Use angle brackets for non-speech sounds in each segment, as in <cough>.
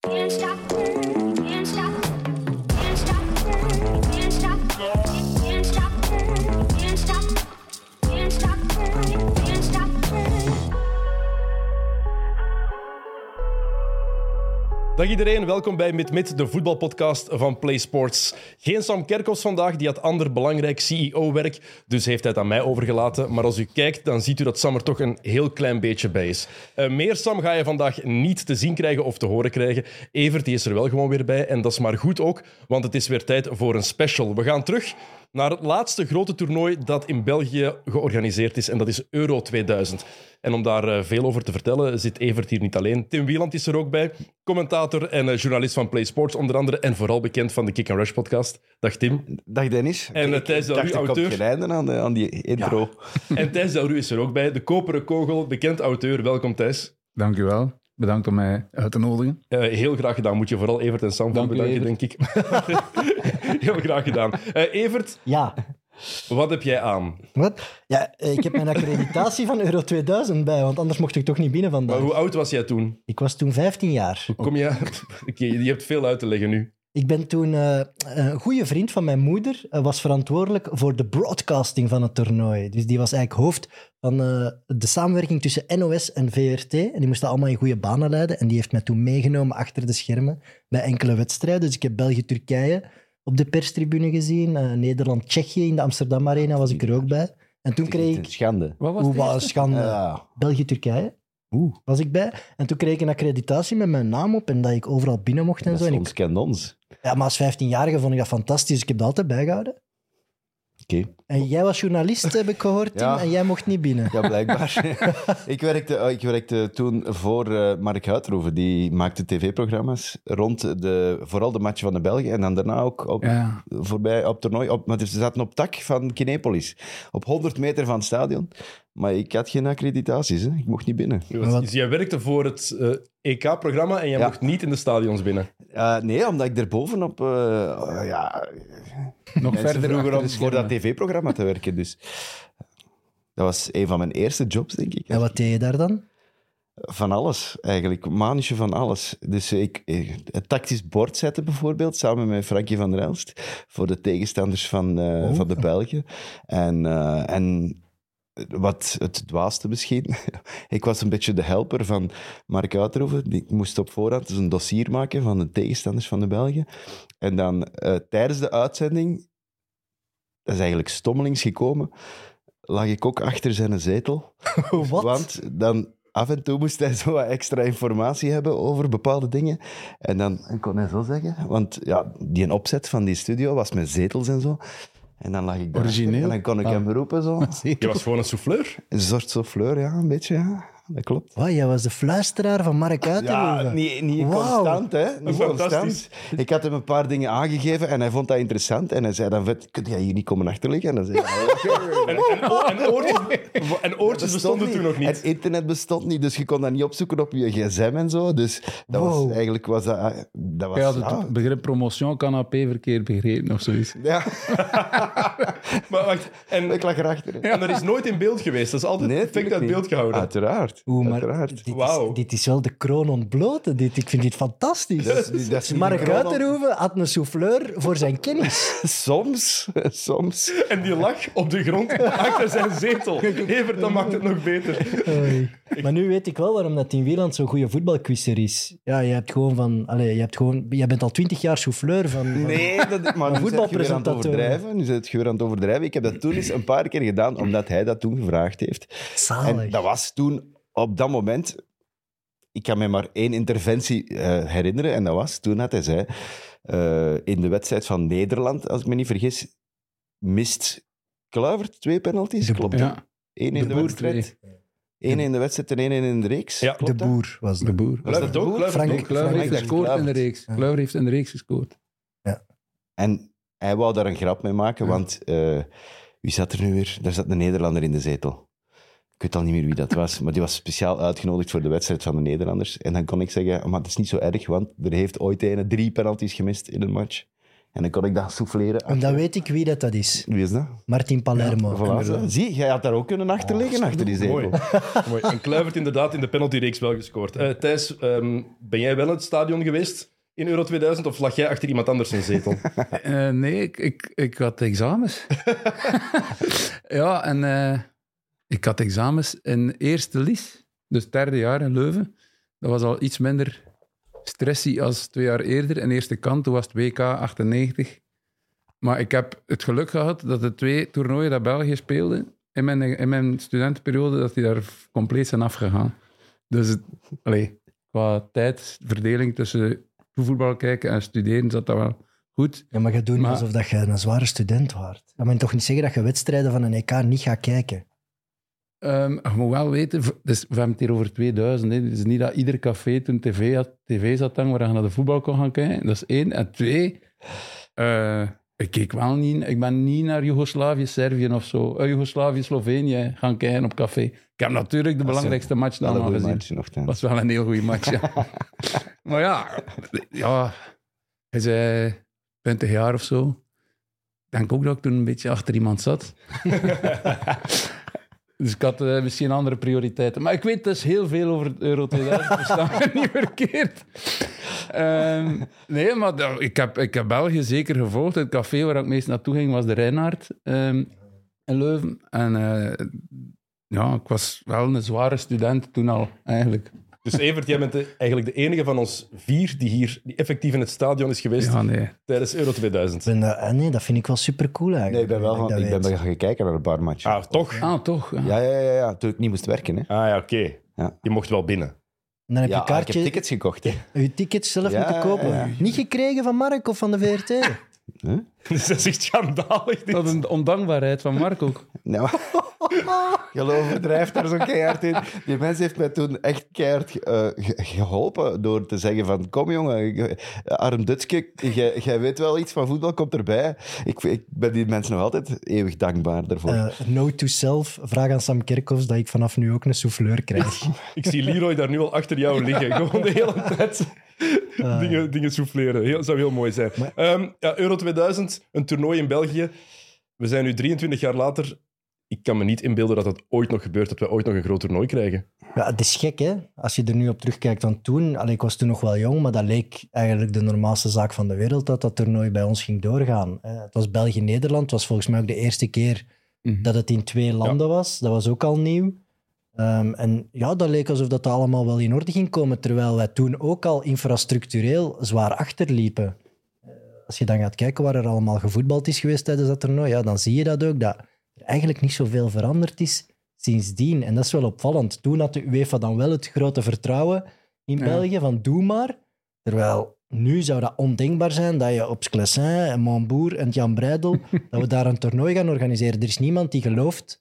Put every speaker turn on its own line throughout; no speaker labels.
Can't stop, can't stop, can't stop, can't stop, can't stop, can't stop, can't stop, can't stop.
Dag iedereen, welkom bij Mit Mit, de voetbalpodcast van PlaySports. Geen Sam Kerkhoffs vandaag, die had ander belangrijk CEO-werk, dus heeft hij het aan mij overgelaten. Maar als u kijkt, dan ziet u dat Sam er toch een heel klein beetje bij is. Eh, meer Sam ga je vandaag niet te zien krijgen of te horen krijgen. Evert die is er wel gewoon weer bij, en dat is maar goed ook, want het is weer tijd voor een special. We gaan terug naar het laatste grote toernooi dat in België georganiseerd is, en dat is Euro 2000. En om daar eh, veel over te vertellen, zit Evert hier niet alleen. Tim Wieland is er ook bij, commentator en eh, journalist van PlaySports onder andere. En vooral bekend van de Kick and Rush podcast.
<laughs>
Dag Tim.
Dag Dennis.
En, eh,
Ik
Thijs Del
dacht,
Ru,
ik
auteur.
had geen einde aan, de- aan die intro.
En Thijs Delru is er ook bij, de koperen kogel, bekend auteur. Welkom Thijs.
Dank u wel. Bedankt om mij uit te nodigen.
Eh, heel graag gedaan. Moet je vooral Evert en Sam voor
Dank u,
bedanken, denk ik. <laughs> heel graag gedaan. Eh, Evert,
Ja,
wat heb jij aan?
wat? Ja, eh, ik heb mijn accreditatie van Euro 2000 bij, want anders mocht ik toch niet binnen
Maar
vandaag.
hoe oud was jij toen?
Ik was toen 15 jaar.
Kom
Oh.
je... <laughs> Oké, je hebt veel uit te leggen nu.
Ik ben toen... eh, een goede vriend van mijn moeder eh, was verantwoordelijk voor de broadcasting van het toernooi. Dus die was eigenlijk hoofd van eh, de samenwerking tussen NOS en VRT. En die moest dat allemaal in goede banen leiden. En die heeft mij toen meegenomen achter de schermen bij enkele wedstrijden. Dus ik heb België-Turkije op de perstribune gezien. eh, Nederland-Tsjechië in de Amsterdam Arena was ik er ook bij. En toen kreeg ik...
Schande.
Wat
Hoe was schande.
Ja.
België-Turkije. Was ik bij. En toen kreeg ik een accreditatie met mijn naam op en dat ik overal binnen mocht en
Dat
zo.
is
En
ons
ik,
kent ons.
ja, maar als 15-jarige vond ik dat fantastisch. Ik heb dat altijd bijgehouden.
Oké.
En jij was journalist, heb ik gehoord, Tim,
Ja.
en jij mocht niet binnen.
Ja, blijkbaar. <laughs> ik, werkte, eh, ik werkte toen voor eh, Mark Huitroeven. Die maakte tv-programma's rond de, vooral de matchen van de Belgen. En dan daarna ook op,
Ja.
voorbij op toernooi. Op, maar ze zaten op tak van Kinepolis. Op 100 meter van het stadion. Maar ik had geen accreditaties. Hè. Ik mocht niet binnen.
wat-
Dus jij werkte voor het EK-programma en jij
Ja.
mocht niet in de stadions binnen.
Eh, nee, omdat ik er bovenop... eh eh, ja,
Nog
Mensen
verder
vroeger
achter
om
de
voor
schermen.
dat tv-programma te werken. Dus dat was een van mijn eerste jobs, denk ik.
En wat deed je daar dan?
Van alles, eigenlijk. Manusje van alles. Dus ik, eh, het tactisch bord zetten bijvoorbeeld, samen met Frankie van der Elst, voor de tegenstanders van, eh, van de Belgen. En, eh, en wat het dwaaste misschien, <laughs> ik was een beetje de helper van Mark Uitroeven. Die moest op voorhand dus een dossier maken van de tegenstanders van de Belgen. En dan eh, tijdens de uitzending, dat is eigenlijk stommelings gekomen, lag ik ook achter zijn zetel.
Wat?
<laughs> Want dan af en toe moest hij zo wat extra informatie hebben over bepaalde dingen. En dan en kon hij zo zeggen. Want ja, die opzet van die studio was met zetels en zo. En dan lag ik daar.
Origineel.
En dan kon ik hem roepen zo.
Je was gewoon een <laughs> souffleur.
Een soort souffleur, ja, een beetje, ja. Dat klopt.
Wat, jij was de fluisteraar van Mark Uitenhoven.
Ja, niet, niet
Wauw.
constant, hè. Niet
Fantastisch.
constant. Ik had hem een paar dingen aangegeven en hij vond dat interessant. En hij zei dan, vet, kun jij hier niet komen achterliggen? En dan zei hij, <laughs>
En, en, Oh, en oortjes, en oortjes bestonden toen nog niet.
Het internet bestond niet, dus je kon dat niet opzoeken op je gsm en zo. Dus dat
Wow.
was, eigenlijk was dat... ah, dat was,
Jij had
ja.
het begrip promotion canapé verkeerd begrepen of zoiets.
<laughs> Ja,
Maar wacht, en,
ik lag erachter.
en dat is nooit in beeld geweest. Dat is altijd <laughs>
tuurlijk
perfect uit
niet.
beeld gehouden.
Uiteraard.
Oeh, maar
uiteraard.
dit is,
Wauw.
dit is wel de kroon ontbloten. Dit. Ik vind dit fantastisch.
Dat is niet- dat is niet de
Mark
kroon ont-
Uitenhoven had een souffleur voor zijn kennis.
Soms, <laughs> soms.
En die lag op de <laughs> grond achter zijn zetel. Evert, dan maakt het nog beter.
Oei. Maar nu weet ik wel waarom dat Tim Wieland zo'n goede voetbalquizzer is. Ja, je hebt gewoon van... Allez, je hebt gewoon, jij bent al twintig jaar souffleur van... van-
Nee, dat, maar nu zit je weer aan het
voetbalpresentator.
overdrijven. Nu zit je weer aan het overdrijven. Ik heb dat toen eens een paar keer gedaan, omdat hij dat toen gevraagd heeft.
Zalig.
En dat was toen, op dat moment... Ik kan me maar één interventie eh, herinneren. En dat was toen had hij zei... eh, in de wedstrijd van Nederland, als ik me niet vergis, mist Kluivert twee penalties. Klopt. hè?
Ja,
Eén in de,
De Boer
wedstrijd. Eén in de wedstrijd en één in de reeks.
Ja.
Klopt
de
dat?
boer was
de
dat.
boer.
Was dat
Kluivert ook?
goed?
Kluivert
Frank-
ook.
Kluiver heeft
Frank-
gescoord in de reeks. Kluiver heeft in de reeks gescoord.
En hij wou daar een grap mee maken, want eh, wie zat er nu weer? Daar zat een Nederlander in de zetel. Ik weet al niet meer wie dat was, maar die was speciaal uitgenodigd voor de wedstrijd van de Nederlanders. En dan kon ik zeggen, maar het is niet zo erg, want er heeft ooit een drie penalties gemist in een match. En dan kon ik dat souffleren.
En dan weet ik wie dat, dat is.
Wie is dat?
Martin Palermo.
Voilà, zo. Zie, jij had daar ook kunnen achterliggen, achter die zetel.
Mooi. Mooi. En Kluivert inderdaad in de penaltyreeks wel gescoord. Eh, Thijs, ehm, ben jij wel in het stadion geweest in Euro 2000 of lag jij achter iemand anders in zetel?
Eh, nee, ik, ik, ik had examens. ja, en eh, ik had examens in eerste lies, dus het derde jaar in Leuven. Dat was al iets minder stressy als twee jaar eerder. In eerste kant, toen was het WK 98. Maar ik heb het geluk gehad dat de twee toernooien dat België speelde, in mijn, in mijn studentenperiode, dat die daar compleet zijn afgegaan. Dus het, allee, qua tijdverdeling tussen voetbal kijken en studeren zat dat wel goed.
Ja, maar je doet niet
Maar-
alsof dat je een zware student waart. Dan moet je toch niet zeggen dat je wedstrijden van een EK niet gaat kijken.
Ehm, je moet wel weten, v- dus we hebben het hier over 2000. Hè. Het is niet dat ieder café toen tv, had, tv zat hangen waar je naar de voetbal kon gaan kijken. Dat is één. En twee, eh, ik keek wel niet... Ik ben niet naar Joegoslavië, Servië of zo. eh, Joegoslavië, Slovenië gaan kijken op café. Ik heb natuurlijk de
is
belangrijkste match
Wel
dan
een
al
goeie
gezien.
match nog dan.
Dat was wel een heel goede match, ja. maar ja, ja, hij zei 20 jaar of zo. Ik denk ook dat ik toen een beetje achter iemand zat. dus ik had eh, misschien andere prioriteiten. Maar ik weet dus heel veel over het Euro 2000, dus dat is niet verkeerd. Ehm, nee, maar dat- ik heb, ik heb België zeker gevolgd. Het café waar ik meest naartoe ging was de Reinhard ehm, in Leuven. En eh, ja, ik was wel een zware student toen al, eigenlijk.
Dus Evert, jij bent de- eigenlijk de enige van ons vier die hier die effectief in het stadion is geweest
Ja, nee.
tijdens Euro 2000.
Ik ben dat- ah, nee, dat vind ik wel supercool eigenlijk.
Nee, ik ben wel
dat
van, ik
dat
ben
weet.
gaan kijken naar een paar matchen.
Ah, toch?
Ah, toch? Ja.
Ja, ja, ja, ja, toen ik niet moest werken. Hè.
Ah ja, oké.
Ja.
Je mocht wel binnen. <laughs>
En dan heb
Ja,
je
ah, ik heb
kaartje,
tickets gekocht. Hè.
je ticket zelf
Ja,
moeten kopen.
ja, ja.
Niet gekregen van Mark of van de VRT.
Dus dat is echt schandalig. dit.
Dat is een ondankbaarheid van Mark ook.
Nou, <laughs> geloof me, drijft daar zo keihard in. Die mens heeft mij toen echt keihard eh, ge- geholpen door te zeggen van... Kom jongen, ik- eh, arm Dutske, jij jij weet wel iets van voetbal, komt erbij. Ik, ik ben die mensen nog altijd eeuwig dankbaar daarvoor.
Eh, no to self. Vraag aan Sam Kerkhoffs dat ik vanaf nu ook een souffleur krijg.
Ik zie Leroy daar nu al achter jou liggen. Gewoon de hele
<laughs>
tijd
Ah,
dingen, dingen souffleren. Heel, zou heel mooi zijn. Ehm, ja, Euro 2000, een toernooi in België. We zijn nu 23 jaar later. Ik kan me niet inbeelden dat dat ooit nog gebeurt, dat we ooit nog een groot toernooi krijgen.
<laughs> ja, het is gek, hè? Als je er nu op terugkijkt dan toen. Allee, ik was toen nog wel jong, maar dat leek eigenlijk de normaalste zaak van de wereld dat dat toernooi bij ons ging doorgaan. Eh, het was België-Nederland. Het was volgens mij ook de eerste keer dat het in twee landen was. Dat was ook al nieuw. Ehm, en ja, dat leek alsof dat allemaal wel in orde ging komen, terwijl wij toen ook al infrastructureel zwaar achterliepen. Eh, Als je dan gaat kijken waar er allemaal gevoetbald is geweest tijdens dat toernooi, ja, dan zie je dat ook, dat er eigenlijk niet zoveel veranderd is sindsdien. En dat is wel opvallend. Toen had de UEFA dan wel het grote vertrouwen in
Ja.
België van doe maar. Terwijl nu zou dat ondenkbaar zijn dat je op Sclessin en Montbourg en Jan Breidel, dat we daar een toernooi gaan organiseren. Er is niemand die gelooft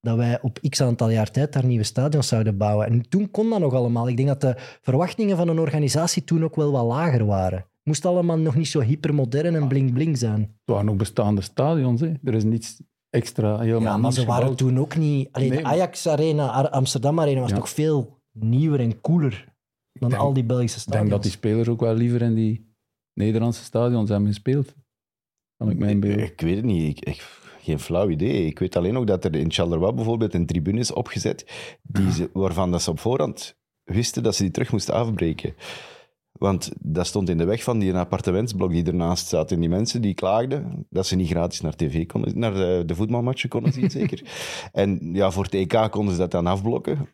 dat wij op x aantal jaar tijd daar nieuwe stadions zouden bouwen. En toen kon dat nog allemaal. Ik denk dat de verwachtingen van een organisatie toen ook wel wat lager waren. Het moest allemaal nog niet zo hypermodern en bling-bling zijn.
Het waren ook bestaande stadions. Hè. Er is niets extra helemaal
Ja, maar
nieuws
ze waren
gebouwd.
toen ook niet... Alleen
Nee,
de
maar-
Ajax Arena, Ar- Amsterdam Arena was
Ja.
toch veel nieuwer en cooler dan
denk-
al die Belgische
Ik denk
stadions.
dat die spelers ook wel liever in die Nederlandse stadions hebben gespeeld. Kan ik mijn beeld.
Ik weet het niet. Ik, ik- geen flauw idee. Ik weet alleen ook dat er in Charleroi bijvoorbeeld een tribune is opgezet die ze, waarvan dat ze op voorhand wisten dat ze die terug moesten afbreken. Want dat stond in de weg van die appartementsblok die ernaast zat. En die mensen die klaagden dat ze niet gratis naar tv konden, naar de, de voetbalmatchen konden
<laughs>
zien, zeker. En ja, voor het EK konden ze dat dan afblokken.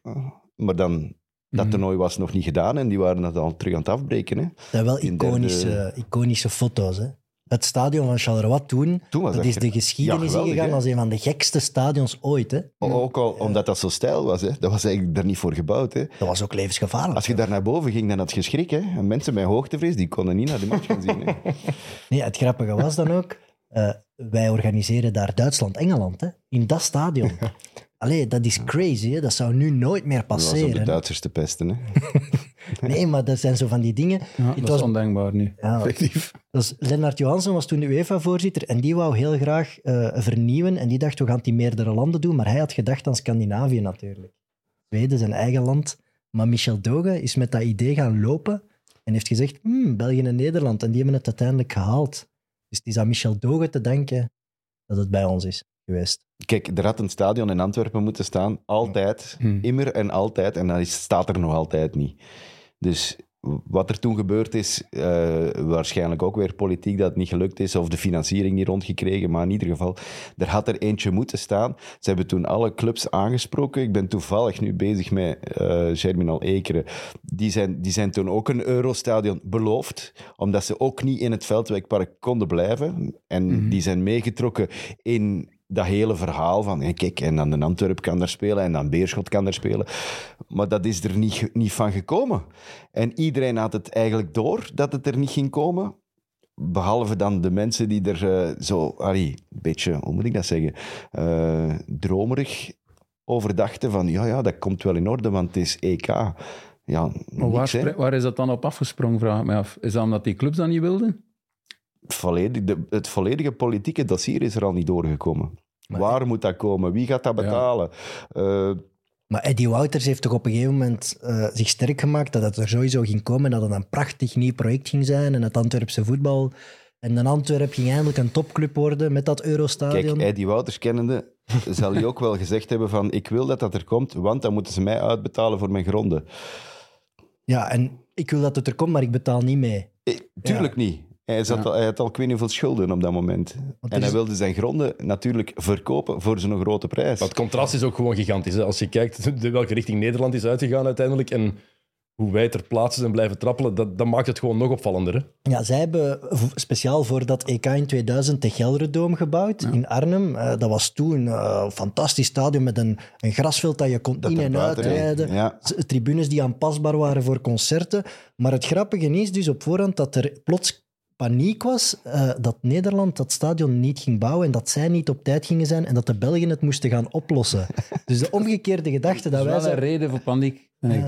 Maar dan, dat
Mhm.
toernooi was nog niet gedaan en die waren dat al terug aan het afbreken. Hè.
Dat zijn wel
in derde-
iconische, iconische foto's, hè. Het stadion van Charleroi toen,
Toen was
dat
dat
is
ge-
de geschiedenis
Ja, geweldig,
ingegaan
hè?
als een van de gekste stadions ooit. Hè.
Ook al omdat dat zo stijl was. Hè. Dat was eigenlijk daar niet voor gebouwd. Hè.
Dat was ook levensgevaarlijk.
Als je daar naar boven ging, dan had je schrik. Hè? En mensen met hoogtevrees die konden niet naar de match gaan zien. Hè?
Nee, het grappige was dan ook, <laughs> eh, wij organiseren daar Duitsland-Engeland, hè? in dat
<laughs>
stadion. Allee, dat is crazy, hè? dat zou nu nooit meer
Dat was om de
passeren.
Duitsers te pesten. Hè?
Nee, maar dat zijn zo van die dingen.
Ja,
het
dat
was-
is ondenkbaar nu.
Ja, dat is, Lennart Johansen was toen de UEFA-voorzitter en die wou heel graag eh, vernieuwen. En die dacht, we gaan het in meerdere landen doen. Maar hij had gedacht aan Scandinavië natuurlijk. Zweden, zijn eigen land. Maar Michel Doge is met dat idee gaan lopen en heeft gezegd, hmm, België en Nederland. En die hebben het uiteindelijk gehaald. Dus het is aan Michel Doge te danken dat het bij ons is geweest.
Kijk, er had een stadion in Antwerpen moeten staan. Altijd.
Hm.
Immer en altijd. En dat is- staat er nog altijd niet. Dus wat er toen gebeurd is, eh, waarschijnlijk ook weer politiek dat het niet gelukt is, of de financiering niet rondgekregen, maar in ieder geval, er had er eentje moeten staan. Ze hebben toen alle clubs aangesproken. Ik ben toevallig nu bezig met eh Germinal Ekeren. Die zijn, die zijn toen ook een Eurostadion beloofd, omdat ze ook niet in het Veldwijkpark konden blijven. En die zijn meegetrokken in dat hele verhaal van, hé, kijk, en dan de Antwerp kan daar spelen en dan Beerschot kan daar spelen. Maar dat is er niet, ge- niet van gekomen. En iedereen had het eigenlijk door dat het er niet ging komen. Behalve dan de mensen die er eh, zo, allee, een beetje, hoe moet ik dat zeggen, eh, dromerig over dachten van, ja, ja, dat komt wel in orde, want het is EK. Ja,
Maar waar,
niks, hè.
spre- waar is dat dan op afgesprongen, vraag ik me af. Is dat omdat die clubs dat niet wilden?
volledig, de- het volledige politieke dossier is er al niet doorgekomen. Waar moet dat komen? Wie gaat dat
Ja.
betalen? Eh,
Maar Eddie Wouters heeft toch op een gegeven moment eh, zich sterk gemaakt dat het er sowieso ging komen, dat het een prachtig nieuw project ging zijn en het Antwerpse voetbal. En dan Antwerp ging eindelijk een topclub worden met dat Eurostadion.
Kijk, Eddie Wouters kennende <laughs> zal hij ook wel gezegd hebben van ik wil dat dat er komt, want dan moeten ze mij uitbetalen voor mijn gronden.
Ja, en ik wil dat het er komt, maar ik betaal niet mee.
Eh, Tuurlijk niet. Hij, zat al, hij had al ik weet niet hoeveel schulden op dat moment.
Want
en
er
hij
is-
wilde zijn gronden natuurlijk verkopen voor zo'n grote prijs.
Maar het contrast is ook gewoon gigantisch. Hè? Als je kijkt <laughs> de welke richting Nederland is uitgegaan uiteindelijk en hoe wij ter plaatse zijn blijven trappelen, dat, dat maakt het gewoon nog opvallender. Hè?
Ja, zij hebben v- speciaal voor dat EK in 2000 de Gelderdoom gebouwd in Arnhem. Eh, dat was toen eh, een fantastisch stadion met een, een grasveld dat je kon
Dat
in-
er
en
buiten reed,
uitrijden.
ja.
S- Tribunes die aanpasbaar waren voor concerten. Maar het grappige is dus op voorhand dat er plots paniek was eh, dat Nederland dat stadion niet ging bouwen en dat zij niet op tijd gingen zijn en dat de Belgen het moesten gaan oplossen.
<laughs>
Dus de omgekeerde
Dat
gedachte dat
is
wij
wel een
zouden
reden voor paniek. Nee.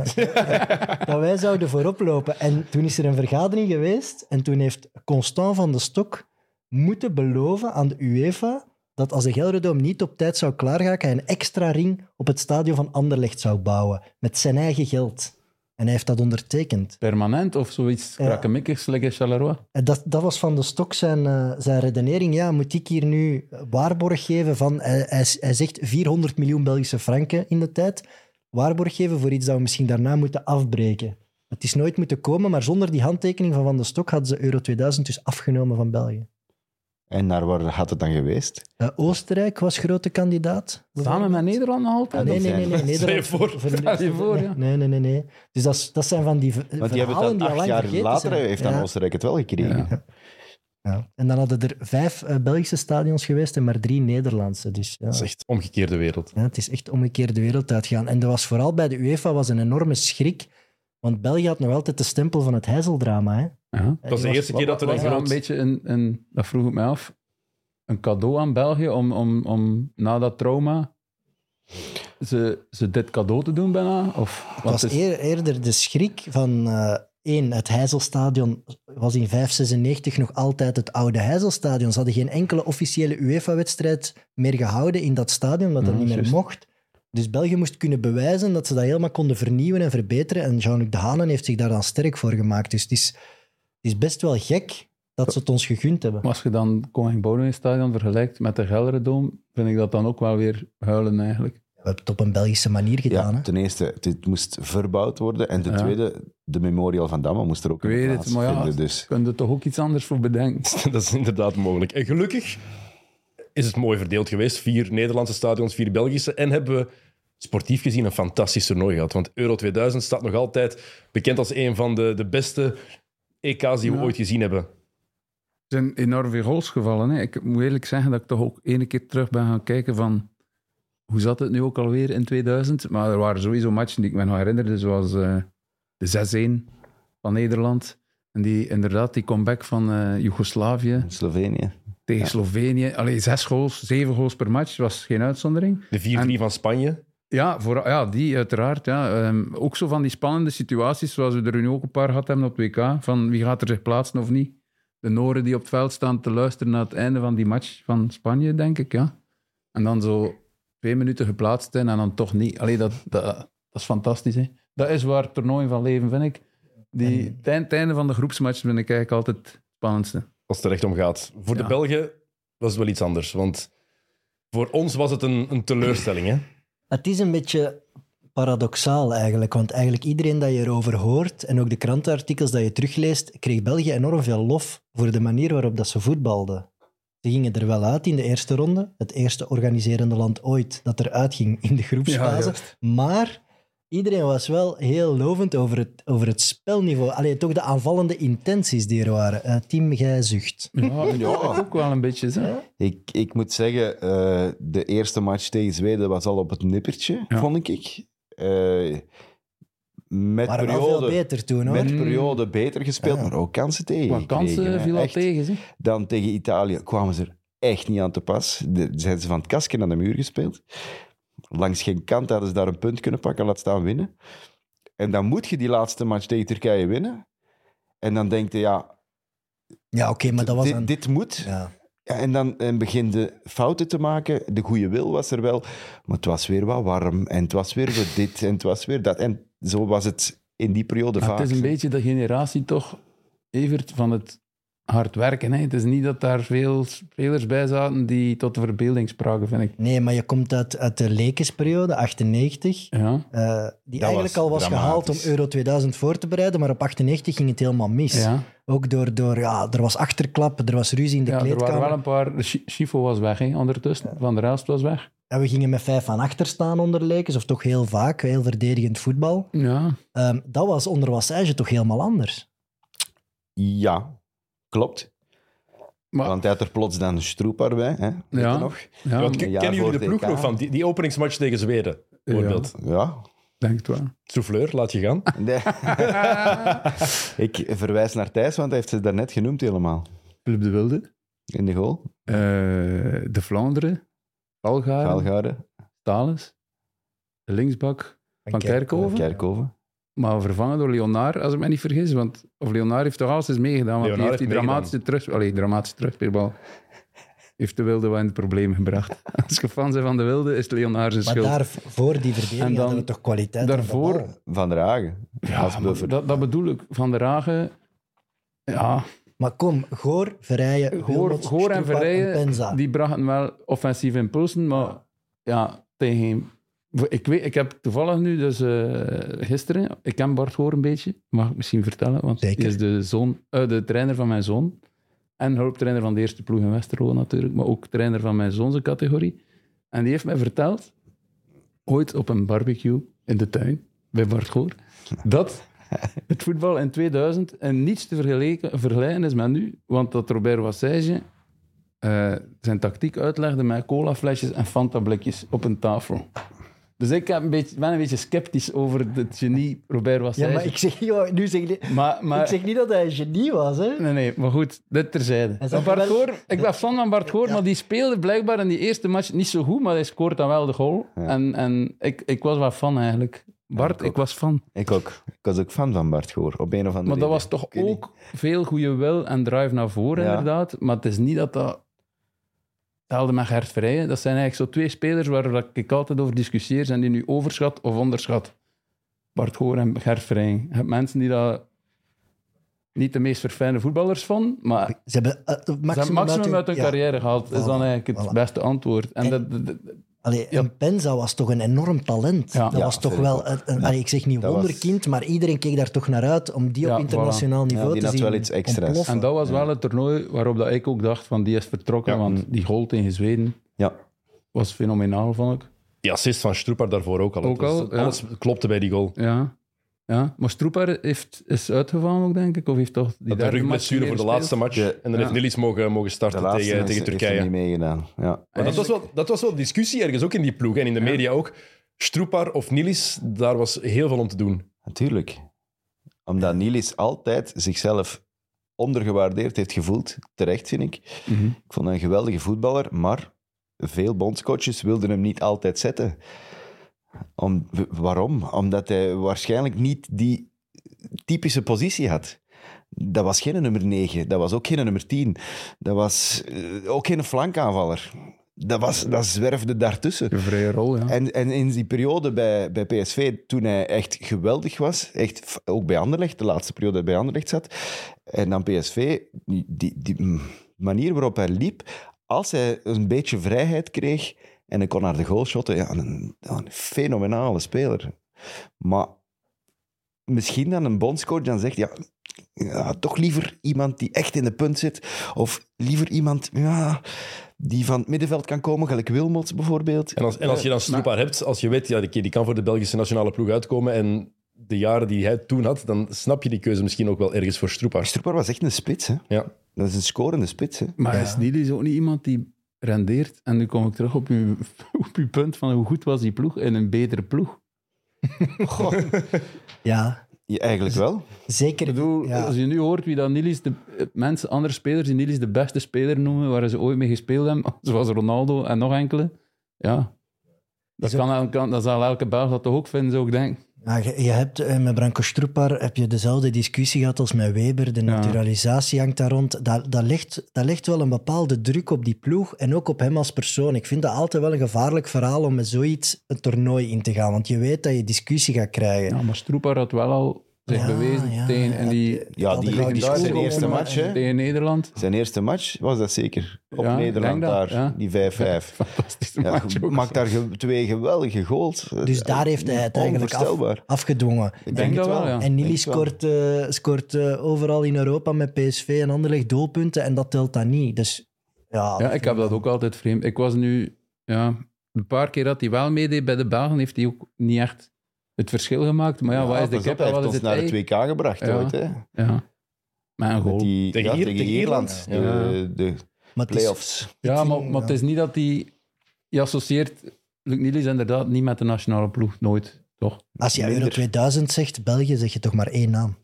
dat wij zouden voorop lopen. En toen is er een vergadering geweest en toen heeft Constant van de Stok moeten beloven aan de UEFA dat als de Gelderdoom niet op tijd zou klaargaan, hij een extra ring op het stadion van Anderlecht zou bouwen. Met zijn eigen geld. En hij heeft dat ondertekend.
Permanent of zoiets
Ja.
krakkemikkigs, lekker Charleroi.
En dat, dat was van de stok zijn, eh, zijn redenering. Ja, moet ik hier nu waarborg geven van... Hij, hij, hij zegt 400 miljoen Belgische franken in de tijd. Waarborg geven voor iets dat we misschien daarna moeten afbreken. Het is nooit moeten komen, maar zonder die handtekening van Van de Stok hadden ze Euro 2000 dus afgenomen van België.
En naar waar had het dan geweest?
Eh, Oostenrijk was grote kandidaat. Ah,
Samen met Nederland nog altijd?
Nee, nee, nee. nee,
Stel je
Nederland-
voor.
de-
Stel je voor, ja.
Nee, nee, nee. nee. Dus dat, is- dat zijn van die ver-
Want die hebben het dan
verhalen die al
acht
lang
jaar
vergeten
later
zijn.
heeft
Ja.
dan Oostenrijk het wel gekregen.
Ja.
Ja. En dan hadden er vijf eh, Belgische stadions geweest en maar drie Nederlandse. Dus ja,
Dat is echt omgekeerde wereld. <laughs>
Ja, het is echt omgekeerd de wereld uitgaan. En er was vooral bij de UEFA was een enorme schrik, want België had nog altijd de stempel van het heizeldrama. Hè?
Ja.
Dat is de
was-
eerste keer dat er een
Was dat
groot...
een beetje een, een, dat vroeg ik mij af, een cadeau aan België om, om, om na dat trauma ze, ze dit cadeau te doen bijna? Of,
Het
want
was
het is-
eer- eerder de schrik van eh één, het Heizelstadion was in 596 nog altijd het oude Heizelstadion. Ze hadden geen enkele officiële UEFA-wedstrijd meer gehouden in dat stadion, omdat dat
Ja,
niet meer
Mm, juist.
mocht. Dus België moest kunnen bewijzen dat ze dat helemaal konden vernieuwen en verbeteren. En Jean-Luc Dehanen heeft zich daar dan sterk voor gemaakt. Dus het is, het is best wel gek dat ze het ons gegund hebben.
Als je dan Koning Boudewijn Stadion vergelijkt met de Gelderdoom, vind ik dat dan ook wel weer huilen eigenlijk.
We hebben het op een Belgische manier gedaan.
Ja,
hè?
ten eerste, dit moest verbouwd worden. En ten
Ja.
tweede, de Memorial van Damme moest er ook
Ik
in
weet het, maar ja,
plaatsvinden,
je
Dus.
kunt er toch ook iets anders voor bedenken.
Dat is inderdaad mogelijk. En gelukkig is het mooi verdeeld geweest. Vier Nederlandse stadions, vier Belgische. En hebben we sportief gezien een fantastisch toernooi gehad. Want Euro 2000 staat nog altijd bekend als een van de, de beste EK's die we
Ja.
ooit gezien hebben.
Er zijn enorm veel goals gevallen. Hè. Ik moet eerlijk zeggen dat ik toch ook ene keer terug ben gaan kijken van... Hoe zat het nu ook alweer in 2000? Maar er waren sowieso matchen die ik me nog herinnerde, zoals eh, de 6-1 van Nederland. En die, inderdaad, die comeback van eh Joegoslavië
Slovenië.
tegen Slovenië. Allee, zes goals, zeven goals per match, was geen uitzondering.
De 4-3 van Spanje.
Ja, voor, ja die uiteraard. Ja. Ehm, ook zo van die spannende situaties, zoals we er nu ook een paar gehad hebben op het WK, van wie gaat er zich plaatsen of niet. De Noren die op het veld staan te luisteren naar het einde van die match van Spanje, denk ik. Ja. En dan zo twee minuten geplaatst zijn en dan toch niet. Allee, dat, dat, dat is fantastisch. Hè. Dat is waar het toernooi van leven, vind ik. Die, het, eind- het einde van de groepsmatch vind ik eigenlijk altijd het spannendste.
Als het er echt om gaat. Voor de
Ja.
Belgen was het wel iets anders. Want voor ons was het een, een teleurstelling. Hè?
Het is een beetje paradoxaal eigenlijk, want eigenlijk iedereen dat je erover hoort en ook de krantenartikels dat je terugleest, kreeg België enorm veel lof voor de manier waarop dat ze voetbalden. Ze gingen er wel uit in de eerste ronde, het eerste organiserende land ooit dat eruit ging in de
Ja,
groepsfase.
juist.
maar iedereen was wel heel lovend over het, over het spelniveau. Alleen toch de aanvallende intenties die er waren. Eh, Tim, jij zucht.
Ja, ik ook wel een beetje. Zo.
Ik, ik moet zeggen, eh, de eerste match tegen Zweden was al op het nippertje,
Ja.
vond ik. Eh, met
Maar wel veel
periode,
beter toen hoor.
met periode beter gespeeld,
Ja.
maar ook kansen tegen.
Qua
gekregen,
kansen
hè.
viel al
Echt.
tegen. Zeg.
Dan tegen Italië kwamen ze er echt niet aan te pas. De, zijn ze van het kastje naar de muur gespeeld. Langs geen kant hadden ze daar een punt kunnen pakken, laat staan winnen. En dan moet je die laatste match tegen Turkije winnen. En dan denk je, ja,
Ja, oké, maar dat was
dit,
een...
dit moet.
Ja.
Ja, en dan en begin de fouten te maken. De goede wil was er wel, maar het was weer wat warm. En het was weer wat dit en het was weer dat. En zo was het in die periode
Maar
vaak.
het is een beetje de generatie toch, Evert, van het hard werken. Hè? Het is niet dat daar veel spelers bij zaten die tot de verbeelding spraken, vind ik.
Nee, maar je komt uit, uit de Lekensperiode, 98.
Ja,
eh,
Dat
die eigenlijk
was
al was gehaald om
dramatisch.
Euro 2000 voor te bereiden, maar op 98 ging het helemaal mis.
ja.
Ook door, door ja, er was achterklap, er was ruzie in de
ja er
kleedkamer.
waren wel een paar... de Chi- Chifo was weg, hè, ondertussen. Van der Elst was weg.
En we gingen met vijf aan achter staan onder Lekens, of toch heel vaak, heel verdedigend voetbal.
Ja.
Ehm, dat was onder Wassage toch helemaal anders.
Ja, klopt.
Maar,
Want hij had er plots dan een stroepar bij. Hè? Weet je
Ja.
nog?
ja,
Want,
ik
ke-
een jaar
kennen jullie
voor
de ploeg
TK?
nog van? Die, die openingsmatch tegen Zweden, bijvoorbeeld.
Ja.
denk het wel.
Souffleur, laat je
<laughs>
gaan.
<laughs>
Nee. Ik verwijs naar Thijs, want hij heeft ze daarnet genoemd helemaal.
Philip de Wilde.
In de goal.
eh, de Vlaanderen. Algaar.
Valgaarden,
Thales. De linksbak. Van Kerkhoven.
Kerkhoven.
Maar vervangen door Leonard, als ik me niet vergis. Want, of Leonard heeft toch alles eens meegedaan. Want die
Leonard
heeft die
heeft
dramatische, terug, allee, dramatische terugspeelbal. Heeft de Wilde wel in het probleem gebracht. <laughs> Als je fan bent van de Wilde, is het Leonard zijn
Maar
schuld.
daarvoor die verdediging
En dan-
hadden we toch kwaliteit. aan de
Daarvoor,
bal.
Van der Hagen. als
maar
buffer.
dat, dat bedoel ik. Van der Hagen, ja,
Maar kom, Goor, Verrijen,
Goor,
Wilmots,
Goor en
Stroepaar Penza.
Verrijen, die brachten wel offensief impulsen, maar ja, tegen... Ik, weet, ik heb toevallig nu, dus eh, gisteren, ik ken Bart Goor een beetje, mag ik misschien vertellen, want
Zeker.
hij is de, zoon, eh, de trainer van mijn zoon. En hulptrainer van de eerste ploeg in Westerlo natuurlijk, maar ook trainer van mijn zoon zijn categorie. En die heeft mij verteld, ooit op een barbecue in de tuin, bij Bart Goor, dat <laughs> het voetbal in 2000 en niets te vergelijken, vergelijken is met nu, want dat Robert Wassage eh, zijn tactiek uitlegde met colaflesjes en fantablikjes op een tafel. Dus ik heb een beetje, ben een beetje sceptisch over het genie Robert
Ja,
Wassage.
maar ik zeg, joh, nu zeg, ik-
maar, maar-
ik zeg niet dat hij een genie was, hè.
Nee, nee, maar goed, dit terzijde.
Hij zag
Bart
wel-
Goor, ik ben fan van Bart Goor, maar die speelde blijkbaar in die eerste match niet zo goed, maar hij scoort dan wel de goal. En, en ik, ik was wel fan eigenlijk. Bart,
ik ook.
ik was fan.
Ik ook. Ik was ook fan van Bart Goor, op een of andere
Maar dat
reden.
was toch
weet niet.
ook veel goede wil en drive naar voren,
Ja.
inderdaad. Maar het is niet dat dat... Hetzelfde met Gert Vrijen. Dat zijn eigenlijk zo twee spelers waar dat ik altijd over discussieer. Zijn die nu overschat of onderschat? Bart Goor en Gert Vrijen. Je hebt mensen die daar niet de meest verfijnde voetballers van, maar ze
Ze hebben eh, maximum,
hebben het maximum uit hun
ja.
carrière gehaald. is
Voilà,
dan eigenlijk het
voilà.
beste antwoord. En,
En-
dat, dat- dat-
Allee, en Penza was toch een enorm talent.
Ja.
dat
Ja,
was toch
vind ik
wel,
ook.
een, een- allee, ik zeg niet
Dat was-
wonderkind, maar iedereen keek daar toch naar uit om die
Ja,
op internationaal niveau
Ja, die
te
had
zien.
wel iets extra's.
ontploffen.
en dat was wel het toernooi waarop dat ik ook dacht van die is vertrokken,
Ja.
want die goal tegen Zweden
Ja.
was fenomenaal, vond ik.
Die assist van Stroepaar daarvoor ook al.
Ook al, ja.
Alles klopte bij die goal.
Ja. ja. Maar Stroepaar heeft, is uitgevallen ook, denk ik. Of heeft toch die
Dat de
derde match
rugblessure voor
niet
de
meer
laatste
gespeeld?
match.
Ja.
En dan heeft
Ja.
Nilis mogen, mogen
De
starten
laatste
tegen,
is-
tegen
heeft
Turkije.
er niet meegedaan. Ja.
Maar dat was, wel, dat was wel discussie ergens, ook in die ploeg en in de media ook. Stroepar of Nilis, daar was heel veel om te doen.
Natuurlijk. Omdat Nilis altijd zichzelf ondergewaardeerd heeft gevoeld. Terecht, vind ik.
Mhm.
Ik vond hem een geweldige voetballer, maar veel bondscoaches wilden hem niet altijd zetten. Om, w- waarom? Omdat hij waarschijnlijk niet die typische positie had. Dat was geen nummer 9, dat was ook geen nummer 10. Dat was eh, ook geen flankaanvaller. dat, was, dat zwerfde daartussen.
Een vrije rol, ja.
En, en in die periode bij, bij PSV, toen hij echt geweldig was, echt, f- ook bij Anderlecht, de laatste periode dat hij bij Anderlecht zat, en dan PSV, die, die, die, mm, manier waarop hij liep, als hij een beetje vrijheid kreeg en hij kon naar de goal shotten, ja, een, een fenomenale speler. Maar misschien dan een bondscoach dan zegt, ja, ja, toch liever iemand die echt in de punt zit, of liever iemand ja, die van het middenveld kan komen, gelijk Wilmots bijvoorbeeld.
En als, en als je dan Stroepaar hebt, als je weet, ja, die, die kan voor de Belgische nationale ploeg uitkomen en de jaren die hij toen had, dan snap je die keuze misschien ook wel ergens voor Stroepaar.
Stroepaar was echt een spits, hè?
Ja.
Dat is een scorende spits, hè?
Maar is die is ook niet iemand die rendeert. En nu kom ik terug op uw, <laughs> op uw punt van hoe goed was die ploeg in een betere ploeg.
Ja,
Ja, eigenlijk wel.
zeker.
Ik bedoel,
ja.
als je nu hoort wie dat Nilis, de eh, mensen, andere spelers die Nilis de beste speler noemen waar ze ooit mee gespeeld hebben, <laughs> zoals Ronaldo en nog enkele, ja. Dat,
Is ook-
kan, kan, dat zal elke Belg dat toch ook vinden, zou ik denken.
Ja, je, je hebt eh, met Branko Stroepar heb je dezelfde discussie gehad als met Weber. De naturalisatie hangt daar rond. Dat, dat, legt, dat legt wel een bepaalde druk op die ploeg en ook op hem als persoon. Ik vind dat altijd wel een gevaarlijk verhaal om met zoiets een toernooi in te gaan. Want je weet dat je discussie gaat krijgen.
Ja, maar Stroepaar had wel al zich
Ja,
bewezen
ja,
tegen,
ja,
en die,
Ja,
Al
die,
gouden
die
schoenen
zijn
om,
eerste
eh,
match, hè?
tegen
<laughs>
Nederland.
Zijn eerste match was dat zeker. Op
Ja,
Nederland
ik denk dat,
daar,
ja.
die 5-5.
Fantastisch
Ja,
match ook.
maakt daar ge- twee geweldige goals.
Dus daar heeft hij het eigenlijk af-
Onvoorstelbaar.
afgedwongen.
Ik
denk
denk
dat
het wel,
wel, ja.
en Nili
denk het wel.
scoort, eh, scoort eh, overal in Europa met PSV en Anderlecht doelpunten en dat telt dan niet. Dus ja,
Ja, ik heb dat ook altijd vreemd. Ik was nu, ja, een paar keer dat hij wel meedeed bij de Belgen, heeft hij ook niet echt het verschil gemaakt. Maar ja, wat is de
pas op,
kip
hij heeft
en wat is
ons
het
naar
ei?
het 2K gebracht
Ja.
ooit, hè?
Ja, maar een goal.
Met die,
Tegen
ja,
Ier-
tegen
tegen
Ierland.
Ierland.
De, de
maar het is-
play-offs.
Ja,
Ik
maar,
vind-
maar het is niet dat hij... Je associeert Luc Niels inderdaad niet met de nationale ploeg, nooit, toch?
als je Euro
minder.
2000 zegt, België, zeg je toch maar één naam.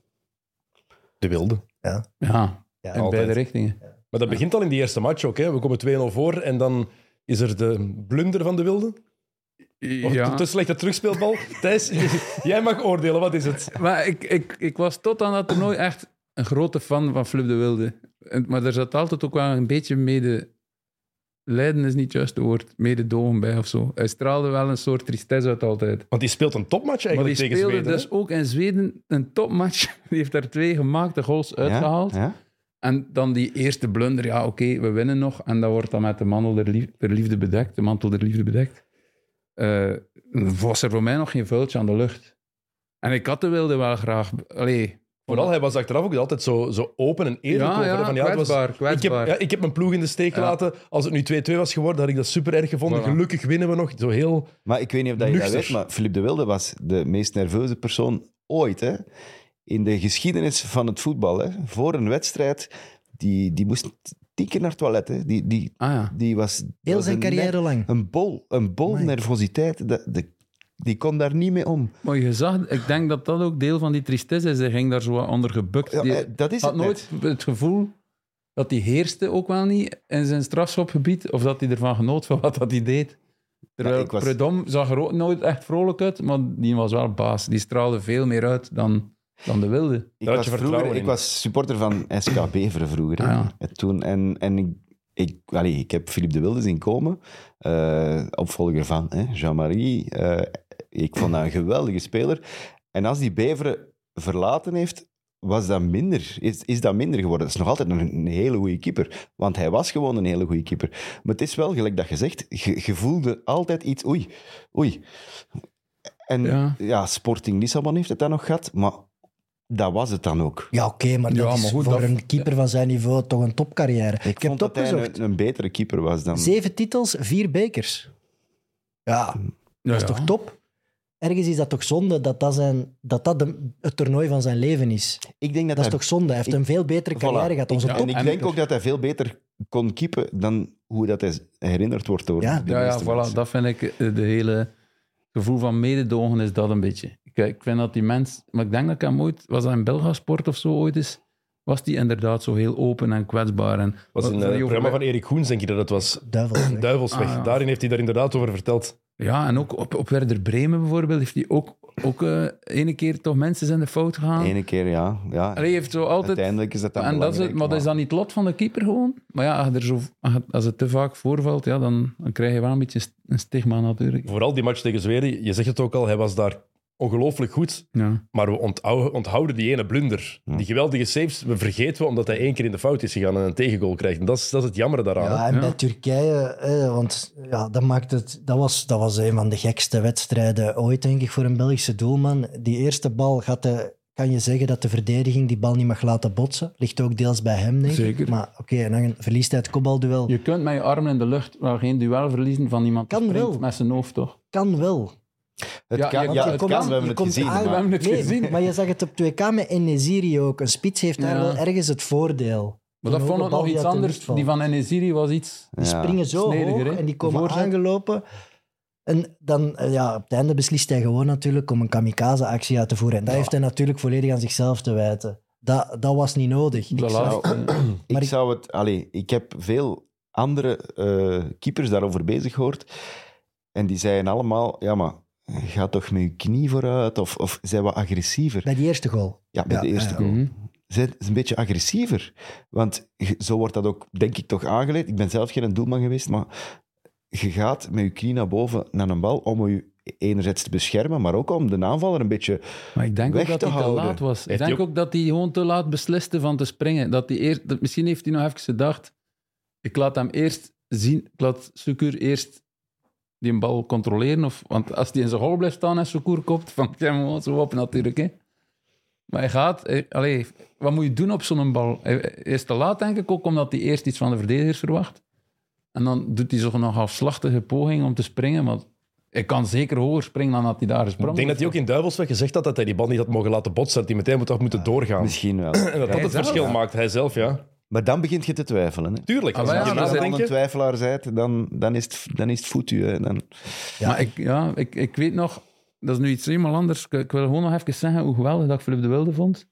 De wilde.
Ja,
Ja,
in
altijd.
beide richtingen.
Maar dat begint al in die eerste match ook. Hè. We komen 2-0 voor en dan is er de blunder van de wilde. Of
Ja.
te slechte terugspeelbal. <laughs> Thijs, jij mag oordelen. Wat is het?
Maar ik, ik, ik was tot aan dat toernooi echt een grote fan van Flip de Wilde. En- Maar er zat altijd ook wel een beetje mede... Leiden is niet het juiste woord. Mede dogen bij of zo. Hij straalde wel een soort tristesse uit altijd.
Want die speelt een topmatch
Maar
eigenlijk
die
tegen
speelde
Zweden. hè.
dus ook in Zweden een topmatch. <laughs> Die heeft daar twee gemaakte goals uitgehaald.
Ja?
En dan die eerste blunder, ja, oké, we winnen nog. En dat wordt dan met de mantel der, lief- der liefde bedekt. De mantel der liefde bedekt. Eh, was er voor mij nog geen vuiltje aan de lucht. En ik had de wilde wel graag. Allee,
Vooral, hij was achteraf ook altijd zo, zo open en eerlijk
Ja,
over. hè.
ja,
van, ja, het was-
kwetsbaar, kwetsbaar.
Ik heb, ja, ik heb mijn ploeg in de steek
Ja.
laten. Als het nu 2-2 was geworden, had ik dat super erg gevonden.
Voilà.
Gelukkig winnen we nog. Zo heel...
Maar ik weet niet of dat je dat
Nuchter.
weet, maar Philippe de Wilde was de meest nerveuze persoon ooit. Hè? In de geschiedenis van het voetbal. Hè? Voor een wedstrijd, die, die moest tien keer naar het toilet. Hè? Die, die,
ah ja.
die was,
Heel
was
zijn
een
carrière
ner-
lang.
Een bol, een bol
Amai.
nervositeit. Dat, de, die kon daar niet mee om.
Maar je zag, ik denk dat dat ook deel van die tristesse is. Hij ging daar zo wat onder gebukt.
Ja,
Die
eh, dat is
had
het net.
nooit het gevoel dat hij heerste ook wel niet in zijn strafschopgebied. Of dat hij ervan genoot van wat dat hij deed. Terwijl
Ja, ik was-
Predom zag er ook nooit echt vrolijk uit, maar die was wel baas. Die straalde veel meer uit dan, dan de wilde.
Ik
Daar had
was,
je
vroeger,
vertrouwen
ik
in.
was supporter van SK Beveren vroeger. hè.
Ah, ja.
En Toen, en en ik, ik, allee, ik heb Philippe de Wilde zien komen, eh, opvolger van hè, Jean-Marie. eh, ik vond dat een geweldige speler. En als die Beveren verlaten heeft, was dat minder. Is, is dat minder geworden. Dat is nog altijd een, een hele goede keeper. Want hij was gewoon een hele goede keeper. Maar het is wel, gelijk dat je zegt, je, je voelde altijd iets... Oei, oei. En
Ja.
ja. Sporting Lissabon heeft het dan nog gehad, maar dat was het dan ook.
Ja, oké, maar dat
Ja,
is
maar goed,
voor
dat-
een keeper van zijn niveau toch een topcarrière. Ik, heb
vond
het
dat hij
opgezocht.
een, een betere keeper was dan...
Zeven titels, vier bekers. Ja,
Dat
dat is toch top? Ergens is dat toch zonde dat dat, zijn, dat, dat de- het toernooi van zijn leven is.
ik denk dat,
Dat is
hij-
toch zonde? Hij heeft
Ik-
een veel betere
Voilà.
carrière gehad. Onze
Ja,
top...
En ik
en-
denk ook dat hij veel beter kon keepen dan hoe dat hij herinnerd wordt door
Ja.
de
Ja, ja
meeste
voilà,
mensen.
dat vind ik eh, de hele gevoel van mededogen is dat een beetje. Ik, eh, ik vind dat die mens, maar ik denk dat ik hem ooit, was dat in Belgasport of zo ooit is, was die inderdaad zo heel open en kwetsbaar. En,
was een
van
eh,
die
programma
over-
van Erik Goens, denk je dat het was.
Duivel. zeg.
Duivelsweg.
Ah, ja.
Daarin heeft hij daar inderdaad over verteld.
Ja, en ook op, op Werder Bremen bijvoorbeeld heeft hij ook, ook eh, ene keer toch mensen zijn de fout gegaan.
Ene keer, ja. ja.
Allee, heeft zo altijd...
Uiteindelijk is dat dan
en dat is het, maar dat is dan niet het lot van de keeper gewoon? Maar ja, als, er zo, als het te vaak voorvalt, ja, dan, dan krijg je wel een beetje een stigma natuurlijk.
Vooral die match tegen Zweden, je zegt het ook al, hij was daar ongelooflijk goed.
Ja.
Maar we onthouden, onthouden die ene blunder. Die geweldige saves, we vergeten we omdat hij één keer in de fout is gegaan en een tegengoal krijgt. En dat is, dat is het jammer daaraan. hè.
Ja, en bij Turkije, eh, want ja, dat, maakt het, dat, was, dat was een van de gekste wedstrijden ooit, denk ik, voor een Belgische doelman. Die eerste bal gaat de, kan je zeggen dat de verdediging die bal niet mag laten botsen. Ligt ook deels bij hem, denk ik.
Zeker.
Maar oké, en dan verliest hij het kopbalduel.
Je kunt met je armen in de lucht wel geen duel verliezen van iemand die
Kan
springt
wel.
met zijn hoofd, toch?
Kan wel.
Het
Ja,
kan,
ja,
ja,
Want je
het
komt-
kan, we hebben
je
het
komt
gezien.
aan-
maar-
We hebben het
Nee,
gezien.
Maar je zag het op 2K met Enesiri ook. Een spits heeft daar
Ja.
wel ergens het voordeel.
Maar dat
Een
vond
hoge
ik
bal
nog iets
uit de lucht
anders.
valt.
Die van Enesiri was iets...
Die
Ja.
springen zo
Snediger,
hoog
hè?
en die komen
Voorzet.
aangelopen. En dan, eh, ja, op het einde beslist hij gewoon natuurlijk om een kamikaze-actie uit te voeren. En dat heeft hij natuurlijk volledig aan zichzelf te wijten. Dat, dat was niet nodig.
De
Ik zou-
laatste.
<clears throat> Maar
ik
ik-
zou het... Allee, ik heb veel andere eh, keepers daarover bezig gehoord. En die zeiden allemaal, ja, maar eh, ga toch met je knie vooruit. Of, of zijn wat agressiever.
Bij die eerste goal.
Ja, bij
Ja,
de eerste
ja.
Mhm.
goal. Zijn is een beetje agressiever. Want je- zo wordt dat ook, denk ik, toch aangeleerd. Ik ben zelf geen doelman geweest, maar je gaat met je knie naar boven naar een bal om je enerzijds te beschermen, maar ook om de aanvaller een beetje...
Maar ik denk
weg
ook dat
te
hij te
houden.
laat was. Ik
Heeft hij
denk ook dat hij gewoon te laat besliste van te springen. Dat hij eerst, dat- misschien heeft hij nog even gedacht, ik laat hem eerst zien, ik laat Sukur eerst die bal controleren. Of, want als hij in zijn hol blijft staan en Sukur kopt, van ik hem gewoon zo op natuurlijk. Hè. Maar hij gaat... Hij, allee, wat moet je doen op zo'n bal? Hij, hij is te laat denk ik ook, omdat hij eerst iets van de verdedigers verwacht. En dan doet hij zo'n nog afslachtige poging om te springen, maar... Hij kan zeker hoger springen dan dat hij daar sprong.
Ik denk dat hij ook in Duivelsweg gezegd had dat hij die bal niet had mogen laten botsen. Dat hij meteen moet had moeten doorgaan.
Misschien wel.
En dat dat
Hij
het
zelf,
verschil
ja.
maakt. Hij zelf, ja.
Maar dan begint je te twijfelen. Hè.
Tuurlijk. Als
Ah,
je
ja,
die
dat
Als
is
je dan een
nadenken...
twijfelaar bent, dan, dan is het, dan is het voet u. hè. Dan,
Ja.
Maar ik, ja, ik, ik weet nog, dat is nu iets helemaal anders. Ik, ik wil gewoon nog even zeggen hoe geweldig dat ik Philip de Wilde vond.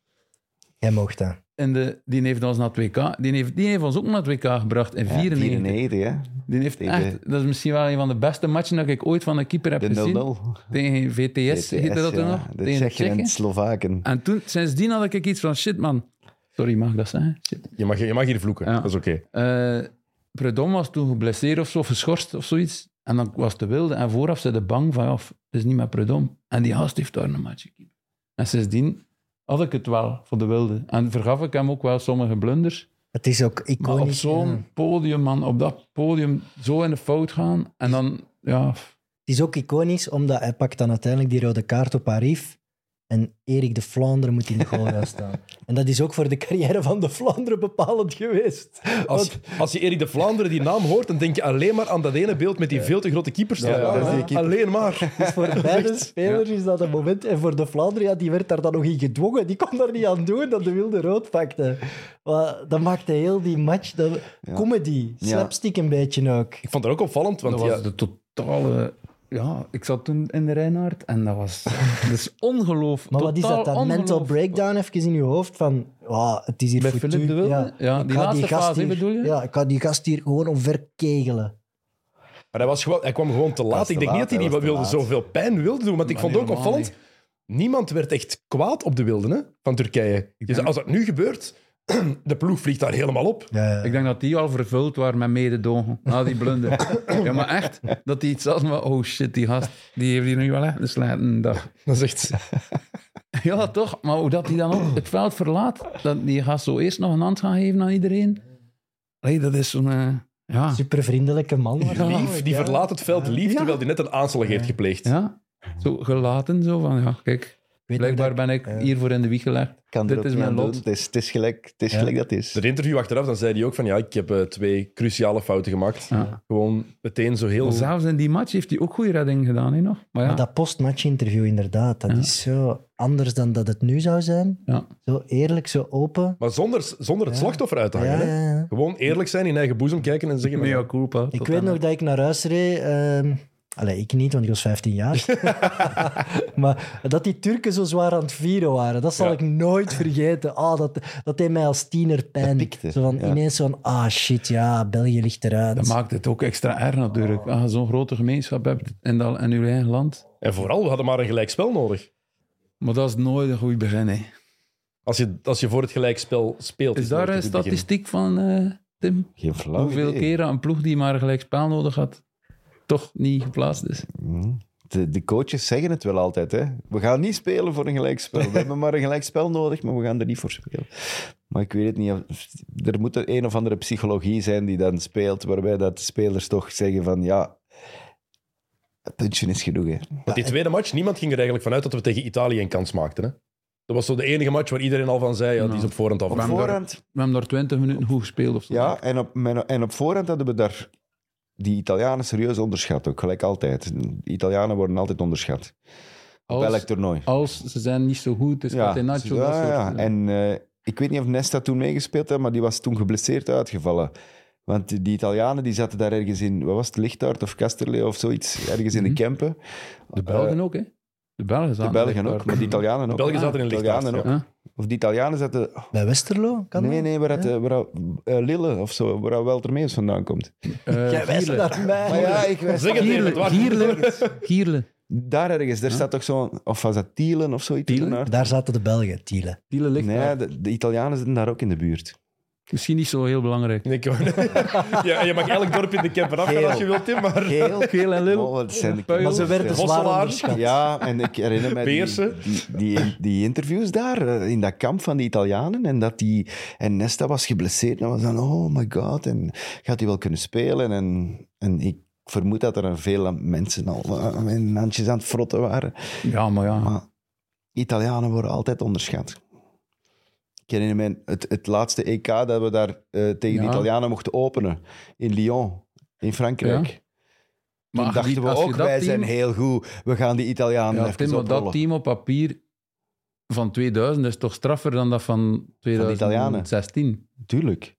Jij mocht dat.
En de, die heeft ons naar het WK, die heeft, die heeft ons ook naar het WK gebracht in
ja,
94.
94, hè.
Die heeft
Tegen-
echt, dat is misschien wel een van de beste matchen dat ik ooit van een keeper heb
De 0-0.
gezien. Tegen VTS, heette dat toen
ja.
nog.
De
tegen de
Tsjechen en de
Tsjechen.
Slovaken.
En toen, sindsdien had ik iets van, shit man. Sorry, mag ik dat zeggen? Shit.
Je mag, je mag hier vloeken.
Ja.
Dat is oké.
Eh Predom was toen geblesseerd of zo, geschorst of zoiets. En dan was de wilde. En vooraf ze de bang van, ja, f- het is niet met Predom. En die gast heeft daar een match gekiept. En sindsdien had ik het wel voor de wilde. En vergaf ik hem ook wel sommige blunders.
Het is ook
Maar op
iconisch. eh,
zo'n
ja.
podium, man, op dat podium zo in de fout gaan. En dan, ja... f-
Het is ook iconisch, omdat hij pakt dan uiteindelijk die rode kaart op Arif. En Erik de Vlaanderen moet in de goal
<laughs>
gaan staan. En dat is ook voor de carrière van de Vlaanderen bepalend geweest.
Als, als je Erik de Vlaanderen die naam hoort, dan denk je alleen maar aan dat ene beeld met die veel te grote keepers.
dat is die keeper.
Alleen maar.
Dus
<laughs>
voor beide spelers is dat een moment. En voor de Vlaanderen, ja, die werd daar dan nog in gedwongen. Die kon daar niet aan doen dat de wilde rood pakte. Maar dat maakte heel die match, dat, comedy,
Ja.
slapstick een beetje ook.
Ik vond dat ook opvallend, want
dat
ja,
was de totale... Ja, ik zat toen in de Reinhard en dat was... dat is ongeloof.
<laughs> Maar wat is
totaal
dat dan? Mental
ongeloof.
breakdown even in je hoofd van, ja, het is hier
Bij
foutu.
Philippe de Wilde? Ja,
ik
die
ga
laatste
gast
fase, hè,
hier-
bedoel je?
Ja, ik ga die gast hier gewoon omverkegelen.
Maar hij, was gewoon, hij kwam gewoon te laat.
te
Ik denk niet
laat,
dat hij, die
hij was te
wilde
laat.
zoveel pijn wilde doen. Want ik
Maar
vond ook
helemaal
opvallend, niemand werd echt kwaad op de wilden hè, van Turkije. Je zei, als dat nu gebeurt, <clears throat> de ploeg vliegt daar helemaal op.
Ik denk dat die al vervuld waren met mededogen, na die
<coughs>
blunder. ja, maar echt, dat die iets hadden van, oh shit, die gast, die heeft hier nu wel echt een slijtende dag.
Dan zegt
Ja, toch? Maar hoe dat die dan ook het veld verlaat, dat die gaat zo eerst nog een hand gaan geven aan iedereen. Nee, dat is zo'n... eh, ja.
Super vriendelijke man.
lief, die verlaat het veld lief,
Ja.
terwijl hij net een aanslag heeft gepleegd.
ja, zo gelaten, zo van, ja, kijk, blijkbaar ben ik hiervoor in de wieg gelegd.
Ik kan er
Dit
ook
is
niet
mijn
aan doen.
lot.
Het is, het is gelijk, het is
Ja.
gelijk dat het is.
Het interview achteraf, dan zei hij ook van ja, ik heb eh, twee cruciale fouten gemaakt.
Ja.
Gewoon meteen zo heel...
Maar zelfs in die match heeft hij ook goede redding gedaan, hè, nog. Maar ja,
Maar dat postmatch-interview, inderdaad, dat
Ja.
is zo anders dan dat het nu zou zijn.
Ja.
Zo eerlijk, zo open.
Maar zonder, zonder het
Ja.
slachtoffer uit te hangen.
Ja,
hè.
ja, ja.
Gewoon eerlijk zijn, in eigen boezem kijken en zeggen... van,
mea culpa. tot
Ik weet
aan-
nog dat ik naar huis reed. ehm, Allee, ik niet, want ik was 15
<laughs>
jaar. maar dat die Turken zo zwaar aan het vieren waren, dat zal
Ja.
ik nooit vergeten. Ah, dat, dat deed mij als tiener pijn.
pikte,
zo van,
ja.
Ineens zo'n, ah shit, ja, België ligt eruit.
Dat maakt het ook extra erg natuurlijk. Als je zo'n grote gemeenschap hebt en, dan, en uw eigen land.
En vooral, we hadden maar een gelijkspel nodig.
Maar dat is nooit een goed begin. Hè.
Als je, als je voor het gelijkspel speelt.
Is daar
nooit
een
het begin.
statistiek van, eh, Tim?
Geen flauw
Hoeveel
idee.
keren een ploeg die maar een gelijk spel nodig had, toch niet geplaatst is?
Mm. De, de coaches zeggen het wel altijd. Hè? We gaan niet spelen voor een gelijkspel.
<laughs>
We hebben maar een gelijkspel nodig, maar we gaan er niet voor spelen. Maar ik weet het niet. of- Er moet er een of andere psychologie zijn die dan speelt, waarbij dat de spelers toch zeggen van ja, een puntje is genoeg. Hè?
Want die tweede match, niemand ging er eigenlijk vanuit dat we tegen Italië een kans maakten. Hè? Dat was zo de enige match waar iedereen al van zei, ja, die is op voorhand al
Op
van.
voorhand
We hebben daar 20 minuten goed gespeeld of zo.
Ja, en op, men- en op voorhand hadden we daar die Italianen serieus onderschat, ook gelijk altijd. De Italianen worden altijd onderschat. Op
Als-
elk toernooi.
Als ze zijn niet zo goed, is
Ja,
Catenaccio,
ja,
dat soort
ja. En eh, ik weet niet of Nesta toen meegespeeld had, maar die was toen geblesseerd uitgevallen. Want die die Italianen die zaten daar ergens in, wat was het, Lichtaard of Casterlee of zoiets, ergens in de Kempen.
De Belgen ook, hè? De Belgen
De
zaten
Belgen
blijkbaar-
ook, maar de Italianen ook.
België zaten in
Italianen
Lichtenstein.
ook.
Ja.
Of die Italianen zaten...
Bij Westerlo? Kan
nee,
dat?
nee, waar, het, eh, waar eh, Lille of zo, waar Welter Mees vandaan komt.
Eh,
Jij wijst
Gierle.
naar mij.
Maar ja, ik
Zeg het even, het
Gierle,
was-
Gierle, Gierle.
Daar ergens, daar staat toch zo'n... Of was dat Tielen of zoiets?
Tielen?
Toen daar?
Daar zaten de Belgen, Tiele.
Gierle ligt daar.
Nee, de, de Italianen zitten daar ook in de buurt.
Misschien niet zo heel belangrijk.
Nee, <laughs> ik wou- <laughs> ja, je mag elk dorp in de camper afgaan als je wilt, Tim, maar...
Geel,
Geel en Lille.
<laughs> Oh, dat zijn de
Puil.
Maar ze werden zwaar
Hosselaar.
onderschat.
Ja, en ik herinner me die,
Beersen.
die, die, die interviews daar, eh, in dat kamp van de Italianen. En dat die... En Nesta was geblesseerd. En was dan, oh my god, en gaat hij wel kunnen spelen? En, en ik vermoed dat er veel mensen al eh, hun handjes aan het frotten waren.
Ja, maar ja.
Maar Italianen worden altijd onderschat. Ik herinner me het, het laatste EK dat we daar eh, tegen de
Ja.
Italianen mochten openen. In Lyon, in Frankrijk. Toen
Ja. als je
dachten
die-
we
als je
ook,
dat
wij
team-
zijn heel goed. We gaan die Italianen
Ja,
even
Tim, maar dat
oprollen.
team op papier van 2000 is toch straffer dan dat van
de Italianen.
2016.
Tuurlijk.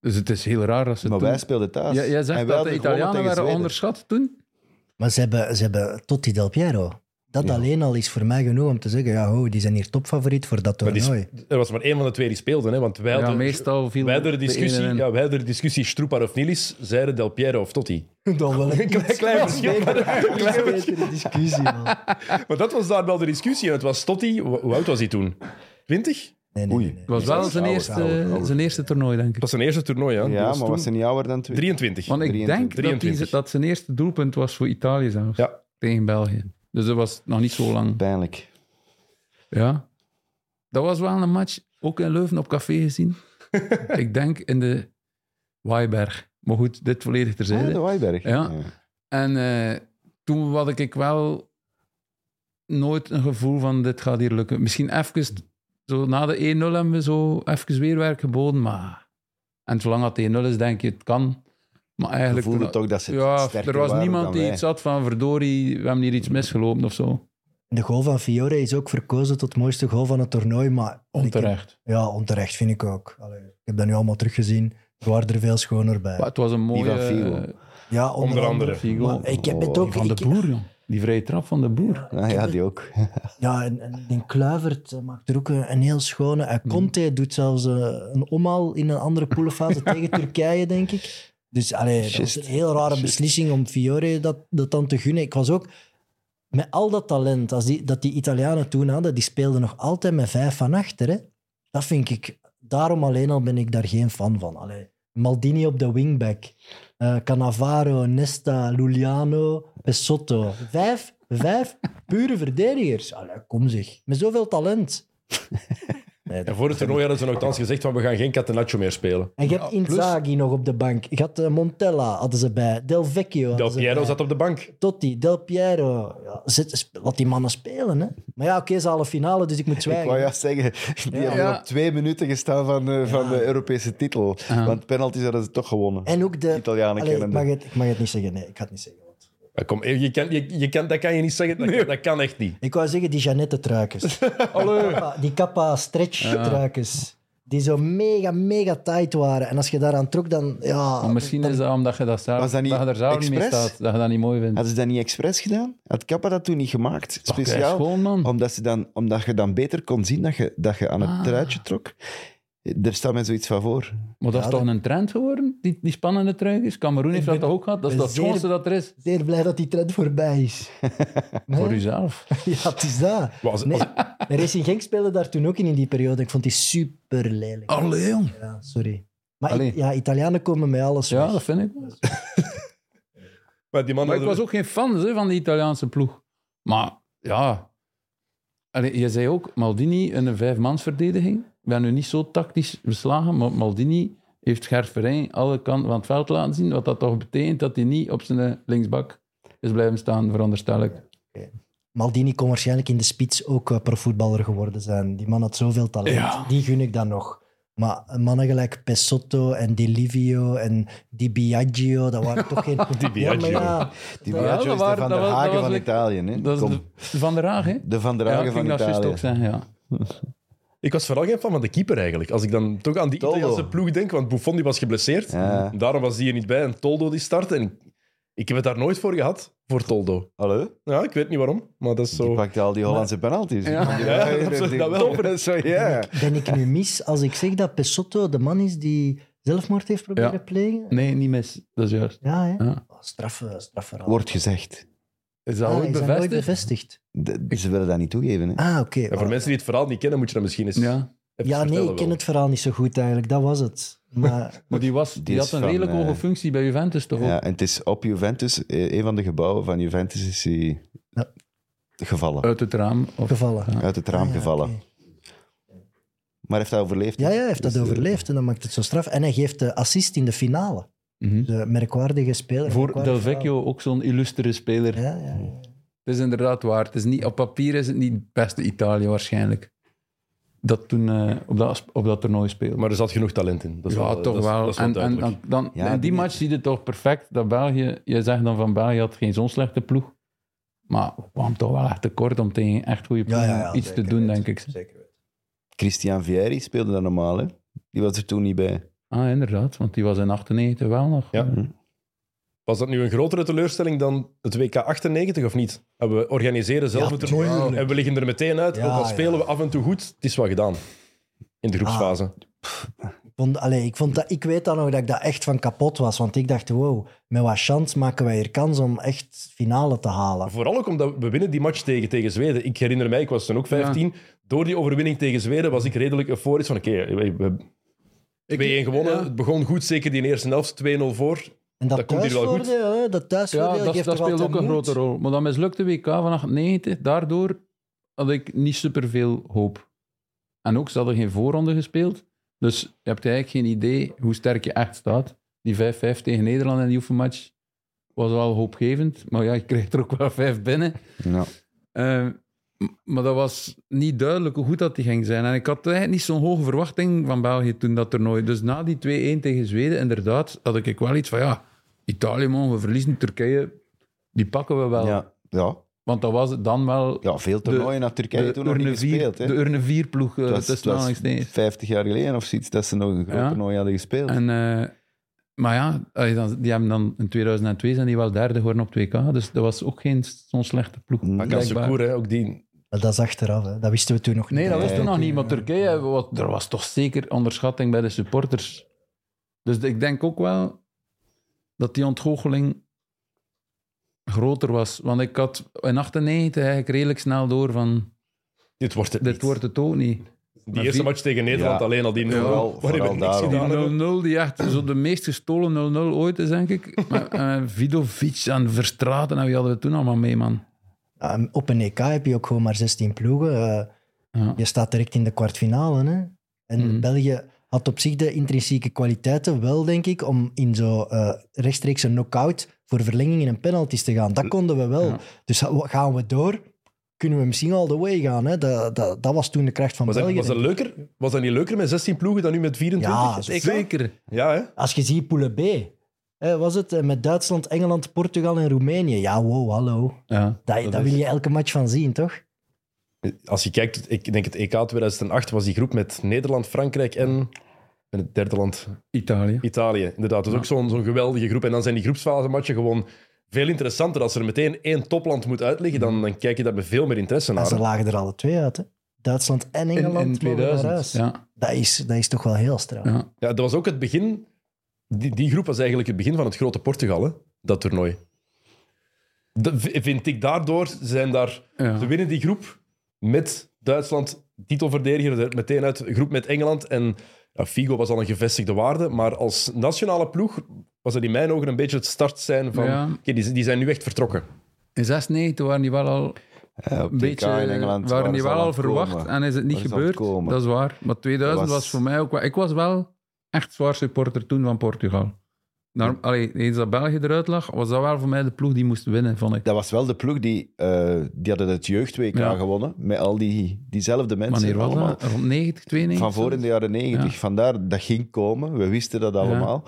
Dus het is heel raar dat ze
Maar
toen...
wij speelden thuis.
Ja, jij
En
zegt
wij
dat de
hadden gewonnen
Italianen
tegen
werden
Zweden.
onderschat toen?
Maar ze hebben, ze hebben Totti Del Piero. Dat
Ja.
alleen al is voor mij genoeg om te zeggen, ja, ho, die zijn hier topfavoriet voor dat
Maar die-
toernooi.
er was maar één van de twee die speelden, hè, want wij
Ja,
hadden...
meestal viel
wij hadden de discussie,
ene-
ja, wij hadden de discussie Stroepar of Nilis, zeiden Del Piero of Totti.
<laughs> Dan wel een
Klein, klein verschil.
klein betere discussie, man.
Maar dat was daar wel de discussie. En het was Totti, hoe hoe oud was hij toen? 20? Dat
Nee, nee,
Oei.
nee, nee.
Het was wel zijn
Ouder,
eerste,
ouder, ouder.
zijn eerste toernooi, denk ik.
was zijn eerste toernooi, hè? Dus Die
Ja, maar
toen
was ze niet ouder dan twee?
23.
Want ik
23.
denk dat, die,
23.
dat zijn eerste doelpunt was voor Italië zelfs,
Ja.
tegen België. Dus dat was nog niet zo lang.
Pijnlijk.
Ja. Dat was wel een match, ook in Leuven op café
<laughs>
gezien. ik denk in de Waaiberg. Maar goed, dit volledig
Ah, de
terzijde.
Weiberg.
Ja. En eh, toen had ik wel nooit een gevoel van dit gaat hier lukken. Misschien even, zo na de 1-0 hebben we zo even weer werk geboden, maar... En zolang het 1-0 is, denk je, het kan. Maar
Je
eigenlijk...
voelde toch dat ze
ja,
sterker
er was
waren
niemand
dan
die
wij.
iets had van verdorie, we hebben hier iets misgelopen of zo.
De goal van Fiore is ook verkozen tot mooiste goal van het toernooi, maar...
Onterecht.
Ik- ja, onterecht vind ik ook. Allee, ik heb dat nu allemaal teruggezien. Er waren er veel schoner bij.
Maar het was een mooie...
van Figo.
eh,
Ja,
Onder
onder,
andere.
andere.
Figo.
Maar ik heb het
Oh,
ook...
van de
ik-
boer, joh. Die vrije trap van de boer.
Ah, ja, die ook.
Ja, en, en ik denk Kluivert eh, maakt er ook een, een heel schone. Eh, Conte doet zelfs eh, een omhaal in een andere poelenfase tegen Turkije, denk ik. Dus allee, dat was
Just.
een heel rare
Just.
beslissing om Fiore dat, dat dan te gunnen. Ik was ook met al dat talent als die, dat die Italianen toen hadden, die speelden nog altijd met vijf van achter. Hè? Dat vind ik, daarom alleen al ben ik daar geen fan van. Allee. Maldini op de wingback. Eh, Cannavaro, Nesta, Luliano, Pesotto. Vijf, vijf <laughs> pure verdedigers. Allee, kom zeg. Met zoveel talent. Nee,
En
dat-
voor het toernooi hadden ze nogthans gezegd van we gaan geen Catenaccio meer spelen.
En je hebt Inzaghi nog op de bank. Je had eh, Montella, hadden ze bij. Del Vecchio hadden
Del
ze
Piero
bij.
zat op de bank.
Totti, Del Piero. Ja, zit, sp- laat die mannen spelen, hè. Maar ja, oké, ze halen finale, dus ik moet zwijgen.
Ik wou juist zeggen, die
Ja.
hebben
Ja.
op twee minuten gestaan van, eh, van de Europese titel. Want penalties hadden ze toch gewonnen.
En ook de...
Italianen
Allee, ik,
kennende.
mag het, ik mag het niet zeggen, nee. Ik ga het niet zeggen. want-
Maar Kom, je kan, je, je kan, dat kan je niet zeggen, dat, dat kan echt niet.
<laughs>
Ik wou zeggen, die Jeannette-truikers.
Hallo.
Kappa- die kappa stretch truikens Die zo mega, mega tight waren. En als je daaraan trok, dan... Ja,
Maar misschien is dat omdat je, dat zelf,
Was dat
dat
niet
je er zelf niet mee
expres?
staat. Dat je dat niet mooi vindt.
Hadden ze dat niet expres gedaan? Had Kappa dat toen niet gemaakt? Speciaal?
schoon, man. Ah.
Omdat, ze dan, omdat je dan beter kon zien dat je, dat je aan het truitje trok. Daar staat mij zoiets van voor.
Maar dat is
Ja,
toch een trend geworden, die, die spannende truitjes? Cameroen heeft
ben-
dat toch ook gehad? Dat is
ben
dat
zeer-
schoonste dat er is.
Zeer blij dat die trend voorbij is. <laughs>
Voor uzelf.
Ja, het is dat.
Maar als-
Nee, Racing Genk speelde daar toen ook in, in die periode. Ik vond die super lelijk.
Allee, jong.
Ja, sorry. Maar
Oh. Allee.
I- ja, Italianen komen met alles
Ja,
weg.
dat vind ik. wel.
Maar die man
Maar ik
hadden-
was ook geen fan hè, van die Italiaanse ploeg. Maar ja, Allee, je zei ook Maldini in een vijfmansverdediging. Ik ben nu niet zo tactisch beslagen, maar Maldini heeft Gert Verijn alle kanten van het veld laten zien. Wat dat toch betekent dat hij niet op zijn eh, linksbak is blijven staan, veronderstel ik.
Maldini kon waarschijnlijk in de spits ook eh, profvoetballer geworden zijn. Die man had zoveel talent.
Ja.
Die gun ik dan nog. Maar eh, mannen gelijk Pesotto en Di Livio en Di Biagio, dat waren
<laughs>
toch geen... Di
Biagio.
Die
Ja,
Biagio
dat
is de
waren-
Van
dat
der
was- dat
Hagen
was
van
like-
Italië. Hè?
Dat is
Kom,
de, Van der Haag, hè?
de Van der
ja,
Hagen
ik
van
ging dat juist
Italië.
ook zeggen, ja.
Ik was vooral geen fan van de keeper eigenlijk. Als ik dan toch aan die
Toldo.
Italiaanse ploeg denk, want Buffon die was geblesseerd.
Ja.
Mm.
Daarom was die er niet bij en Toldo die startte. En ik, ik heb het daar nooit voor gehad, voor Toldo.
Hallo?
Ja, ik weet niet waarom, maar dat is
Die
zo...
pakte al die Hollandse penalties. Ja,
Ja, dat is- dat wel.
Zo, ja.
Ben ik nu mis als ik zeg dat Pesotto de man is die zelfmoord heeft proberen
Ja.
te plegen?
Nee, niet mis. Dat is juist.
Ja, hè?
Ja.
Oh, straffe, straffe raad.
Wordt gezegd.
Is dat
Ah,
ooit
is dat nooit
bevestigd?
bevestigd?
De- ze willen dat niet toegeven. Hè?
Ah, oké.
Ja, voor mensen die het verhaal niet kennen, moet je dat misschien eens
Ja.
even
ja, nee,
vertellen
ik ken
wel.
het verhaal niet zo goed eigenlijk. Dat was het.
<laughs>
Maar
Maar die, was, die,
Die is
had een
van,
redelijk
eh,
hoge functie bij Juventus toch ook?
Ja, en het is op Juventus, eh, een van de gebouwen van Juventus is hij
Ja.
gevallen.
Uit het raam. Of,
gevallen.
Uit het raam
Ah, ja,
gevallen.
oké.
Maar heeft hij overleefd?
Ja, ja, hij heeft dat
Dus, eh,
overleefd en dat maakt het zo straf. En hij geeft de assist in de finale.
Mhm.
De merkwaardige speler.
Voor Del
merkwaardig
Vecchio ook zo'n illustere speler.
verhaal. Ja, ja.
Het is inderdaad waar. Het is niet, op papier is het niet het beste Italië waarschijnlijk. Dat toen eh, op, dat, op dat toernooi speelde.
Maar er zat genoeg talent in. Dat is
ja,
wel,
toch
dat is-
wel.
dat is wel
en, en,
duidelijk.
dan, dan,
Ja,
in die
die-
match zie je toch perfect dat België... Je zegt dan van België had geen zo'n slechte ploeg. Maar we kwamen toch wel echt tekort om tegen echt goede ploeg
Ja, ja, ja,
iets te
zeker
doen,
weten.
denk ik.
Zeker weten.
Christian Vieri speelde dat normaal, hè? Die was er toen niet bij.
Ah, inderdaad. Want die was in 98 wel nog.
Ja. Was dat nu een grotere teleurstelling dan het WK 98 of niet? En We organiseren zelf
Ja,
het toernooi
tuurlijk.
en we liggen er meteen uit.
Ja,
ook al
ja.
spelen we af en toe goed, het is wel gedaan. In de groepsfase.
Ah.
Ik Vond, allee, ik, vond dat, ik weet dan nog dat ik dat echt van kapot was. Want ik dacht, wow, met wat chance maken wij hier kans om echt finale te halen.
Vooral ook omdat we winnen die match tegen, tegen Zweden. Ik herinner mij, ik was toen ook 15. Door die overwinning tegen Zweden was ik redelijk euforisch. Van oké, we we hebben 2-1 gewonnen.
ja.
Het begon goed, zeker die eerste helft. 2-0 voor.
En dat,
Dat komt hier wel goed.
thuisvoordeel, hè, dat thuisvoordeel
Ja, dat,
geeft
dat
toch
speelt ook
altijd
een
moed?
grote rol. Maar dat mislukte WK van 98, daardoor had ik niet superveel hoop. En ook, ze hadden geen voorronde gespeeld. Dus je hebt eigenlijk geen idee hoe sterk je echt staat. Die 5-5 tegen Nederland in die oefenmatch was wel hoopgevend. Maar ja, je kreeg er ook wel vijf binnen.
Ja.
Eh, m- maar dat was niet duidelijk hoe goed dat die ging zijn. En ik had eigenlijk niet zo'n hoge verwachting van België toen dat toernooi. Dus na die 2-1 tegen Zweden, inderdaad, had ik wel iets van ja, Italië mogen we verliezen, Turkije, die pakken we wel.
Ja. Ja.
Want dat was dan wel
ja, veel toernooien naar Turkije
de,
toen nog niet
urne vier,
gespeeld. Hè?
de urne 4 ploeg eh,
Het was-
tussen
het was
aanhalingstekens.
50 jaar geleden of zoiets dat ze nog een groot
Ja.
toernooi hadden gespeeld.
En, eh, maar ja, als je dan- die hebben dan in 2002 zijn die wel derde geworden op 2K. Dus dat was ook geen zo'n slechte ploeg.
Maar
Kan
blijkbaar.
Secours, hè, ook die.
Maar Dat is achteraf, hè. dat wisten we toen nog niet.
Nee, dat wist toen
Nee,
nog niet. Maar Turkije, wat, er was toch zeker onderschatting bij de supporters. Dus ik denk ook wel dat die ontgoocheling groter was. Want ik had in 98 eigenlijk redelijk snel door van...
Dit wordt het.
Dit
niet.
wordt het ook niet.
die eerste
wie-
match tegen Nederland
Ja.
alleen al die 0-0.
Vooral-
waarin we
vooral
niks
daarom.
gedaan hebben.
Die 0-0, die echt zo de meest gestolen 0-0 ooit is, denk ik. Maar, eh, Vidovic en Verstraten, en wie hadden we toen allemaal mee, man?
Ja, Ehm, op een EK heb je ook gewoon maar 16 ploegen. Eh,
Ja.
je staat direct in de kwartfinale. Hè? En
Mhm.
België had op zich de intrinsieke kwaliteiten wel, denk ik, om in zo eh, rechtstreeks een knock-out voor verlengingen en penalties te gaan. Dat konden we wel.
Ja.
Dus ha- gaan we door, kunnen we misschien all the way gaan. Hè? Dat, dat, dat was toen de kracht van
Was dat,
België.
was, dat
denk ik.
leuker, was dat niet leuker met 16 ploegen dan nu met 24?
Ja,
Het EK?
Zeker.
Ja, hè?
Als je ziet Poule B, hè, was het eh, met Duitsland, Engeland, Portugal en Roemenië. Ja, wow, hallo.
Ja,
Dat, dat,
is-
wil je elke match van zien, toch?
Als je kijkt, ik denk het E EK 2008 was die groep met Nederland, Frankrijk en... En het derde land,
Italië.
Italië. Inderdaad, dat is ook zo'n zo'n geweldige groep. En dan zijn die groepsfasematchen gewoon veel interessanter. Als er meteen één topland moet uitleggen, dan,
Mhm.
dan kijk je daar met veel meer interesse
En
naar.
ze lagen er alle twee uit, hè. Duitsland en Engeland
in
mogen naar
2000.
huis.
Ja,
Dat, is, dat is toch wel heel straf.
Ja.
Ja, dat was ook het begin... Die, die groep was eigenlijk het begin van het grote Portugal, hè? dat toernooi. Dat v- vind ik daardoor, ze zijn daar...
ja.
Ze winnen die groep met Duitsland, titelverdediger, er meteen uit groep met Engeland. En ja, Figo was al een gevestigde waarde, maar als nationale ploeg was dat in mijn ogen een beetje het start zijn van...
Ja.
oké, die, die zijn nu echt vertrokken.
In 96 waren die wel al
Ja, op
een
TK
beetje eh,
in Engeland
waren die
ze
wel al
aan het
verwacht
komen.
en is het niet
Waren ze aan het
gebeurd.
komen.
dat is waar. Maar 2000 was...
Was-
voor mij ook wel... Ik was wel echt zwaar supporter toen van Portugal. Naar, allee, eens dat België eruit lag, was dat wel voor mij de ploeg die moest winnen, vond ik.
Dat was wel de ploeg die, eh, die hadden het jeugd-WK
Ja.
gewonnen. Met al die, diezelfde mensen.
Wanneer was
allemaal.
dat? Rond 90, 92?
Van voor in de jaren negentig.
Ja.
Vandaar, dat ging komen. We wisten dat allemaal.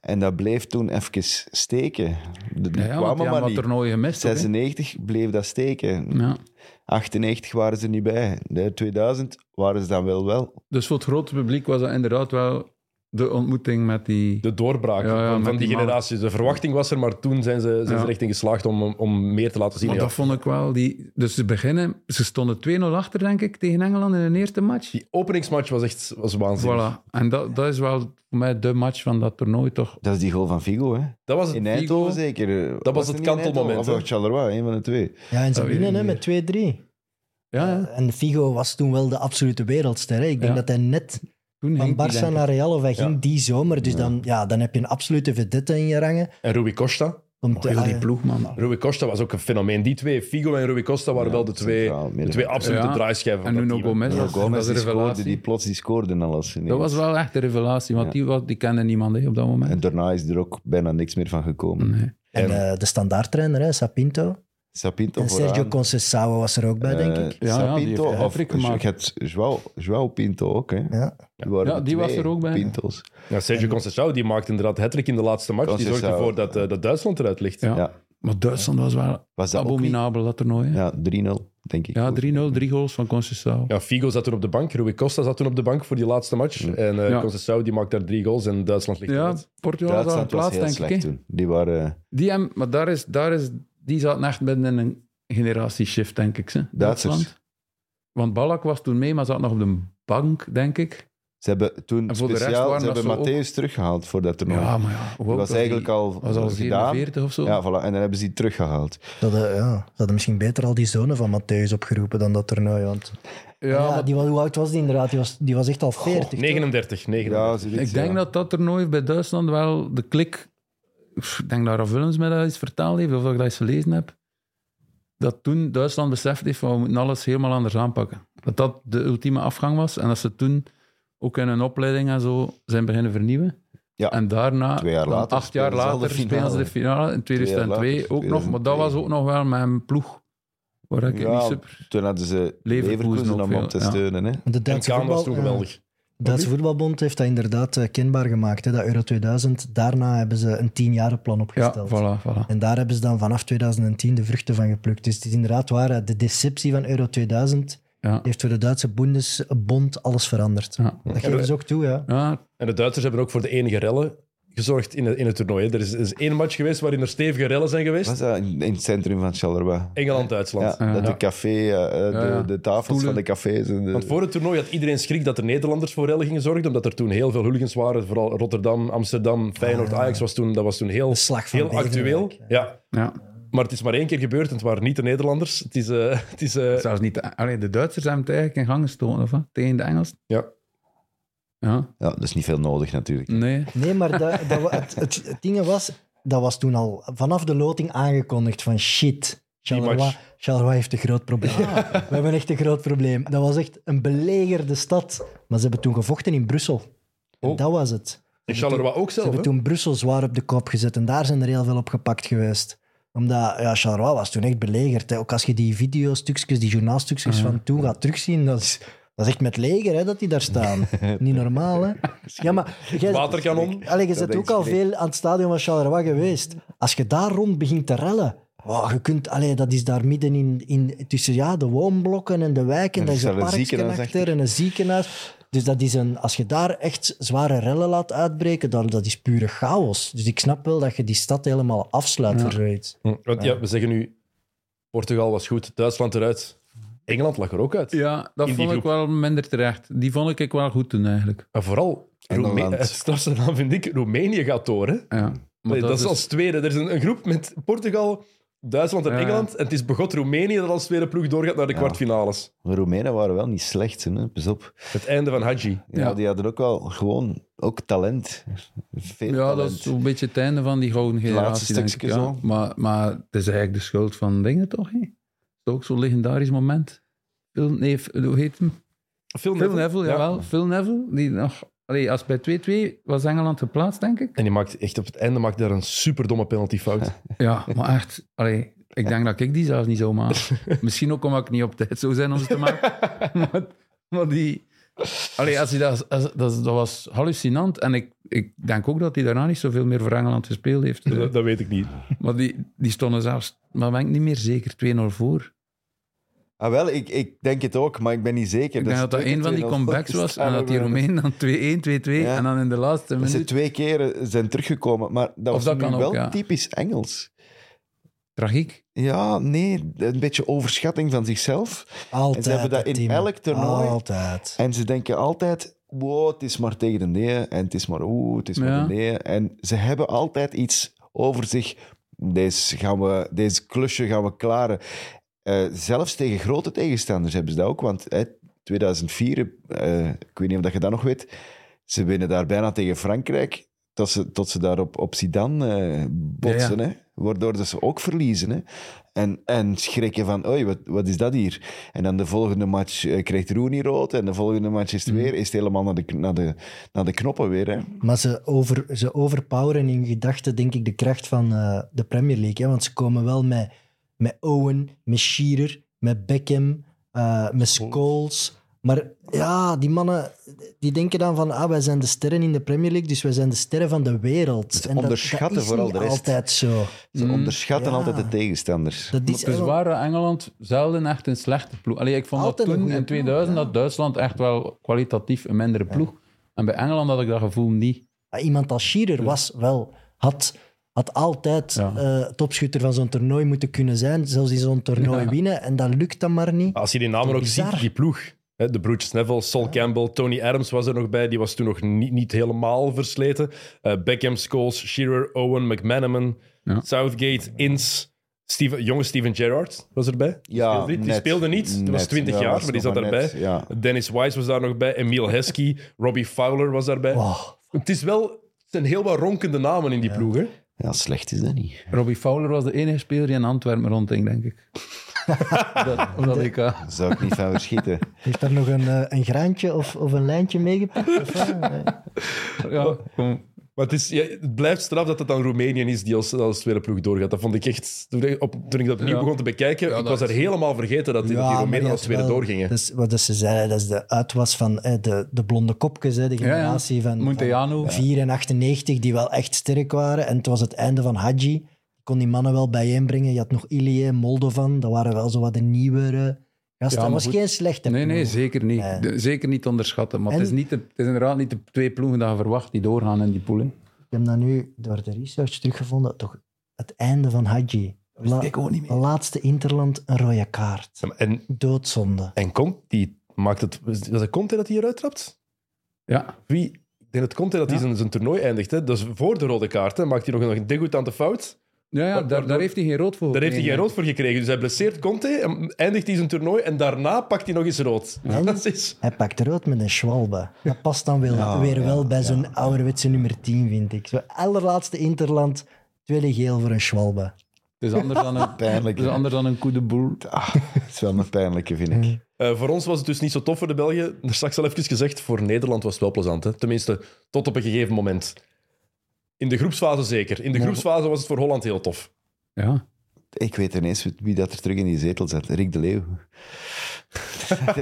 En dat bleef toen even steken. Die
Ja, ja, want die
kwamen
hebben
maar
wat
niet.
toernooien gemist. ook, hè.
96 bleef dat steken.
Ja.
98 waren ze niet bij. De 2000 waren ze dan wel wel.
Dus voor het grote publiek was dat inderdaad wel de ontmoeting met die...
De doorbraak
Ja, ja,
van,
met
van die,
die
generatie. De verwachting was er, maar toen zijn ze, zijn
Ja.
ze er echt in geslaagd om, om meer te laten zien.
Maar
Ja.
dat vond ik wel. Die, dus ze beginnen, ze stonden 2-0 achter, denk ik, tegen Engeland in hun eerste match.
Die openingsmatch was echt was waanzinnig.
Voilà. En dat, dat is wel voor mij de match van dat toernooi, toch?
Dat is die goal van Figo, hè?
Dat was het
In
Figo.
Eindhoven zeker.
was het
niet in
kantelmoment,
Eindhoven?
hè?
Of Charleroi, een van de twee.
Ja, en ze
Dat weet
winnen
ik
hè,
niet
met 2-3.
Ja, ja.
En Figo was toen wel de absolute wereldster. Hè. Ik denk
Ja.
dat hij net
toen
van
ging die,
Barça
denk ik.
naar Real of hij
Ja.
ging die zomer. Dus Dan, ja, dan heb je een absolute vedette in je rangen.
En Rui Costa.
Om te,
Oh, Heel die
ah,
ploeg, man.
Rui Costa was ook een fenomeen. Die twee, Figo en Rui Costa, waren
Ja,
wel de twee,
centraal
de
midden.
twee absolute
Ja.
draaischijven van
En
dat
Nuno
team.
Gomez,
Ja,
dat,
Gomez
dat is
die
een
scoorde,
revelatie.
die plots die scoorden alles. ineens.
Dat was wel echt een revelatie, want
Ja.
die, was- die kende niemand hè, op dat moment.
En daarna is er ook bijna niks meer van gekomen.
Nee.
En eh, de standaardtrainer, hè, Sapinto.
Sapinto
En Sergio
vooraan.
Concesao was er ook bij, denk
Eh,
ik.
Ja, ja, die
Sapinto
heeft de
of
hat-trick gemaakt.
je had Joao, Joao Pinto ook, hè?
Ja.
Die, waren
Ja,
de
die was
twee
er ook bij.
Pintos.
Ja, Sergio Conceição die maakte inderdaad hattrick in de laatste match. Die zorgde
Conceição.
ervoor dat, eh, dat Duitsland eruit ligt.
Ja.
Ja.
Maar Duitsland was wel
Was dat ook niet?
abominabel, dat toernooi. hè.
Ja, 3-0, denk ik.
Ja, 3-0, drie goals van Conceição.
Ja, Figo zat toen op de bank, Rui Costa zat toen op de bank voor die laatste match.
Mm.
En eh
Ja.
Conceição die maakt daar drie goals en Duitsland ligt
Ja,
eruit.
Portugal was al
Duitsland was
plaats,
heel
denk ik.
slecht
hè.
toen. Die waren...
Die hem, maar daar is, daar is, die zat echt binnen in een generatieshift, denk ik. Hè?
Duitsers.
Want Ballack was toen mee, maar zat nog op de bank, denk ik.
Ze hebben toen
En voor de rest
speciaal...
waren
Ze
dat
hebben
zo ook-
Matthäus teruggehaald voor dat toernooi.
Ja, maar ja. hoe
die
oud
was eigenlijk al,
was al
gedaan.
47 of zo.
Ja, voilà. En dan hebben ze die teruggehaald.
Dat, eh, ja, ze hadden misschien beter al die zonen van Matthäus opgeroepen dan dat toernooi. Want,
Ja,
ja,
maar
die, wa- hoe oud was die inderdaad? Die was, die was echt al 40. toch?
39, 39.
Ja, zoiets,
ik denk
ja.
dat dat toernooi bij Duitsland wel de klik... Pff, Ik denk dat Raf Willems mij dat iets vertaald heeft, of dat ik dat eens gelezen heb. Dat toen Duitsland beseft heeft van we moeten alles helemaal anders aanpakken. Dat dat de ultieme afgang was. En dat ze toen ook in hun opleiding en zo zijn beginnen vernieuwen.
Ja.
En daarna,
Twee jaar
dan
later,
acht jaar
spelen ze al
later,
de
spelen ze de finale. In
jaar
2002 ook
later,
nog. Maar dat
2002.
was ook nog wel mijn ploeg. Waar ik
Ja,
niet super...
Toen hadden ze
Leverkusen
Leverkusen
ook
om
veel,
op te
ja.
steunen. Hè.
De
En
Duitse,
Kaan was toen
voetbal, eh,
geweldig.
Duitse voetbalbond heeft dat inderdaad eh, kenbaar gemaakt. Hè, dat Euro 2000. Daarna hebben ze een tienjarenplan
Ja,
opgesteld.
voilà, voilà.
En daar hebben ze dan vanaf 2010 de vruchten van geplukt. Dus het is inderdaad waar, eh, de deceptie van Euro 2000
Ja.
heeft voor de Duitse Bundesbond alles veranderd.
Ja.
Dat geven ze ook toe, ja.
Ja,
En de Duitsers hebben ook voor de enige rellen gezorgd in het, in het toernooi. hè. Er is, er is één match geweest waarin er stevige rellen zijn geweest.
Was dat in, in het centrum van Charleroi?
Engeland-Duitsland.
Ja, dat de café, eh, eh, de,
ja.
de tafels
Stoelen.
van de cafés. En de,
Want voor het toernooi had iedereen schrik dat de Nederlanders voor rellen gingen zorgen, omdat er toen heel veel hooligans waren. Vooral Rotterdam, Amsterdam, Feyenoord, Ajax was toen, dat was toen heel,
De slag van
heel actueel.
Beverwijk,
Ja.
ja.
Maar het is maar één keer gebeurd en het waren niet de Nederlanders. Het is... eh, het is eh,
Zelfs niet... de- Allee, de Duitsers hebben het eigenlijk in gang gestoten, of wat? Tegen de Engelsen.
ja.
Ja,
Ja, dat is niet veel nodig natuurlijk.
nee.
Nee, maar dat, dat, wa- het, het, het ding was, dat was toen al vanaf de loting aangekondigd van shit. Charleroi,
match.
Charleroi heeft een groot probleem. We hebben echt een groot probleem. Dat was echt een belegerde stad. Maar ze hebben toen gevochten in Brussel. En
Oh.
dat was het.
En Charleroi ook
Ze
zelf, hè?
hebben toen Brussel zwaar op de kop gezet en daar zijn er heel veel op gepakt geweest. Omdat ja, Charleroi was toen echt belegerd. Hè. Ook als je die videostukjes, die journaalstukjes van toen gaat terugzien, dat is, dat is echt met leger hè, dat die daar
<laughs>
staan. Niet normaal, hè? Ja, maar jij,
Waterkanon.
Allee, je
Dat
bent
denk
ook al
ik niet.
veel aan het stadion van Charleroi geweest. Als je daar rond begint te rellen, Oh, je kunt, allee, dat is daar midden in, in tussen ja, de woonblokken en de wijken.
En
En daar
er
is een
staat een
parkje
ziekenhuis
achter en een ziekenhuis. Dus dat is een, als je daar echt zware rellen laat uitbreken, dan, dat is pure chaos. Dus ik snap wel dat je die stad helemaal afsluit voor zoiets.
Hm, Want ja, we zeggen nu, Portugal was goed, Duitsland eruit. Engeland lag er ook uit.
Ja, dat
In die
vond ik
groep.
wel minder terecht. Die vond ik wel goed toen eigenlijk.
En vooral,
Engeland.
Roemenië, <laughs> het strafste naam vind ik, Roemenië gaat door. Hè?
Ja. Maar
Nee, dat, is als tweede. Er is een, een groep met Portugal, Duitsland en
Ja.
Engeland. En het is begot Roemenië dat als tweede ploeg doorgaat naar de
Ja.
kwartfinales.
De Roemenen waren wel niet slecht, hè. pas op.
Het einde van Hadji.
Ja,
Ja.
Die hadden ook wel gewoon ook talent. Veel
Ja, dat
talent.
is een beetje het einde van die gouden generatie. denk ik,
stukje
ja.
zo.
Maar, maar het is eigenlijk de schuld van dingen, toch? hè? Het is ook zo'n legendarisch moment. Phil, nee, F- hoe heet hem?
Phil
Phil Neville, jawel. Phil Neville, die nog... Allee, als bij 2-2 was Engeland geplaatst, denk ik.
En die maakt echt op het einde maakt daar een superdomme
<laughs>
penaltyfout.
Ja, maar echt... Allee, ik denk dat ik die zelfs niet zou maken.
<laughs>
Misschien ook omdat ik niet op tijd zou zijn om ze te maken. maar, maar die... Allee, als die dat, als- dat, dat was hallucinant. En ik, ik denk ook dat hij daarna niet zoveel meer voor Engeland gespeeld heeft.
dat, dat weet ik niet.
Maar die, die stonden zelfs, maar ben ik niet meer zeker, 2-0 voor.
Ah, wel, ik, ik denk het ook, maar ik ben niet zeker.
Ik denk dat dat een van die comebacks was en dat die Romein dan 2-1, 2-2
Ja.
en dan in de laatste
Dat ze
minuut.
twee keren zijn teruggekomen, maar dat was
dat
nu
kan ook,
wel
ja.
typisch Engels.
Tragiek.
Ja, nee, een beetje overschatting van zichzelf.
Altijd.
hebben dat in
team.
elk toernooi.
Altijd.
En ze denken altijd, wow, het is maar tegen de nee, en het is maar oeh, het is maar
Ja.
de nee. En ze hebben altijd iets over zich. Deze, gaan we, deze klusje gaan we klaren. Eh, zelfs tegen grote tegenstanders hebben ze dat ook, want hè, 2004, eh, ik weet niet of dat je dat nog weet, ze winnen daar bijna tegen Frankrijk, tot ze, tot ze daar op, op Zidane eh, botsen, Hè? waardoor dat ze ook verliezen. Hè? En, en schrikken van, oei, wat, wat is dat hier? En dan de volgende match eh, krijgt Rooney rood, en de volgende match is het weer, is het helemaal naar de, kn- naar de, naar de knoppen weer. Hè?
Maar ze, over, ze overpoweren in gedachten, denk ik, de kracht van eh, de Premier League. Hè? Want ze komen wel met, met Owen, met Shearer, met Beckham, eh, met Scholes. Maar ja, die mannen die denken dan van ah, wij zijn de sterren in de Premier League, dus wij zijn de sterren van de wereld. En dat-
onderschatten
dat is
vooral
niet
de rest.
altijd zo.
Ze onderschatten
ja.
altijd de tegenstanders.
Dat is
Dus waren Engeland zelden echt een slechte ploeg. Allee, ik vond
Altijd een
dat toen
goede
in
ploeg,
2000 dat Duitsland echt wel kwalitatief een mindere ploeg. En bij Engeland had ik dat gevoel niet.
Maar Ah, iemand als Shearer was wel, had, had altijd
Ja.
eh, topschutter van zo'n toernooi moeten kunnen zijn. Zelfs in zo'n toernooi winnen. En dat lukt dan maar niet.
Als je die namen ook
Bizar.
ziet, die ploeg. hè, De broertjes Neville, Sol Campbell, Tony Adams was er nog bij. Die was toen nog niet, niet helemaal versleten. Eh, Beckham, Scholes, Shearer, Owen, McManaman,
Ja.
Southgate, Ince. Steven, jonge Steven Gerrard was erbij.
Ja,
speelde, die
net.
speelde niet. Die was
Net.
20
Ja,
jaar,
was
maar die
nog
zat
maar
daarbij.
net, ja.
Dennis Wise was daar nog bij. Emile Heskey, Robbie Fowler was daarbij.
Oh.
Het is wel... Het zijn heel wat ronkende namen in die ploeg, hè?
Ja, slecht is dat niet.
Robbie Fowler was de enige speler die in Antwerpen rondging, denk ik.
<laughs>
dat, op dat eh, EK.
Daar zou ik niet van verschieten.
Heeft daar nog een, eh, een graantje of, of een lijntje meegepakt? Of, eh, nee.
Ja, kom.
Maar het, is, ja, het blijft straf dat het dan Roemenië is die als, als tweede ploeg doorgaat. Dat vond ik echt... Toen ik, op, toen ik dat opnieuw
Ja.
begon te bekijken, ik was er helemaal vergeten dat die, dat die
maar
Roemenen
die
als
had
tweede
wel-
doorgingen.
Dat is wat ze zeiden, dat is de uitwas van eh, de, de blonde kopjes, hè, de
ja.
generatie van,
Montejano.
van 4 en 98, die wel echt sterk waren. En het was het einde van Hadji. Ik kon die mannen wel bijeenbrengen. Je had nog Ilie, Moldovan, dat waren wel zo wat de nieuwere gasten.
maar
dat was
goed.
geen slechte
Nee, nee,
ploeg.
zeker niet.
Nee.
De- zeker niet onderschatten. Maar
En-
het, is niet de, het is inderdaad niet de twee ploegen die je verwacht die doorgaan in die pool. hè.
Ik heb dat nu door de research teruggevonden. Toch het einde van Hadji. La-
ik ook niet meer.
laatste Interland, een rode kaart.
En,
Doodzonde.
en komt die... Maakt het... Was het Conte dat hij eruit trapt?
Ja,
Wie, ik denk dat Conte dat hij zijn, zijn toernooi eindigt. Hè? Dat is voor de rode kaart. Hè? Maakt hij nog een, een degoutante fout.
ja,
Wa-
ja daar,
waardoor-
daar heeft hij geen rood voor.
Daar heeft hij geen rood
gekregen.
voor gekregen. Dus hij blesseert Conte, en eindigt hij zijn toernooi en daarna pakt hij nog eens rood. <laughs> Dat is...
Hij pakt rood met een schwalbe. Dat past dan wel, weer wel bij zo'n ouderwetse nummer 10, vind ik. Zo'n allerlaatste Interland, tweede geel voor een schwalbe.
Het is anders dan
<laughs>
een,
<laughs>
Pijnlijk.
het is anders dan een coup de boel.
Ah, <laughs> het is wel een pijnlijke, vind ik.
Eh, voor ons was het dus niet zo tof voor de Belgen. Daar straks al even gezegd, voor Nederland was het wel plezant. Hè? Tenminste, tot op een gegeven moment. In de groepsfase zeker. In de groepsfase was het voor Holland heel tof.
Ja.
Ik weet ineens wie dat er terug in die zetel zat. Rick
<laughs>
de Leeuw. ik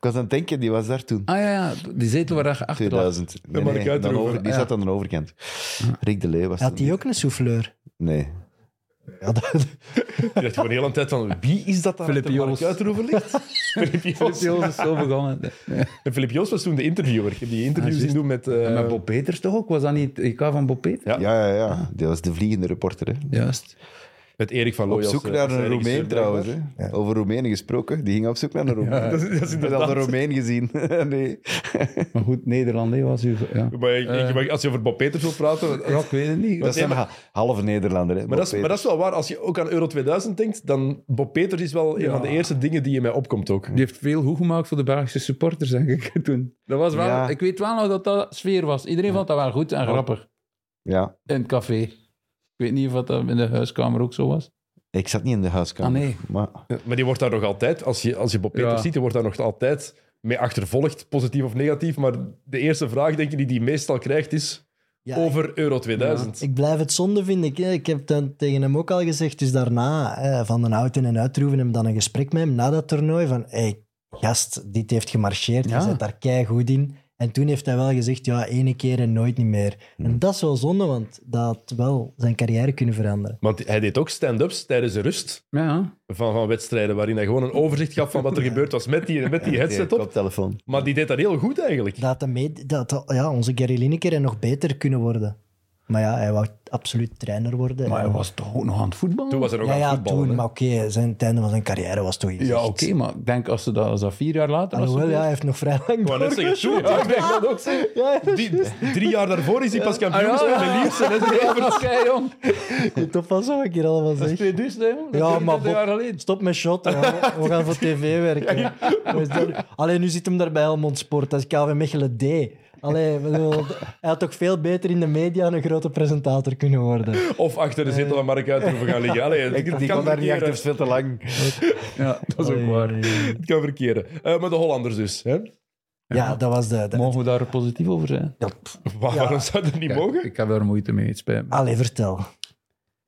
was aan het denken, die was daar toen.
Ah ja, ja, die zetel waar je achter lag.
2000.
Ja,
Nee,
maar
nee,
ik uit
dan
erover.
over- die
Ah, ja.
Hm.
zat aan de overkant. Rick de Leeuw was
Had
toen-
hij ook een souffleur?
Nee.
Ja, dat,
Je dacht gewoon de hele tijd van, wie is dat daar
Filip
achter Mark
Joos.
Uiteroever
<laughs>
ligt? Filip Joos.
Joos is zo begonnen.
En Filip Joos was toen de interviewer. Ik heb die interviews
Ah,
zien
juist.
doen met... eh,
En met Bob Peters toch ook? Was dat niet het EK van Bob Peters?
Ja.
Ja, ja, ja. Dat was de vliegende reporter. Hè.
Juist.
Met Erik van
Op
Looy. als,
zoek
eh,
naar
als
een
regisseur,
Roemeen trouwens. Hè.
blijkbaar.
Over Roemenen gesproken. Die ging op zoek naar een Roemeen.
Dat is, dat is
Ik heb al een
inderdaad...
Roemeen gezien. <laughs> nee.
Maar goed, Nederland hè, was u... Ja.
Maar ik-
Eh.
ik- maar als je over Bob Peters wil praten...
Ja, ik weet het niet.
Dat zijn ha- halve Nederlander. Hè.
Maar dat, is, maar dat is wel waar. Als je ook aan Euro 2000 denkt, dan Bob Peters is wel een van de eerste dingen die in mij opkomt ook.
Die heeft veel goed gemaakt voor de Belgische supporters, denk ik, <laughs> toen. Dat was wel,
Ja.
Ik weet wel nog dat dat sfeer was. Iedereen vond dat wel goed en grappig.
Ja.
In het café. Ik weet niet of dat in de huiskamer ook zo was.
Ik zat niet in de huiskamer.
Ah, nee.
Maar
Maar die wordt daar nog altijd, als je, als je Bob
Ja.
Peters ziet, die wordt daar nog altijd mee achtervolgd, positief of negatief. Maar de eerste vraag, denk ik, die die meestal krijgt is
<laughs> ja,
over Euro 2000.
Ik blijf het zonde vinden. Ik, ik heb dan tegen hem ook al gezegd, dus daarna eh, van den Houten en Uitroeven hem dan een gesprek met hem na dat toernooi van hey, gast, dit heeft gemarcheerd,
Ja.
je zit daar keigoed in. En toen heeft hij wel gezegd, ja, ene keer en nooit niet meer. En dat is wel zonde, want dat had wel zijn carrière kunnen veranderen.
Want hij deed ook stand-ups tijdens de rust
Ja,
van, van wedstrijden, waarin hij gewoon een overzicht gaf van
<laughs>
wat er gebeurd was met die, met die headset op.
koptelefoon.
Maar die deed dat heel goed eigenlijk.
Dat, had hem mee, dat had- ja, onze Gary Lineker en nog beter kunnen worden. Maar ja, hij wou absoluut trainer worden.
maar hij
En-
was toch ook nog aan het voetballen?
Toen was er nog
ja,
aan
ja,
voetballen.
toen,
hè.
maar oké, zijn het einde van zijn carrière was toch iets.
ja, oké, maar ik denk als ze dat, als dat vier jaar later was.
Alhoewel, ja, hij heeft nog vrij lang
Ik wou net zeggen, toen,
doorgeschoten.
ik denk dat ook zeggen.
<laughs> Ja, ja.
Die- drie jaar daarvoor is hij pas kampioen
Ah, ja,
geworden met
ja.
Leeds en
<laughs>
SC
Ja,
Everton.
maar kei, jong.
Moet oppassen wat ik hier allemaal
Dat is
zeg.
2000, hè, jong. Dat <laughs>
Ja,
is 30
maar Bob-
jaar geleden.
Stop met shot, hè. we gaan voor tv werken. Dus daar- Allee, nu zit hem daar bij Helmond Sport, dat is KV Mechelen D. Allee, ik bedoel, hij had toch veel beter in de media een grote presentator kunnen worden.
Of achter de zetel van Mark Uitroeven gaan liggen. Allee, het-
Ik,
het
die
kan eh,
kon daar niet
verkeren.
achter, is veel te lang.
Ja, dat is ook waar.
Het kan verkeren. Eh, maar de Hollanders dus. Hè?
Ja, dat was de... de
Mogen we daar positief over zijn?
Waar- Waarom zou dat niet
Kijk,
mogen? Ah.
Ik heb daar moeite mee, het spijt me.
Allee, vertel.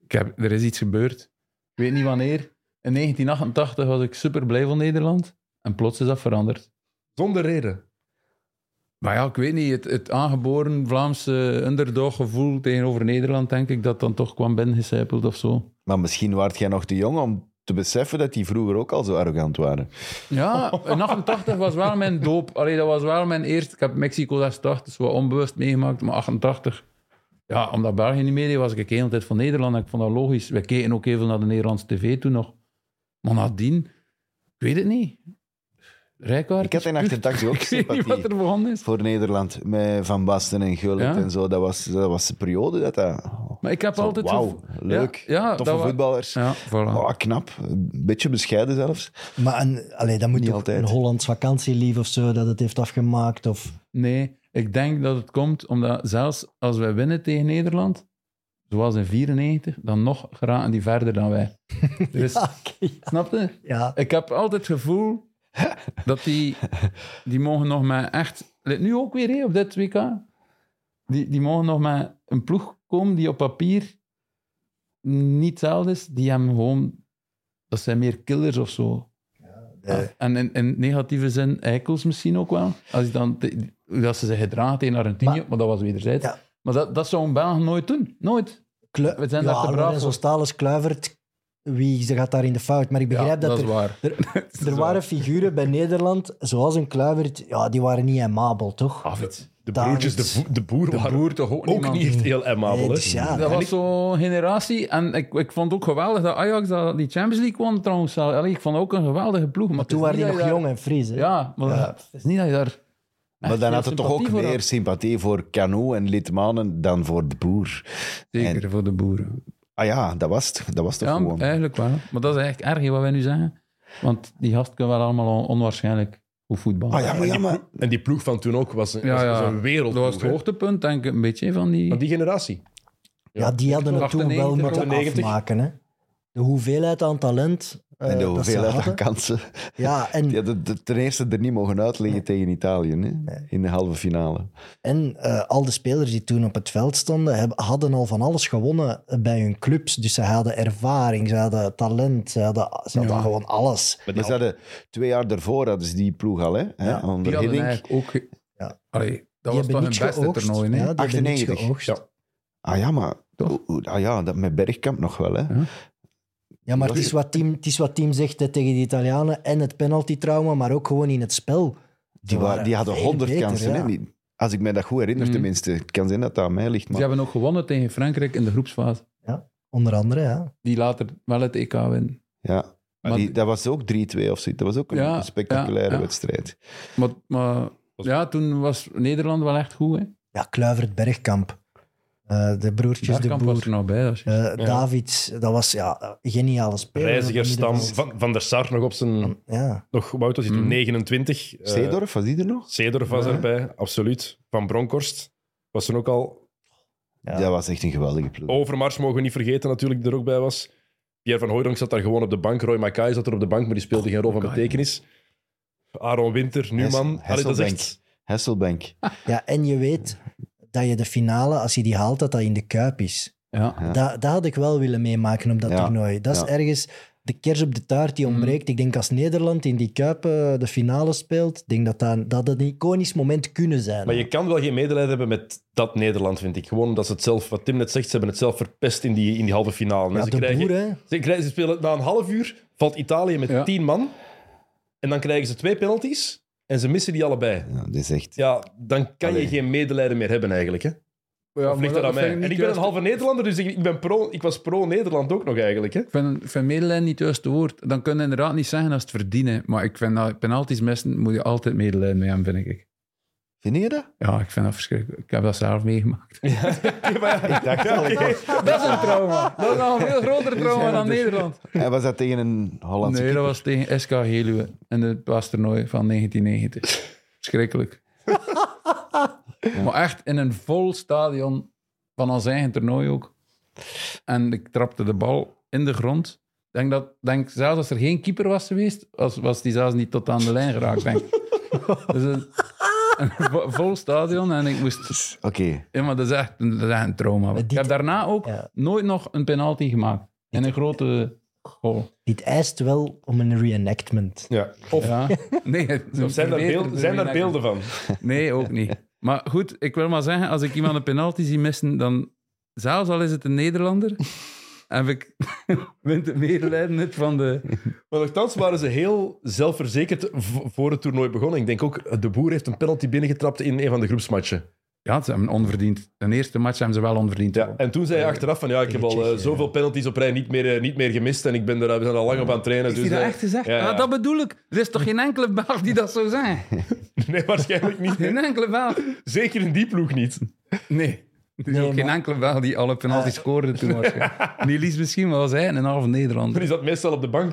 ik heb, er is iets gebeurd. Ik weet niet wanneer. In 1988 was ik super blij van Nederland. En plots is dat veranderd.
Zonder reden.
Maar ja, ik weet niet. Het, het aangeboren Vlaamse underdog-gevoel tegenover Nederland, denk ik, dat dan toch kwam binnengecijpeld of zo.
Maar misschien waart jij nog te jong om te beseffen dat die vroeger ook al zo arrogant waren.
Ja, in 88 was wel mijn doop. Allee, dat was wel mijn eerste. Ik heb Mexico 86 zo wat onbewust meegemaakt, maar 88. Ja, omdat België niet meedeed, was ik de hele tijd van Nederland. En ik vond dat logisch. Wij keken ook even naar de Nederlandse tv toen nog. Maar nadien, ik weet het niet. Rijkaard.
Ik had in
is puur-
88 ook
<laughs> Ik weet niet
sympathie
wat er begonnen is.
voor Nederland. Met Van Basten en Gullit
Ja.
en zo. Dat was, dat was de periode dat dat...
Maar ik heb
Zo,
altijd...
Wauw,
gevo-
leuk.
Ja, ja,
Toffe
dat wa-
voetballers.
Ja, voilà.
Oh, knap. Een beetje bescheiden zelfs.
Maar een, allee, dat moet
Niet
ook
altijd.
een Hollands vakantielief of zo, dat het heeft afgemaakt. <laughs> Of...
Nee, ik denk dat het komt omdat zelfs als wij winnen tegen Nederland, zoals in 94, dan nog geraken die verder
<laughs>
dan wij. Dus,
Ah, oké,
Snap je?
ja.
Ik heb altijd het gevoel dat die, die mogen nog maar echt... Nu ook weer, hè, op dit WK. Die, die mogen nog maar een ploeg komen die op papier niet hetzelfde is. Die hebben gewoon... Dat zijn meer killers of zo. Ah,
de-
En in, in negatieve zin eikels misschien ook wel. Als je dan te- hoe dat ze zich gedragen tegen Argentinië, maar,
Maar-
dat was wederzijds.
Ja.
Maar dat, dat zou een Belg nooit doen. Nooit.
Klu-
We zijn
ja,
daar te braaf
Lorenzo
voor.
Stalens, Kluivert, wie ze gaat daar in de fout. Maar ik begrijp
Ja,
dat,
dat
er,
is waar. <laughs>
er waren figuren bij Nederland, zoals een Kluivert, ja, die waren niet aimabel, toch?
David.
De
David.
broertjes, de, vo- de boer,
De
waren
boer toch ook,
ook
man.
niet echt heel amabel.
Nee,
hè?
dus ja,
Dat
en
was zo'n generatie. En ik, ik vond ook geweldig dat Ajax dat die Champions League won trouwens. Allee, ik vond ook een geweldige ploeg. Maar,
Maar
het
toen
is
waren die
niet
nog
dat je
jong en fris. Hè?
daar- Ja, maar
Ja.
het is niet dat je daar...
Maar dan
veel
had het toch ook
sympathie voor
meer
had.
sympathie voor Cano en Litmanen dan voor de boer.
Zeker voor de boeren.
Ah ja, dat was het. Dat was toch
Ja,
gewoon.
eigenlijk wel. Maar dat is eigenlijk erg hè, wat wij nu zeggen. Want die gasten kunnen wel allemaal on- onwaarschijnlijk goed voetballen.
Ah ja, maar ja, maar...
En die ploeg van toen ook was een,
Ja,
was-
ja.
was een
Dat
wereld.
was het hoogtepunt, denk ik, een beetje van die...
Van die generatie.
Ja, die hadden het toen wel
98,
moeten
98.
afmaken. Hè? Eh, De hoeveelheid aan talent. eh,
En de
dat ze
hoeveelheid aan
hadden.
kansen.
Ja, en,
Die hadden het ten eerste er niet mogen uitleggen tegen Italië hè? in de halve finale.
en eh, al de spelers die toen op het veld stonden, hebben, hadden al van alles gewonnen bij hun clubs. Dus ze hadden ervaring, ze hadden talent, ze hadden, ze hadden
Ja.
gewoon alles.
Maar ze hadden, twee jaar daarvoor hadden ze die ploeg al, hè? hè,
Nou. die
onder
hadden
Hiddink.
eigenlijk ook... ge-
Ja.
Allee, dat
die
was
hebben
toch hun
niks
beste
geoogst.
toernooi, hè?
Ja, die hebben niks
98.
geoogst.
Ja.
Ah ja, maar Oeh, oeh, ah ja, dat met Bergkamp nog wel. Hè.
Ja, maar het is, wat team, het is wat team zegt hè, tegen de Italianen. En het penalty-trauma, maar ook gewoon in het spel.
Die, wa- die hadden honderd kansen. Hè. Die- als ik mij dat goed
Mhm.
herinner, tenminste. Het kan zijn dat dat aan mij ligt.
Ze
Maar...
hebben ook gewonnen tegen Frankrijk in de groepsfase.
Onder andere, ja.
Die later wel het EK winnen.
Ja. Maar
Maar-
die, dat was ook 3-2 of zoiets. Dat was ook een
Ja,
spectaculaire
ja, ja.
wedstrijd.
Maar, maar ja, toen was Nederland wel echt goed. Hè?
Ja, Kluivert, Bergkamp. Eh, de broertjes
Bergkamp
de Boer.
was er nog bij. Dat is
eh, Davids, dat was ja, een geniale speler.
Reizigerstam,
Middenveld.
van, van der Sar nog op zijn...
Ja.
Nog, Wout was hij toen 29. eh,
Seedorf, was die er nog?
Seedorf was erbij, absoluut. Van Bronkhorst was toen ook al.
Ja.
Dat was echt een geweldige ploeg.
Oh.
Overmars mogen we niet vergeten natuurlijk, die er ook bij was. Pierre van Hooydonk zat daar gewoon op de bank. Roy Makai zat er op de bank, maar die speelde geen rol van betekenis. Aaron Winter, Newman. Allee, dat is
Hasselbank.
echt...
Hasselbank.
ja, en je weet dat je de finale, als je die haalt, dat dat in de Kuip is.
Ja.
Ja.
Dat, dat had ik wel willen meemaken op dat
Ja,
toernooi. Dat is
ja.
ergens de kers op de taart
Mm.
die ontbreekt. Ik denk als Nederland in die Kuip eh, de finale speelt, denk dat, dat dat een iconisch moment kunnen zijn.
Maar je kan wel geen medelijden hebben met dat Nederland, vind ik. Gewoon omdat ze het zelf, wat Tim net zegt, ze hebben het zelf verpest in die, in die halve finale. En
ja,
ze,
de
krijgen,
boer, hè.
ze, krijgen, ze spelen na een half uur, valt Italië met
Ja.
tien man. En dan krijgen ze twee penalties en ze missen die allebei.
Ja, dat is echt...
Ja, dan kan
Allee.
je geen medelijden meer hebben eigenlijk. Hè?
Ja,
Of ligt dat aan mij? En ik ben een halve Nederlander, dus ik, ik, ben pro, ik was pro-Nederland ook nog eigenlijk. Hè?
Ik vind, ik vind medelijden niet het juiste woord. Dan kun je inderdaad niet zeggen als het verdienen. Maar ik vind dat penalties missen, moet je altijd medelijden mee hebben, vind ik.
Vind je dat?
Ja, ik vind dat verschrikkelijk. Ik heb dat zelf meegemaakt.
Ik dacht al.
Dat is een trauma. Dat is nog een veel <laughs> groter trauma dan Nederland.
<laughs> En was dat tegen een Hollandse
Nee,
keeper?
dat was tegen SK Heluwe in het toernooi van 1990.
<laughs>
Schrikkelijk. Maar echt in een vol stadion van ons eigen toernooi ook. En ik trapte de bal in de grond. Ik Denk dat, denk, zelfs als er geen keeper was geweest, was, was die zelfs niet tot aan de lijn geraakt, denk
<laughs>
ik. Dus een, een vo- vol stadion en ik moest...
Oké.
Ja, maar dat is echt een, dat is echt een trauma.
Maar die-
Ik heb daarna ook
Ja.
nooit nog een penalty gemaakt. In een grote goal.
Dit eist wel om een reenactment.
Ja. Of
Ja. <laughs> Nee, het-
Of zijn, daar
verbeter-
beelden, zijn daar beelden van?
Nee, ook niet. Maar goed, ik wil maar zeggen, als ik iemand een penalty zie missen, dan, zelfs al is het een Nederlander, heb ik <laughs> wint het medelijden net van de...
Maar nogthans waren ze heel zelfverzekerd v- voor het toernooi begonnen. Ik denk ook, de boer heeft een penalty binnengetrapt in een van de groepsmatchen.
Ja, ze hebben onverdiend. De eerste match hebben ze wel onverdiend.
Ja. En toen zei hij achteraf van, ja, ik heb al eh, zoveel penalties op rij niet meer, eh, niet meer gemist en ik ben er, we zijn al lang op aan het trainen.
Is
dus,
die dat
eh,
echt gezegd?
Ja, ja.
Ah, dat bedoel ik. Er is toch geen enkele Belg die dat zou zijn?
<laughs> Nee, waarschijnlijk niet. hè.
Geen enkele Belg.
Zeker in die ploeg niet.
Nee. Ah. Er is
Nee,
ook geen
maar-
enkele Belg die alle penalties scoorde toen. <laughs> waarschijnlijk. Niels misschien, maar was hij een halve Nederlander.
Dan is dat meestal op de bank.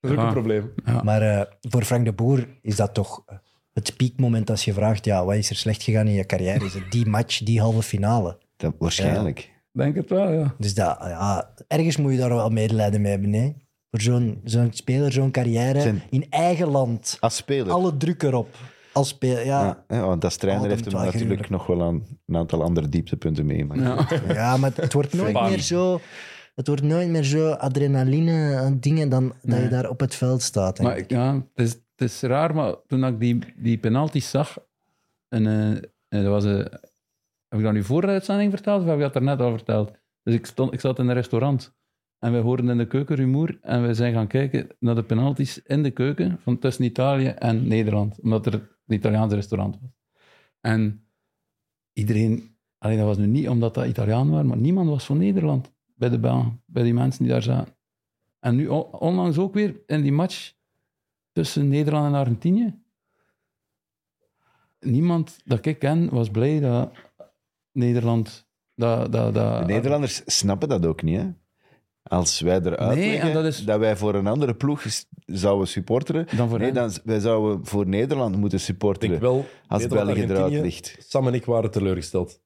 Dat is ook
Ja.
een probleem.
Maar eh, voor Frank de Boer is dat toch eh, het piekmoment als je vraagt, ja, wat is er slecht gegaan in je carrière? Is het die match, die halve finale?
Dat, waarschijnlijk.
Denk het wel, ja.
Dus dat, ja, ergens moet je daar wel medelijden mee hebben. Hè? Voor zo'n zo'n speler, zo'n carrière,
Zijn-
in eigen land.
Als speler.
Alle druk erop. Als speler, ja.
Ja, Ah, hè, want dat trainer
Oh, dat
heeft hem
moet wel
natuurlijk
gruwelijk.
nog wel aan een aantal andere dieptepunten mee. Maar
Ja. maar het wordt nooit
Bang.
meer zo... Het wordt nooit meer zo adrenaline aan dingen dan dat je daar op het veld staat.
Maar ik- ja, het is, het is raar, maar toen ik die, die penalties zag, en, eh, en dat was, eh, heb ik dat nu voor de uitzending verteld of heb ik dat daarnet al verteld? Dus ik, stond, ik zat in een restaurant en we hoorden in de keuken rumoer en we zijn gaan kijken naar de penalties in de keuken van tussen Italië en Nederland, omdat er een Italiaanse restaurant was. En iedereen, alleen dat was nu niet omdat dat Italiaan waren, maar niemand was van Nederland bij de Belgen, bij die mensen die daar zaten. En nu on- onlangs ook weer in die match tussen Nederland en Argentinië. Niemand dat ik ken was blij dat Nederland. Dat, dat, dat,
de Nederlanders snappen dat ook niet, hè? Als wij eruit
Nee,
leggen
en dat is-
wij voor een andere ploeg s- zouden supporteren,
Dan voor
nee,
hen.
dan, z- wij zouden voor Nederland moeten
Ik
supporteren
denk wel,
als
Nederland,
België
Argentinië,
eruit ligt.
Sam en ik waren teleurgesteld.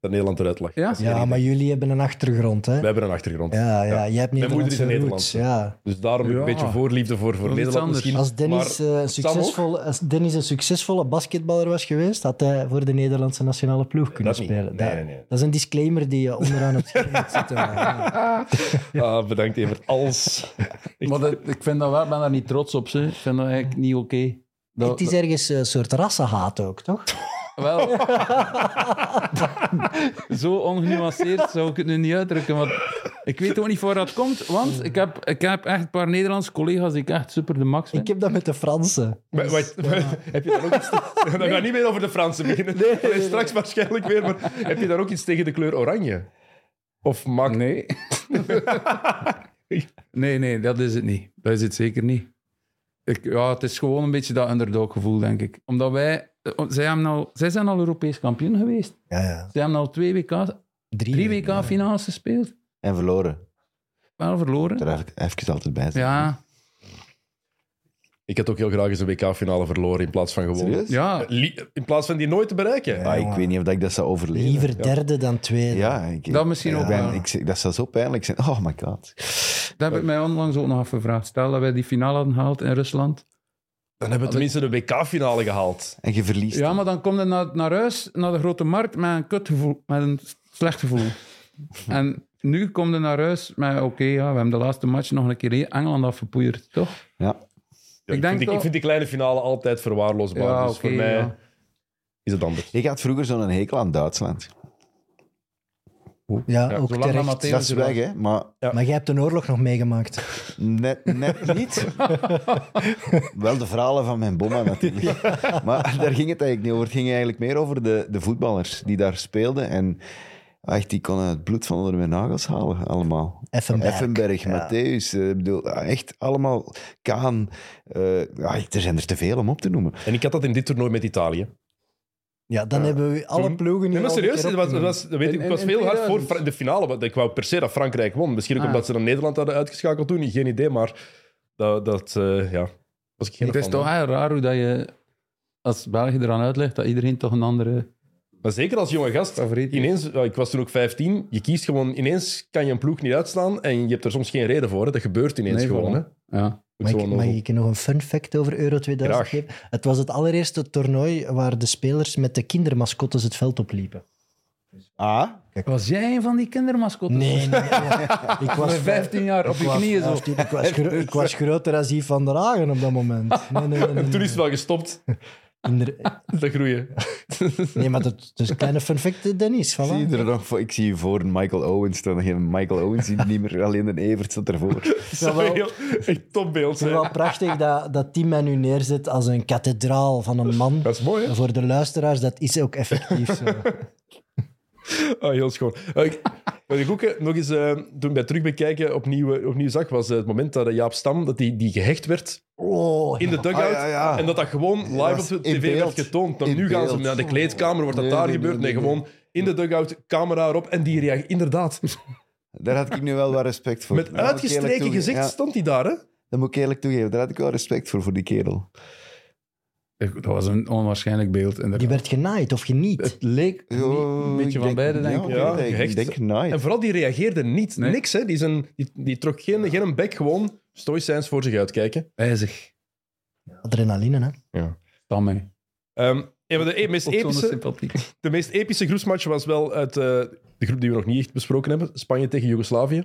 Dat Nederland eruit lag.
Ja?
ja, maar jullie hebben een achtergrond, hè?
Wij hebben een achtergrond.
Ja, ja, jij hebt
Mijn moeder
Nederlandse
is
roots. Ja.
Dus daarom
Ja.
een beetje voorliefde voor, voor
Dat is iets
Nederland
anders.
misschien.
Als Dennis,
Maar
eh, een
Sam ook?
succesvolle, als Dennis een succesvolle basketballer was geweest, had hij voor de Nederlandse nationale ploeg kunnen
niet.
spelen.
Nee,
dat,
nee, nee.
dat is een disclaimer die je onderaan het scherm moet
<laughs>
zetten. Ja.
Ah, bedankt even. Als...
Maar dat- ik vind dat wel, ik ben daar niet trots op. Ze. Ik vind dat eigenlijk niet oké. Dat-
Het is ergens eh, een soort rassenhaat ook, toch?
<laughs>
Wel, zo ongenuanceerd zou ik het nu niet uitdrukken. Want ik weet ook niet waar dat komt, want ik heb, ik heb echt een paar Nederlandse collega's die ik echt super de max vind.
Ik heb dat met de
<laughs>
Fransen.
Maar, maar- heb je daar ook iets
<laughs>
te- Dan gaan we niet meer over de Fransen beginnen. <laughs> Allee, straks waarschijnlijk weer. Maar heb je daar ook iets tegen de kleur oranje? Of maakt...
Nee. nee, nee, dat is het niet. Dat is het zeker niet. Ik, ja, het is gewoon een beetje dat underdog-gevoel, denk ik. Omdat wij... eh, Zij, hebben al, zij zijn al Europees kampioen geweest.
Ja, ja.
Zij hebben al twee WK, drie WK-finales gespeeld.
En verloren.
Wel verloren.
Daar heb ik even altijd bij. zijn.
Ja,
Ik had ook heel graag eens een WK-finale verloren in plaats van gewonnen. Ah,
Serieus?
ja.
Li- In plaats van die nooit te bereiken.
Ah, ik weet niet of dat ik dat zou overleven.
Liever derde dan tweede.
Ja, ik,
Dat misschien
ik
ook
ben-
wel.
ik, zeg- dat zou zo pijnlijk zijn. Oh my god.
Dat heb ik mij onlangs ook nog afgevraagd. Stel dat wij die finale hadden gehaald in Rusland.
Dan hebben we tenminste de WK-finale gehaald.
En je verliest.
Ja, maar dan kom je naar, naar huis, naar de grote markt, met een kutgevoel, met een slecht gevoel. en nu kom je naar huis met, oké, ja, we hebben de laatste match nog een keer Engeland afgepoeierd, toch?
Ja.
Ja, ik,
denk
vind die,
wel-
ik vind die kleine finale altijd verwaarloosbaar.
Ja,
dus
oké,
voor mij
ja.
is het anders.
Ik had vroeger zo'n hekel aan Duitsland.
Ja,
Ja, zolang
ook
dat
terecht.
Matthäus-
Dat is weg, hè? Maar
Maar jij hebt een oorlog nog meegemaakt.
<laughs>
net, net niet. <laughs> Wel de verhalen van mijn bomma
<laughs>
natuurlijk. Maar daar ging het eigenlijk niet over. Het ging eigenlijk meer over de, de voetballers die daar speelden. En echt, die konden het bloed van onder mijn nagels halen, allemaal.
Effenberg.
Effenberg, Matthäus, eh, ik bedoel, ah, echt allemaal Kaan. eh, ja, er zijn er te veel om op te noemen.
En ik had dat in dit toernooi met Italië.
Ja, dan hebben we alle
Toen- Nee,
ploegen niet
maar
al een
serieus,
keer
het was, het
opgenomen.
was, dat weet ik,
In-
ik was
in-
heel
in
hard voor
2000.
Fra- de finale. want Ik wou per se dat Frankrijk won. Misschien ook
Ah.
omdat ze dan Nederland hadden uitgeschakeld toen. Geen idee, maar dat, dat eh, ja, was ik geen
Het is
fan
toch
van.
heel raar hoe dat je als België eraan uitlegt dat iedereen toch een andere
Maar zeker als jonge gast.
favoriet is.
Ineens, ja, ik was toen ook 15. Je kiest gewoon, ineens kan je een ploeg niet uitslaan en je hebt er soms geen reden voor. Hè. Dat gebeurt ineens
Nee,
gewoon. Hè.
voilà. Ja.
Mag ik,
Zo'n
mag
nozel.
ik je nog een fun fact over Euro 2000
Graag.
geven? Het was het allereerste toernooi waar de spelers met de kindermascottes het veld opliepen.
Ah,
Was jij een van die kindermascottes?
Nee, nee. nee.
<laughs>
Ik was
Met 15 jaar op
ik
je
was
knieën zo.
15, Ik was, gro- ik was groter als Yves van der Hagen op dat
<laughs>
moment. Nee, nee, nee. nee,
En toen
nee.
is het wel gestopt.
Kinder-
Dat groeien.
Nee, maar dat, dat is een kleine fun fact, Dennis.
Ik
Voilà.
Zie je er nog voor? Ik zie je voor een Michael Owens. Dan geen Michael Owens, die niet meer alleen een Evert zit ervoor.
Dat wel-
Heel- <laughs> Echt topbeeld.
Het
hè.
is wel prachtig dat, dat die mij nu neerzet als een kathedraal van een man.
Dat is mooi, hè?
Voor de luisteraars, dat is ook effectief zo.
<laughs>
Ah, heel schoon. Eh, ik- Wat ik ook eh, nog eens, eh, toen ik bij terugbekijken opnieuw, eh, opnieuw zag, was eh, het moment dat eh, Jaap Stam dat die, die gehecht werd
Oh,
in de dugout.
Ah, ja, ja.
En dat dat gewoon live
was
op de
in
tv werd
beeld.
getoond. Dan
In
nu gaan ze
beeld.
naar de kleedkamer, wordt dat
Nee,
daar
nee,
gebeurd? Nee,
nee, nee,
gewoon in de dugout, camera erop. En die reageert
<laughs>
inderdaad.
Daar had ik nu wel wat respect voor.
Met
Dat moet ik eerlijk
uitgestreken
toege-
gezicht
Ja,
stond hij daar, hè?
dat moet ik eerlijk toegeven. Daar had ik wel respect voor, voor die kerel.
Ik- Eh, Dat was een onwaarschijnlijk beeld. inderdaad.
die werd genaaid of geniet.
Het leek
Oh,
een beetje van
denk-
beide, denk
ja,
ik.
Ja,
ik. denk-
gehecht.
Ik denk nice.
En vooral die reageerde niet.
Nee.
Niks, hè? Die, zijn, die, die trok geen, geen bek, gewoon stoïcijns voor zich uitkijken.
Wijzig.
Adrenaline, hè?
Van mij.
Ehm, een van de e- meest
Tot zo'n
epische
sympathiek.
De meest epische groepsmatch was wel uit eh, de groep die we nog niet echt besproken hebben: Spanje tegen Joegoslavië.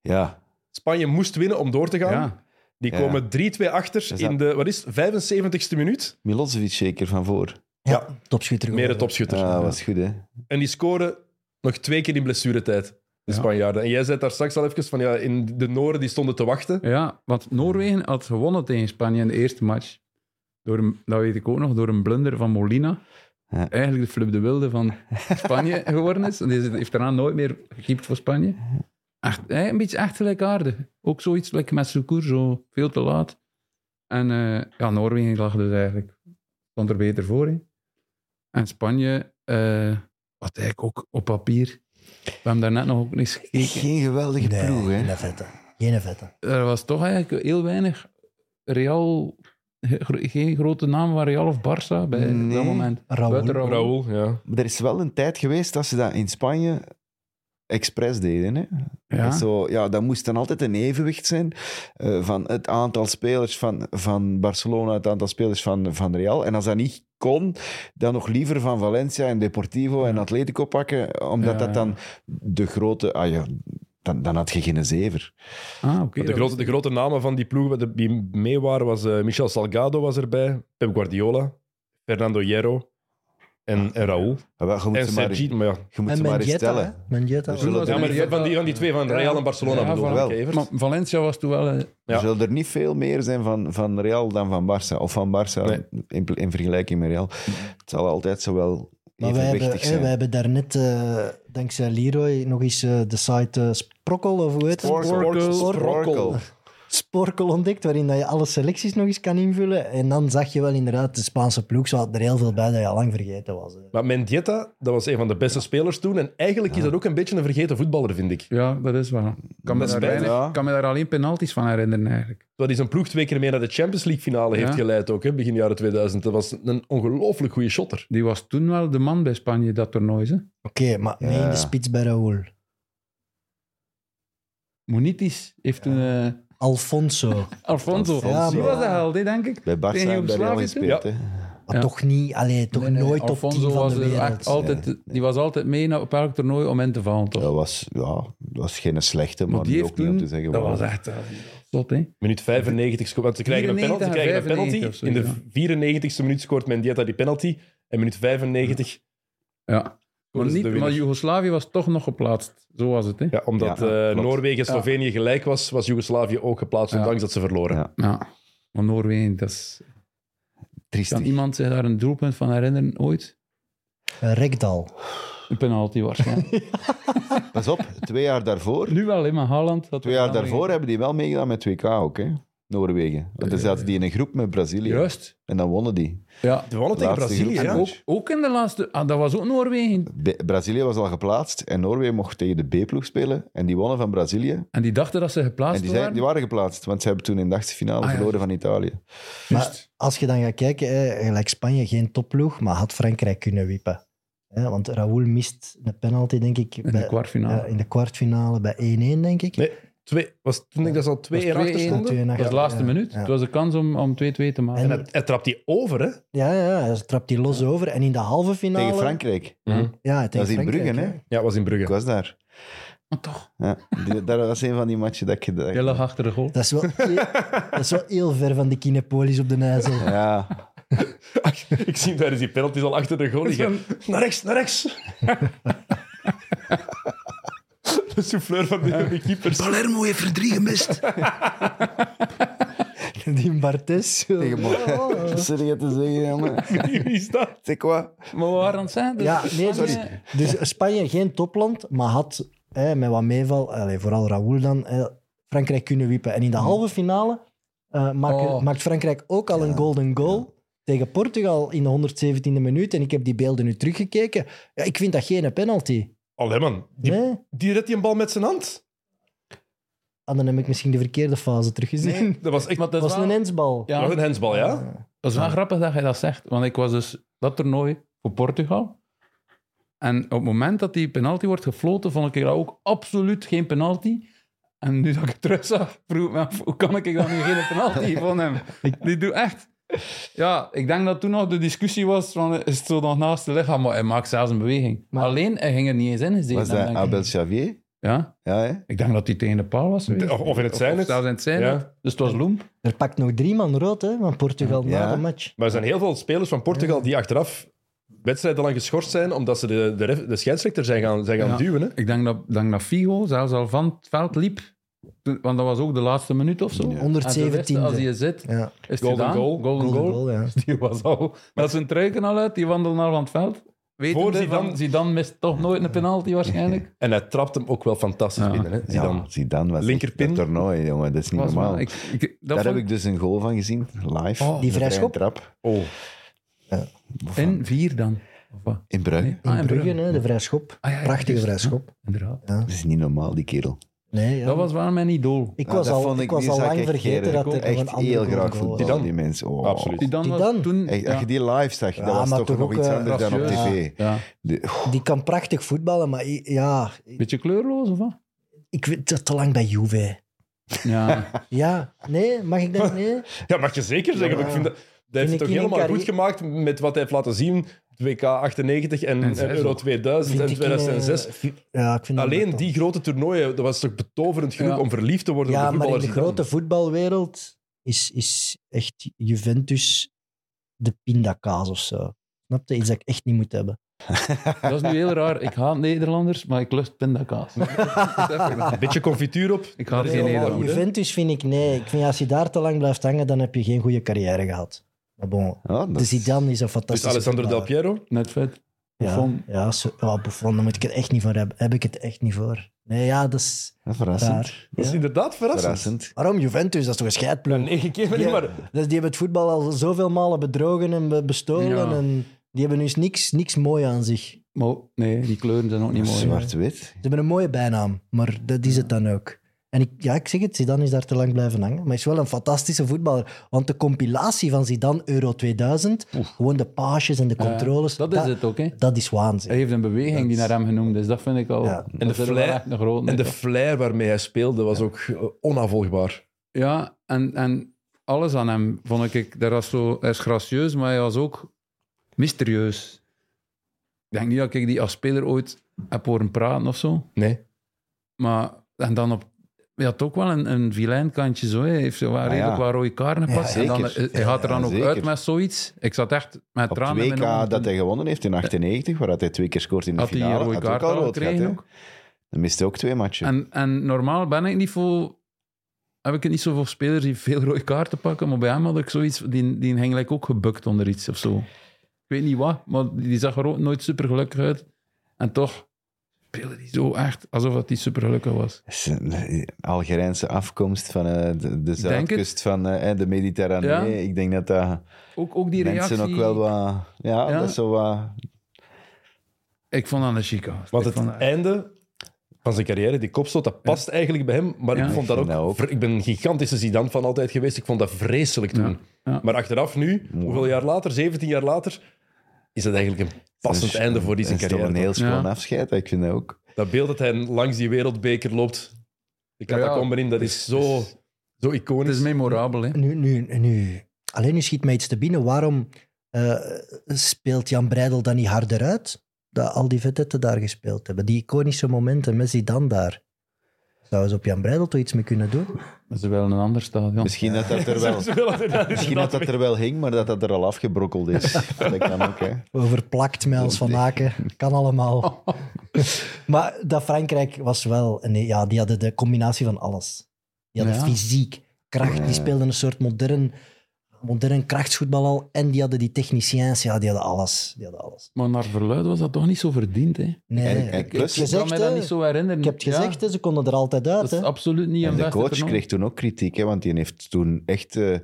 Ja,
Spanje moest winnen om door te gaan.
Ja.
Die
Ja.
komen 3-2 achter
dat-
in de wat is, het, 75ste minuut.
Milosevic zeker van voor.
Ja, topschutter.
Meer de
geworden.
topschutter.
Ja, was goed, hè.
En die scoren nog twee keer in blessuretijd. De
Ja.
Spanjaarden. En jij zei daar straks al even van ja, in de Noorden die stonden te wachten.
ja, want Noorwegen had gewonnen tegen Spanje in de eerste match. Door een, dat weet ik ook nog, door een blunder van Molina.
Ja.
Eigenlijk de Flip de Wilde van Spanje geworden is. En Die heeft daarna nooit meer gekiept voor Spanje. Echt, hè, een beetje echt gelijkaardig. Ook zoiets like met Secours, zo veel te laat. En eh, ja, Noorwegen lag dus eigenlijk, stond er beter voor. hè. En Spanje eh had eigenlijk ook op papier. We hebben daarnet nog ook niks gekeken.
Geen geweldige
Nee,
ploeg, hè.
Geen vette. Geen vette.
er was toch eigenlijk heel weinig Real, ge- geen grote naam van Real of Barça bij
Nee.
dat moment.
Raoul.
Buiten Raoul.
Raoul, ja.
Maar er is wel een tijd geweest dat ze dat in Spanje expres deden, hè.
Ja.
Zo, ja, dat moest dan altijd een evenwicht zijn eh, van het aantal spelers van, van Barcelona, het aantal spelers van, van Real. En als dat niet kon, dan nog liever van Valencia en Deportivo en Atletico pakken, omdat
Ja, ja.
dat dan de grote... Ah ja, dan, dan had je geen zever.
Ah, oké.
De grote, de grote namen van die ploegen die mee waren, was eh, Michel Salgado was erbij, Pep Guardiola, Fernando Hierro, en, en Raoul.
Maar Ah, wel, je moet
En
ze maar,
Sergi, maar ja.
je moet
En
ze maar eens
Mendieta,
stellen.
hè. Mendieta.
We zullen,
Ja,
er,
maar die- van die, van die twee van Real en Barcelona
Ja,
bedoel ik,
wel.
hè, Evert?
Maar Valencia was toen wel... eh,
Ja.
er zullen er niet veel meer zijn van, van Real dan van Barça. Of van Barça in, in vergelijking met Real. Het zal altijd zo wel
Maar wij hebben,
evenwichtig
hè,
zijn.
wij hebben daarnet, eh, dankzij Leroy, nog eens eh, de site eh, Sprokkel, of hoe heet het?
Sporkel.
Sporkel.
Sporkel ontdekt, waarin dat je alle selecties nog eens kan invullen. En dan zag je wel inderdaad, de Spaanse ploeg zat er heel veel bij dat je al lang vergeten was. hè.
Maar Mendieta, dat was een van de beste spelers toen. En eigenlijk is dat ook een beetje een vergeten voetballer, vind ik.
Ja, dat is waar. Ik kan, me
Dat
daar,
is bijna-
weinig- ik kan me daar alleen penalties van herinneren, eigenlijk.
Dat is een ploeg twee keer mee naar de Champions League finale heeft
Ja.
geleid ook, hè, begin jaren 2000. Dat was een ongelooflijk goede shotter.
Die was toen wel de man bij Spanje, dat toernooi. Hè.
Oké, maar mee in de spits bij Raúl.
Munitis heeft toen... eh,
Alfonso.
Alfonso.
Alfonso.
Die was de held, hè, denk ik.
Bij Barça
Tegen
en bij Real
Joegoslavië toen?
gespeeld. hè.
Maar
Ja.
toch niet, allee, toch
Nee, nee,
nooit top 10
Alfonso
van de
was er
wereld.
echt altijd, Die was altijd mee naar op elk toernooi om in te vallen, toch?
Dat was, ja, dat was geen slechte, maar
maar die
die
heeft
ook niet om
toen...
te zeggen.
dat
wow.
was echt... eh, Zot, hè?
Minuut 95, sco- want ze krijgen een penalty. Ze
94,
krijgen een
95 of
penalty.
zo,
In de
ja.
94ste minuut scoort Mendieta die penalty. En minuut 95,
Ja. Maar,
is de
niet,
winnaar.
maar Joegoslavië was toch nog geplaatst. Zo was het, hè?
ja, omdat
Ja,
eh,
klopt.
Noorwegen en Slovenië gelijk was, was Joegoslavië ook geplaatst,
Ja.
ondanks dat ze verloren.
Ja.
Ja. Maar Noorwegen, dat is...
Triestig.
Kan iemand zich daar een doelpunt van herinneren ooit?
Eh, Rekdal.
Een penalty waarschijnlijk.
Pas op, twee jaar daarvoor,
<laughs> nu wel, hè, maar Haaland... had
twee
er
jaar
wel
daarvoor hebben die wel meegedaan met 2K ook, hè? Noorwegen. Want dan zaten die in een groep met
een-
Brazilië.
Juist.
En dan wonnen die.
Ja.
We wonnen tegen
Laatste
Brazilië, ja.
groepsmatch.
Ook, ook in de laatste... Ah, dat was ook Noorwegen.
Be- Brazilië was al geplaatst en Noorwegen mocht tegen de B-ploeg spelen. En die wonnen van Brazilië.
En die dachten dat ze geplaatst
En die,
waren.
zijn, die waren geplaatst, want ze hebben toen in de achtste finale
Ah, ja.
verloren van Italië.
Maar als je dan gaat kijken, hè, gelijk Spanje geen topploeg, maar had Frankrijk kunnen wippen. Hè, want Raúl mist een penalty, denk ik,
In de
bij-
kwartfinale.
ja, in de kwartfinale bij 1-1, denk ik.
Nee, twee, was, toen denk ik dat ze al 2 1
2-1
achter
Ja,
stonden.
Dat
2-1
was de
achter,
laatste
ja,
minuut.
ja.
Het was de kans om om 2-2 te maken.
En-
En hij, hij trapt die over, hè?
Ja, ja, ja, ze trapt die los over. En in de halve finale...
Tegen Frankrijk.
Ja, tegen
Dat is in
Frankrijk,
Brugge, hè?
Ja, was in
Ik
Brugge.
was daar.
Maar toch.
Ja. Die- dat was een van die matchen dat ik... dat ik-
Je lag achter de goal.
Dat is,
<laughs>
wel, dat is wel heel ver van de Kinepolis op de
<laughs>
IJssel.
Ja,
<laughs> ik zie daar is die penalty al achter de goal liggen. Naar rechts, naar rechts. <laughs> de souffleur van de, de keepers. <laughs>
Palermo heeft er drie gemist. die Bartes.
tegen
Oh,
Mo- <laughs> Wat zit je te zeggen, <laughs> jongen?
Wie is dat?
Zeg wat?
Maar we waren aan het zijn.
Ja, nee, dus, dus Spanje geen topland, maar had hè, met wat meeval, allee, vooral Raoul dan, hè, Frankrijk kunnen wiepen. En in de halve finale eh, maken-
Mm. Oh.
maakt Frankrijk ook al een golden goal. Tegen Portugal in de 117e minuut. En ik heb die beelden nu teruggekeken. Ja, ik vind dat geen penalty.
Allee, man. Die,
Nee?
die redt die een bal met zijn hand.
Ah, dan heb ik misschien de verkeerde fase teruggezien.
<laughs>
Dat was echt...
Maar
Dat
dat
<laughs> was
is wel,
een hensbal.
ja,
was een hensbal, ja?
dat is wel grappig dat jij dat zegt. Want ik was dus dat toernooi voor Portugal. En op het moment dat die penalty wordt gefloten, vond ik dat ook absoluut geen penalty. En nu dat ik het terug zag, vroeg ik me af, hoe kan ik dan nu geen penalty van hem? Die doet echt... Ja, ik denk dat toen nog de discussie was van, is het zo nog naast de lichaam? Maar hij maakt zelfs een beweging.
Maar-
Alleen, hij ging er niet eens in. gezeten
Was
hebben,
dat
denk ik.
Abel Xavier?
Ja?
Ja, hè?
Ik denk dat hij tegen de paal was. geweest.
Of, of in het zijn
Of
het.
zelfs in het zijn.
Ja.
het. Dus het was Loemp.
Er pakt nog drie man rood hè, van Portugal
Ja.
na de match.
Maar er zijn heel veel spelers van Portugal die achteraf wedstrijden lang geschorst zijn omdat ze de, de, ref- de scheidsrechter zijn gaan, zijn gaan
Ja.
duwen, hè?
Ik denk dat, denk dat Figo zelfs al van het veld liep. Toen- Want dat was ook de laatste minuut of zo.
Ja. Ah,
En toen
117e.
wist Als je zit,
Ja,
is die
Golden
gedaan.
goal.
Golden goal.
golden
Ah,
goal, ja.
<laughs> Die was al... Dat zijn truiken al uit, die wandelen al van het veld. Weet
Voor
je,
Zidane.
dan Zidane mist toch nooit een penalty waarschijnlijk.
En hij trapt hem ook wel fantastisch
Ja.
binnen, hè?
Ja,
Zidane.
Zidane was
Linkerpin.
echt dat toernooi, jongen. Dat is niet
Was wel-
normaal.
ik, ik, dat
Daar
vond
heb ik dus een goal van gezien, live.
Oh.
Een vrije
Die vrijschop?
trap.
Oh.
In vier dan. Of wat?
In Brugge.
Nee. Ah,
In Brugge, hè, de vrijschop.
Ah, ja, ja,
Prachtige
juist.
vrijschop.
Ja, inderdaad.
Dat is niet normaal, die kerel.
Nee, ja.
Dat was wel mijn idool.
Ik
Ja,
was
Nou, dat
al,
vond
ik was
die
al
zag
lang
ik
vergeten
keren.
dat er nog
Echt
een andere
heel
goal
graag
was.
voetbal, die mensen. Oh.
Absoluut.
Zidane was
Zidane.
toen...
Echt,
ja,
als je die live zag,
Ja,
dat was
maar
toch
toch
nog
ook,
iets
eh,
anders dan op
gracieus.
tv.
ja.
De- oh,
Die kan prachtig voetballen, maar i- ja,
Beetje kleurloos of wat?
ik weet dat te lang bij Juve.
<laughs>
Ja.
Ja, nee, mag
<laughs>
ik dat? Nee.
Ja, mag je zeker zeggen. maar ik vind dat, dat heeft het
ik
toch
in
helemaal
een carri-
goed gemaakt met wat hij heeft laten zien. 2K98 en, en
zes
Euro
ook.
2000
Vind
en
ik,
2006.
eh, fi- ja, ik vind dat
Alleen
wel
die
tof.
grote toernooien, dat was toch betoverend genoeg
Ja.
om verliefd te worden
Ja,
op de
maar in de
voetballers. die
grote voetbalwereld is, is echt Juventus de pindakaas of zo. Snap Snapte iets dat ik echt niet moet hebben.
Dat is nu heel raar. Ik haat Nederlanders, maar ik lust
<laughs>
pindakaas.
Een beetje confituur op.
Ik haat
Nee,
geen
maar
Nederlanders.
goed, hè?
Juventus vind ik nee. Ik vind als je daar te lang blijft hangen, dan heb je geen goede carrière gehad. Maar bon,
Ja, dat
de Zidane is een
Dus
fantastische
Alessandro Del
voetballer.
Piero.
Net vet.
Ja,
Buffon.
ja, zo, ja, Buffon, daar moet ik het echt niet voor hebben. Heb ik het echt niet voor. Nee, ja, dat is
Ja, verrassend.
raar.
Dat is
Ja.
inderdaad verrassend.
Verrassend.
Waarom Juventus? Dat is toch een scheidploeg?
Negen keer maar
Die,
niet, maar
hebben- dus die hebben het voetbal al zoveel malen bedrogen en be- bestolen.
Ja.
En die hebben dus niks, niks mooi aan zich. Ze
Maar nee, die kleuren zijn ook niet mooi.
Zwart-wit.
hebben een mooie bijnaam, maar dat is het dan ook. En ik, ja, ik zeg het, Zidane is daar te lang blijven hangen. Maar hij is wel een fantastische voetballer. Want de compilatie van Zidane Euro 2000, gewoon de paasjes en de controles,
Eh, Dat is het ook, hè.
dat is
Hij
waanzin.
heeft een beweging die naar hem genoemd is. Dat vind ik al...
Ja.
dat
En de
is wel
flair-
echt een grote.
En de flair waarmee hij speelde was ook eh, onafvolgbaar.
Ja, en, en alles aan hem vond ik... Daar was zo, hij is gracieus, maar hij was ook mysterieus. Ik denk niet dat ik die als speler ooit heb horen praten of zo.
Nee.
Maar, en dan op... Hij had ook wel een, een vilijn kantje zo. hè. Hij heeft zo wel
ja.
redelijk wat rode kaarten gepast. en dan, eh,
zeker.
hij- hij gaat er dan
Ja,
ook
zeker.
uit met zoiets. Ik zat echt met
Op
tranen in
2K
mijn ogen.
dat hij gewonnen heeft in 98, waar hij twee keer scoort in de
Had hij een
finale.
rode
hij
kaart al gekregen
hè.
ook?
Dan miste hij ook twee matchen.
En, en normaal ben ik niet voor... Heb ik het niet zo voor spelers die veel rode kaarten pakken, maar bij hem had ik zoiets... Die, die hing like ook gebukt onder iets of zo. Ik weet niet wat, maar die zag er ook nooit super gelukkig uit. En toch speelde hij zo echt alsof dat hij super gelukkig was.
Dat is een eh, Algerijnse afkomst van eh, de, de
denk het.
zuidkust van eh, de Mediterranee.
Ja.
Ik denk dat dat
Ook, ook die
mensen
reactie...
ook wel wat... Ja,
Ja.
dat is zo wat...
Ik vond dat een chique gast.
Want
Ik
het
vond dat-
einde van zijn carrière, die kopstoot, dat past eigenlijk bij hem. Maar
Ja,
ik vond dat
ik
ook,
vind dat ook.
vre- Ik ben een gigantische Zidane van altijd geweest. Ik vond dat vreselijk toen.
Ja, ja.
Maar achteraf nu, hoeveel jaar later, 17 jaar later, is dat eigenlijk een passend
dat is-
einde voor die zijn
dat is toch
carrière.
een heel
toch?
schoon
Ja.
afscheid, ik vind dat ook.
Dat beeld dat hij langs die wereldbeker loopt, de
Ja, ja.
catacomben in, dat is zo, zo
Het
iconisch.
is memorabel, hè.
Nu, nu, nu. Alleen nu schiet mij iets te binnen. Waarom eh, speelt Jan Breidel dan niet harder uit? Dat al die vetetten daar gespeeld hebben. Die iconische momenten met Zidane daar. Zouden ze op Jan Breidel toch iets mee kunnen doen?
Dat is wel een ander stadion.
Misschien dat dat er
<laughs>
wel...
<laughs>
Misschien dat dat er wel hing, maar dat dat er al afgebrokkeld is.
<laughs>
Dat kan ook, hè.
Overplakt met als van Aken. Kan allemaal. maar dat Frankrijk was wel... Nee, ja, die hadden de combinatie van alles. Die hadden
Ja.
fysiek, kracht. Die speelden een soort modern, modern krachtsvoetbal al. En die hadden die techniciëns. Ja, die hadden alles. Die hadden alles.
Maar naar verluid was dat toch niet zo verdiend, hè?
Nee,
En- en plus-
ik-
Ik
ik heb
kan
gezegd,
mij dat
hè.
niet zo herinneren.
Ik heb het
Ja,
gezegd, hè, ze konden er altijd uit.
Dat is
Hè.
absoluut niet
En
een
de
beste
coach
toernooi.
kreeg toen ook kritiek, hè, want die heeft toen echt... eh,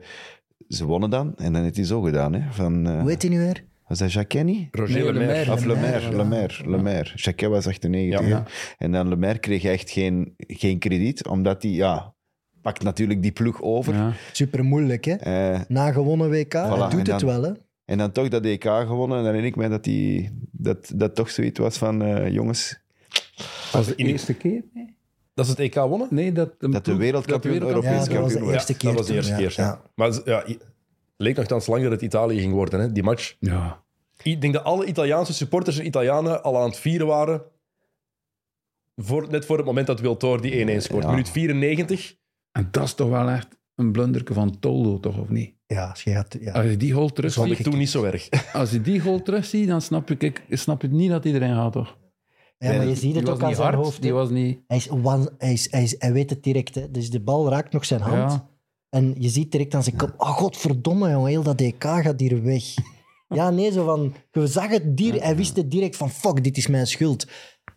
ze wonnen dan, en dan heeft hij zo gedaan. Hè, van, eh,
Hoe heet hij nu weer?
was dat Jacquet niet?
Roger
Nee,
Lemaire.
Lemaire.
Of Lemaire,
Lemaire,
Lemaire, Lemaire. Jacquet was 98.
Ja.
hè. En dan Lemaire kreeg echt geen, geen krediet, omdat hij, ja, pakt natuurlijk die ploeg over.
Ja.
Super moeilijk, hè?
Eh,
Na gewonnen WK, hij
en
doet het
dan-
wel, hè?
en dan toch dat EK gewonnen. En dan herinner ik mij dat, die, dat dat toch zoiets was van, eh, jongens,
Was de eerste keer? Nee,
Dat is het EK wonnen?
nee dat,
dat de wereldkampioen
Ja,
Europees
dat was de
kampioen was.
eerste keer
dat was de
toen,
eerste
ja.
keer. ja.
Ja.
Maar z- ja, i- het leek nogthans lang dat het Italië ging worden, hè, die match.
Ja.
Ik denk dat alle Italiaanse supporters en Italianen al aan het vieren waren. Voor, net voor het moment dat Wiltor die 1-1 scoort.
Ja.
Minuut 94.
En dat is toch wel echt een blunderke van Toldo, toch, of niet?
Ja, als je gaat, ja.
Als je die goal terugziet,
Vond ik toen niet zo erg.
als je die goal terugziet, dan snap ik, ik snap het niet dat iedereen gaat, toch?
ja, maar je
die-
ziet
Die
het
was
ook
niet
aan zijn
hard,
hoofd.
die
hè.
was niet...
Hij, is one- hij, is, hij, is- hij weet het direct, hè? Dus de bal raakt nog zijn hand.
Ja.
En je ziet direct aan zijn kop: oh godverdomme, jongen, heel dat EK gaat hier
<laughs>
weg. ja, nee, zo van. Je zag het dier, hij wist het direct van: fuck, dit is mijn schuld.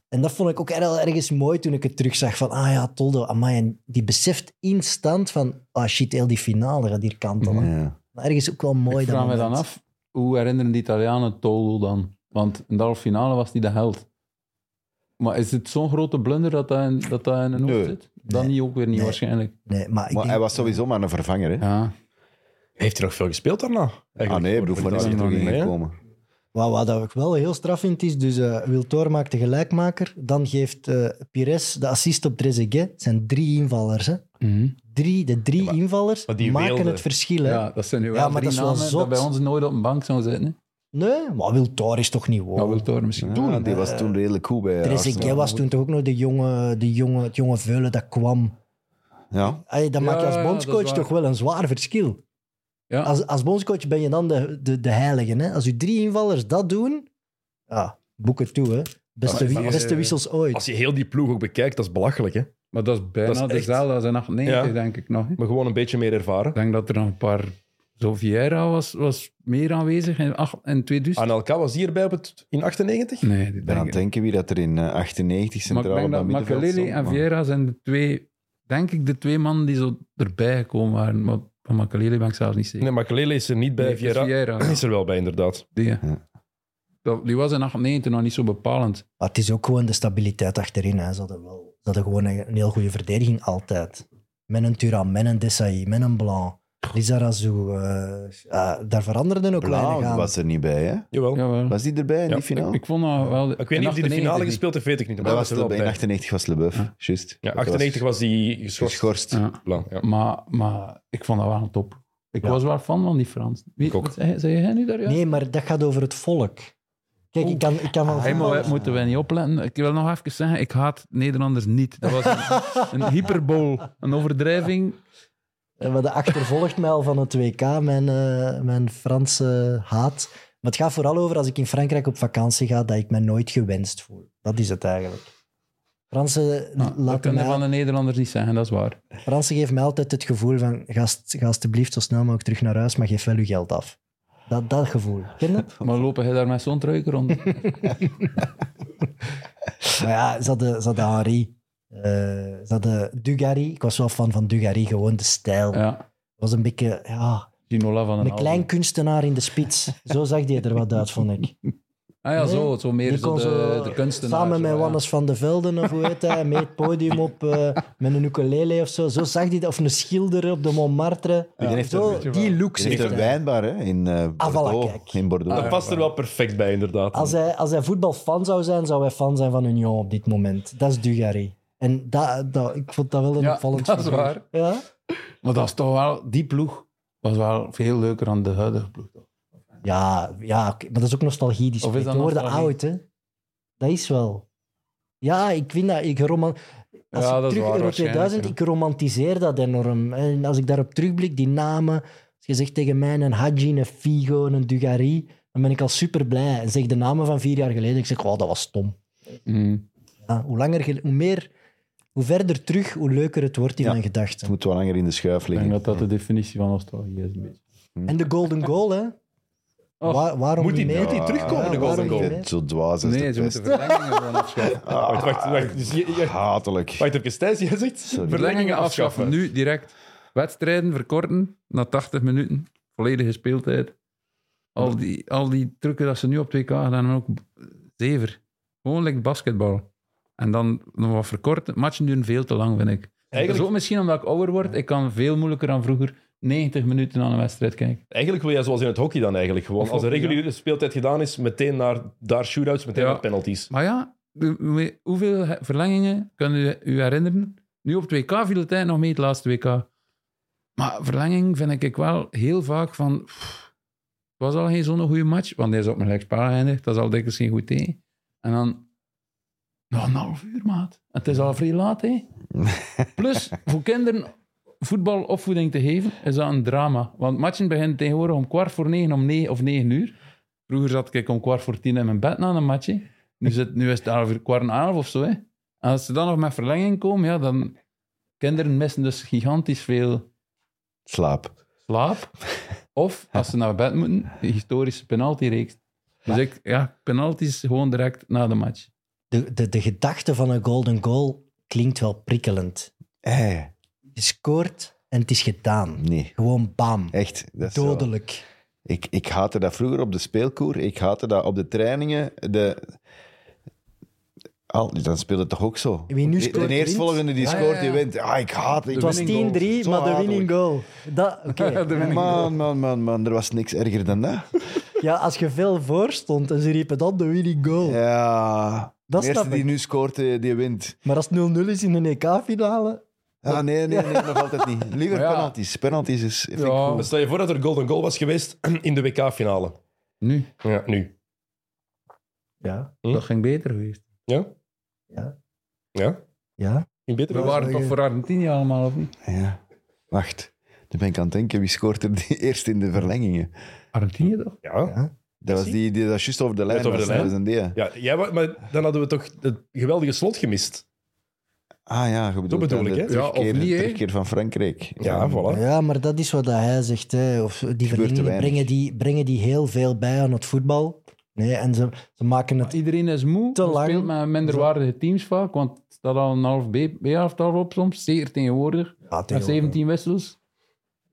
En dat vond ik ook heel ergens mooi toen ik het terugzag. Van, ah ja, Toldo, amai, en die beseft instant van, ah shit, heel die finale gaat hier kantelen.
Ja.
Maar ergens ook wel mooi
ik vraag
dat
me dan
moment.
af, hoe herinneren de Italianen Toldo dan? Want in de halve finale was hij de held. Maar is het zo'n grote blunder dat dat in, dat dat in een hoofd
Nee.
zit? Dan
Nee.
niet ook weer niet
Nee.
waarschijnlijk.
Nee, maar ik
Maar hij
denk-
was sowieso maar een vervanger, hè.
Ja.
<laughs> Heeft hij nog veel gespeeld daarna? Eigenlijk,
Ah nee,
voor-
Broefman
voor
is er
Italië.
toch
nog
in
Nee, hè?
gekomen.
Wat, wat dat ik wel heel straf vind is, dus eh Wiltor maakt de gelijkmaker, dan geeft eh, Pires de assist op Trezeguet. Het zijn drie invallers. Hè?
Mhm.
Drie, de drie invallers
maar die
maken
weelde.
het verschil. Hè?
Ja, dat zijn nu wel
Ja, maar
drie
dat is wel
namen
zot.
dat bij ons nooit op een bank zou zitten. hè.
Nee, maar Wiltor is toch niet
Dat
wow.
wil Thor misschien.
Ja, die was toen redelijk goed bij
Trezeguet
Arsenal.
was toen toch ook nog de jonge, de jonge, het jonge veulen dat kwam.
Ja,
Allee, dat
Ja,
maak je als
ja, dat is
bondscoach
waar.
toch wel een zwaar verschil.
Ja.
Als, als bondscoach ben je dan de, de, de heilige. Hè? Als je drie invallers dat doen, ja, boek het toe. Hè? Beste, wi-
maar als-
beste wissels
Als
ooit.
je heel die ploeg ook bekijkt, dat is belachelijk. Hè?
Maar dat is bijna
Dat is echt-
dezelfde als in 98,
Ja.
denk ik nog. hè.
Maar gewoon een beetje meer ervaren.
Ik denk dat er nog een paar... Zo Vieira was, was meer aanwezig in, acht, in 2000.
Anelka was hierbij op het, in 98?
Nee, die
Ik ben aan
denk
het
ik.
denken wie dat er in eh, 98
Maar
centraal
ik denk dat
op dat middenveld
Makelele
stond,
en
maar-
Vieira zijn de twee... Denk ik de twee mannen die zo erbij gekomen waren. Maar van Makelele ben ik zelf niet zeker.
Nee, maar Kalele is er niet bij.
Nee, het is
Vieira
Vieira.
is er wel bij, inderdaad.
Die,
Ja.
Dat- die was in 98 nog niet zo bepalend.
Maar het is ook gewoon de stabiliteit achterin. Hè? Ze, hadden wel, ze hadden gewoon een, een heel goede verdediging altijd. Met een Turam, met een Desailly, met een Blanc. Lizarazu. eh ah, daar veranderden ook weinig
Blauw
aan.
was er niet bij, hè?
Jawel.
Jawel.
Was die erbij in
Ja,
die finale?
Ik, ik vond dat wel...
nou? Ik weet niet of hij de finale gespeeld heeft, weet ik niet. Maar
dat was
hij was er
Lebe-
wel
in
bij.
98 was Leboeuf, juist.
Ja,
Dat was
98 was die geschorst.
geschorst.
Ja.
Blanc, ja.
Maar, maar ik vond dat wel een top. Ik was wel fan van die Frans. Wie,
Ik ook.
wat Zei, zei jij nu daar? Ja?
Nee, maar dat gaat over het volk. Kijk, ik kan, ik kan wel...
Hey, maar wij- Ah, moeten wij niet opletten. Ik wil nog even zeggen, ik haat Nederlanders niet. Dat was een, een hyperbool, een overdrijving.
Eh, Maar dat achtervolgt mij al van het WK, mijn, eh, mijn Franse haat. Maar het gaat vooral over als ik in Frankrijk op vakantie ga, dat ik me nooit gewenst voel. Dat is het eigenlijk. Fransen,
dat
laten
Ah, kunnen
mij,
van de Nederlanders niet zeggen, dat is waar.
Fransen geven mij altijd het gevoel van ga, st- ga alsjeblieft zo snel mogelijk terug naar huis, maar geef wel uw geld af. Dat, dat gevoel. Ken je
<laughs>
dat?
Maar lopen jij daar met zo'n truiker rond?
<laughs> Maar ja, ze hadden, ze hadden Henri. eh, ze hadden Dugarry. Ik was wel fan van Dugarry, gewoon de stijl. Het
Ja,
was een beetje... Ja,
Ginola van een
een klein kunstenaar in de spits. Zo zag die er wat uit, vond ik.
<laughs> Ah ja, zo, zo meer
Die
zo
kon
de,
zo
de kunstenaar.
Samen
zo,
met
ja.
Wannes van de Velden, of hoe heet hij, mee het podium op eh, met een ukulele of zo. Zo zag hij dat, of een schilder op de Montmartre.
Die heeft
Zo,
een-
die look
Die heeft
zit
een
erbij.
wijnbar, hè? In eh,
Ah, voilà,
Bordeaux.
kijk.
in Bordeaux.
Dat past er wel perfect bij, inderdaad.
Als hij, als hij voetbalfan zou zijn, zou hij fan zijn van Union op dit moment. Dat is Dugarry. En dat, dat, ik vond dat wel een
<laughs> Ja,
opvallend
dat is
figuur.
waar.
Ja?
Maar dat is toch wel, die ploeg was wel veel leuker dan de huidige ploeg. toch?
Ja, ja oké, maar dat is ook nostalgie. Die
Of is
spreekt.
dat
We worden
nostalgie?
oud, hè? Dat is wel. Ja, ik vind dat. Ik roman... Als
Ja,
ik
dat is
terug
waar,
Euro
waarschijnlijk,
2000,
ja.
ik romantiseer dat enorm. En als ik daarop terugblik, die namen. Als je zegt tegen mij een Hadji, een Figo, een Dugarry, dan ben ik al super blij. En zeg de namen van vier jaar geleden, ik zeg, oh, dat was stom.
Mm.
Ja, Ah, hoe, langer, gel- hoe meer, hoe verder terug, hoe leuker het wordt in
Ja.
mijn
Het
gedachten.
moet wel langer in de schuif
Ik
liggen.
denk dat dat de definitie van nostalgie is. Een beetje.
En de Golden Goal, hè?
Och,
Waar- waarom
moet die- nou?
niet meer?
moet
Ah,
die terugkomen,
Ja,
de
waarom
Golden
niet
Goal?
meer?
Zo dwaas is
Nee,
de
ze
pest. Ah,
moeten verlengingen gewoon afschaffen.
Wacht, wacht, wacht. Dus je- je-
Hatelijk.
wacht even, Thijs, jij zegt verlengingen
Ah. Verlengingen
afschaffen.
afschaffen, nu direct. Wedstrijden verkorten na 80 minuten. Volledige speeltijd. Al die, al die trucken dat ze nu op 2K gedaan hebben, ook zever. Gewoon like basketbal. En dan nog wat verkorten. Matchen duren veel te lang, vind ik. Dat is
Eigenlijk-
ook misschien omdat ik ouder word. Ik kan veel moeilijker dan vroeger 90 minuten aan een wedstrijd kijken.
Eigenlijk wil jij zoals in het hockey dan eigenlijk gewoon.
Of
Als de
hockey,
reguliere speeltijd gedaan is, meteen naar daar shootouts, meteen
Ja.
naar penalties.
Maar ja, de- hoe- hoeveel he- verlengingen kan u, u herinneren? Nu op 2K viel de tijd nog mee, het laatste WK. Maar verlenging vind ik wel heel vaak van... pff, het was al geen zo'n goede match, want hij is op mijn gelijkspel geëindigd. Dat is al dikwijls geen goed idee. En dan... Nog een half uur, maat. Het is al vrij laat, hè. Plus, voor kinderen voetbalopvoeding te geven, is dat een drama. Want matchen beginnen tegenwoordig om kwart voor negen, om negen of negen uur. Vroeger zat ik om kwart voor tien in mijn bed na een matchje. Nu, zit, nu is het half uur, kwart en half of zo. Hè. En als ze dan nog met verlenging komen, ja, dan... Kinderen missen dus gigantisch veel
Slaap.
slaap. Of, als ze naar bed moeten, de historische penaltyreeks. Dus ik, ja, penalties gewoon direct na de match.
de, de, de gedachte van een golden goal klinkt wel prikkelend.
Eh,
Je scoort en het is gedaan.
nee.
Gewoon bam.
Echt. Dat is zo.
Dodelijk.
Ik, ik haatte dat vroeger op de speelkoer. Ik haatte dat op de trainingen. De... Al, dan speelt het toch ook zo?
Wie nu
de,
scoort,
de
wint.
eerstvolgende die
Ja, ja,
scoort,
ja.
die wint. Ah, ik haat het.
Het was 10-3,
winning goal.
Zo
maar de
hatelijk.
winning goal. Dat, oké.
Man, man, man, man. Er was niks erger dan
<laughs>
dat.
Ja, als je veel voor stond en ze riepen dan de winning goal.
Ja.
Oh. Dat
de eerste
snap
die
ik.
nu scoort, eh, die wint.
Maar als het 0-0 is in een E EK-finale,
Ah, nee,
<laughs>
nee, nee, nog altijd niet. Liever
Maar ja.
penalties. Penalties is... vind ik
Ja.
goed.
Stel je voor dat er golden goal was geweest <clears throat> in de WK-finale.
Nu,
Ja, nu.
ja.
dat ging beter geweest.
Ja?
Ja.
Ja?
ja.
In beter
We
was-
waren toch voor Argentinië allemaal, of niet?
Ja. Wacht. Dan ben ik aan het denken, wie scoort er die <laughs> eerst in de verlengingen?
Argentinië toch?
Ja.
Dat was die, die dat juist over de lijn
over de
was.
lijn?
Dat was een die.
ja jij, wa- maar dan hadden we toch het geweldige slot gemist.
Ah ja, je bedoelt
bedoel
dan
ik,
de
hè?
Ja, of
terugkeer, de
niet, hè?
terugkeer van Frankrijk.
Ja, voilà.
Ja, maar dat is wat dat hij zegt. Hè. Of die
te
verlengingen
weinig.
brengen die, brengen die heel veel bij aan het voetbal. Nee, en ze, ze maken het...
Iedereen is moe.
Te
Te
lang.
speelt met minderwaardige teams vaak, want het staat al een half B- B-elftal op soms. Zeker tegenwoordig.
Ja,
Met 17 wissels.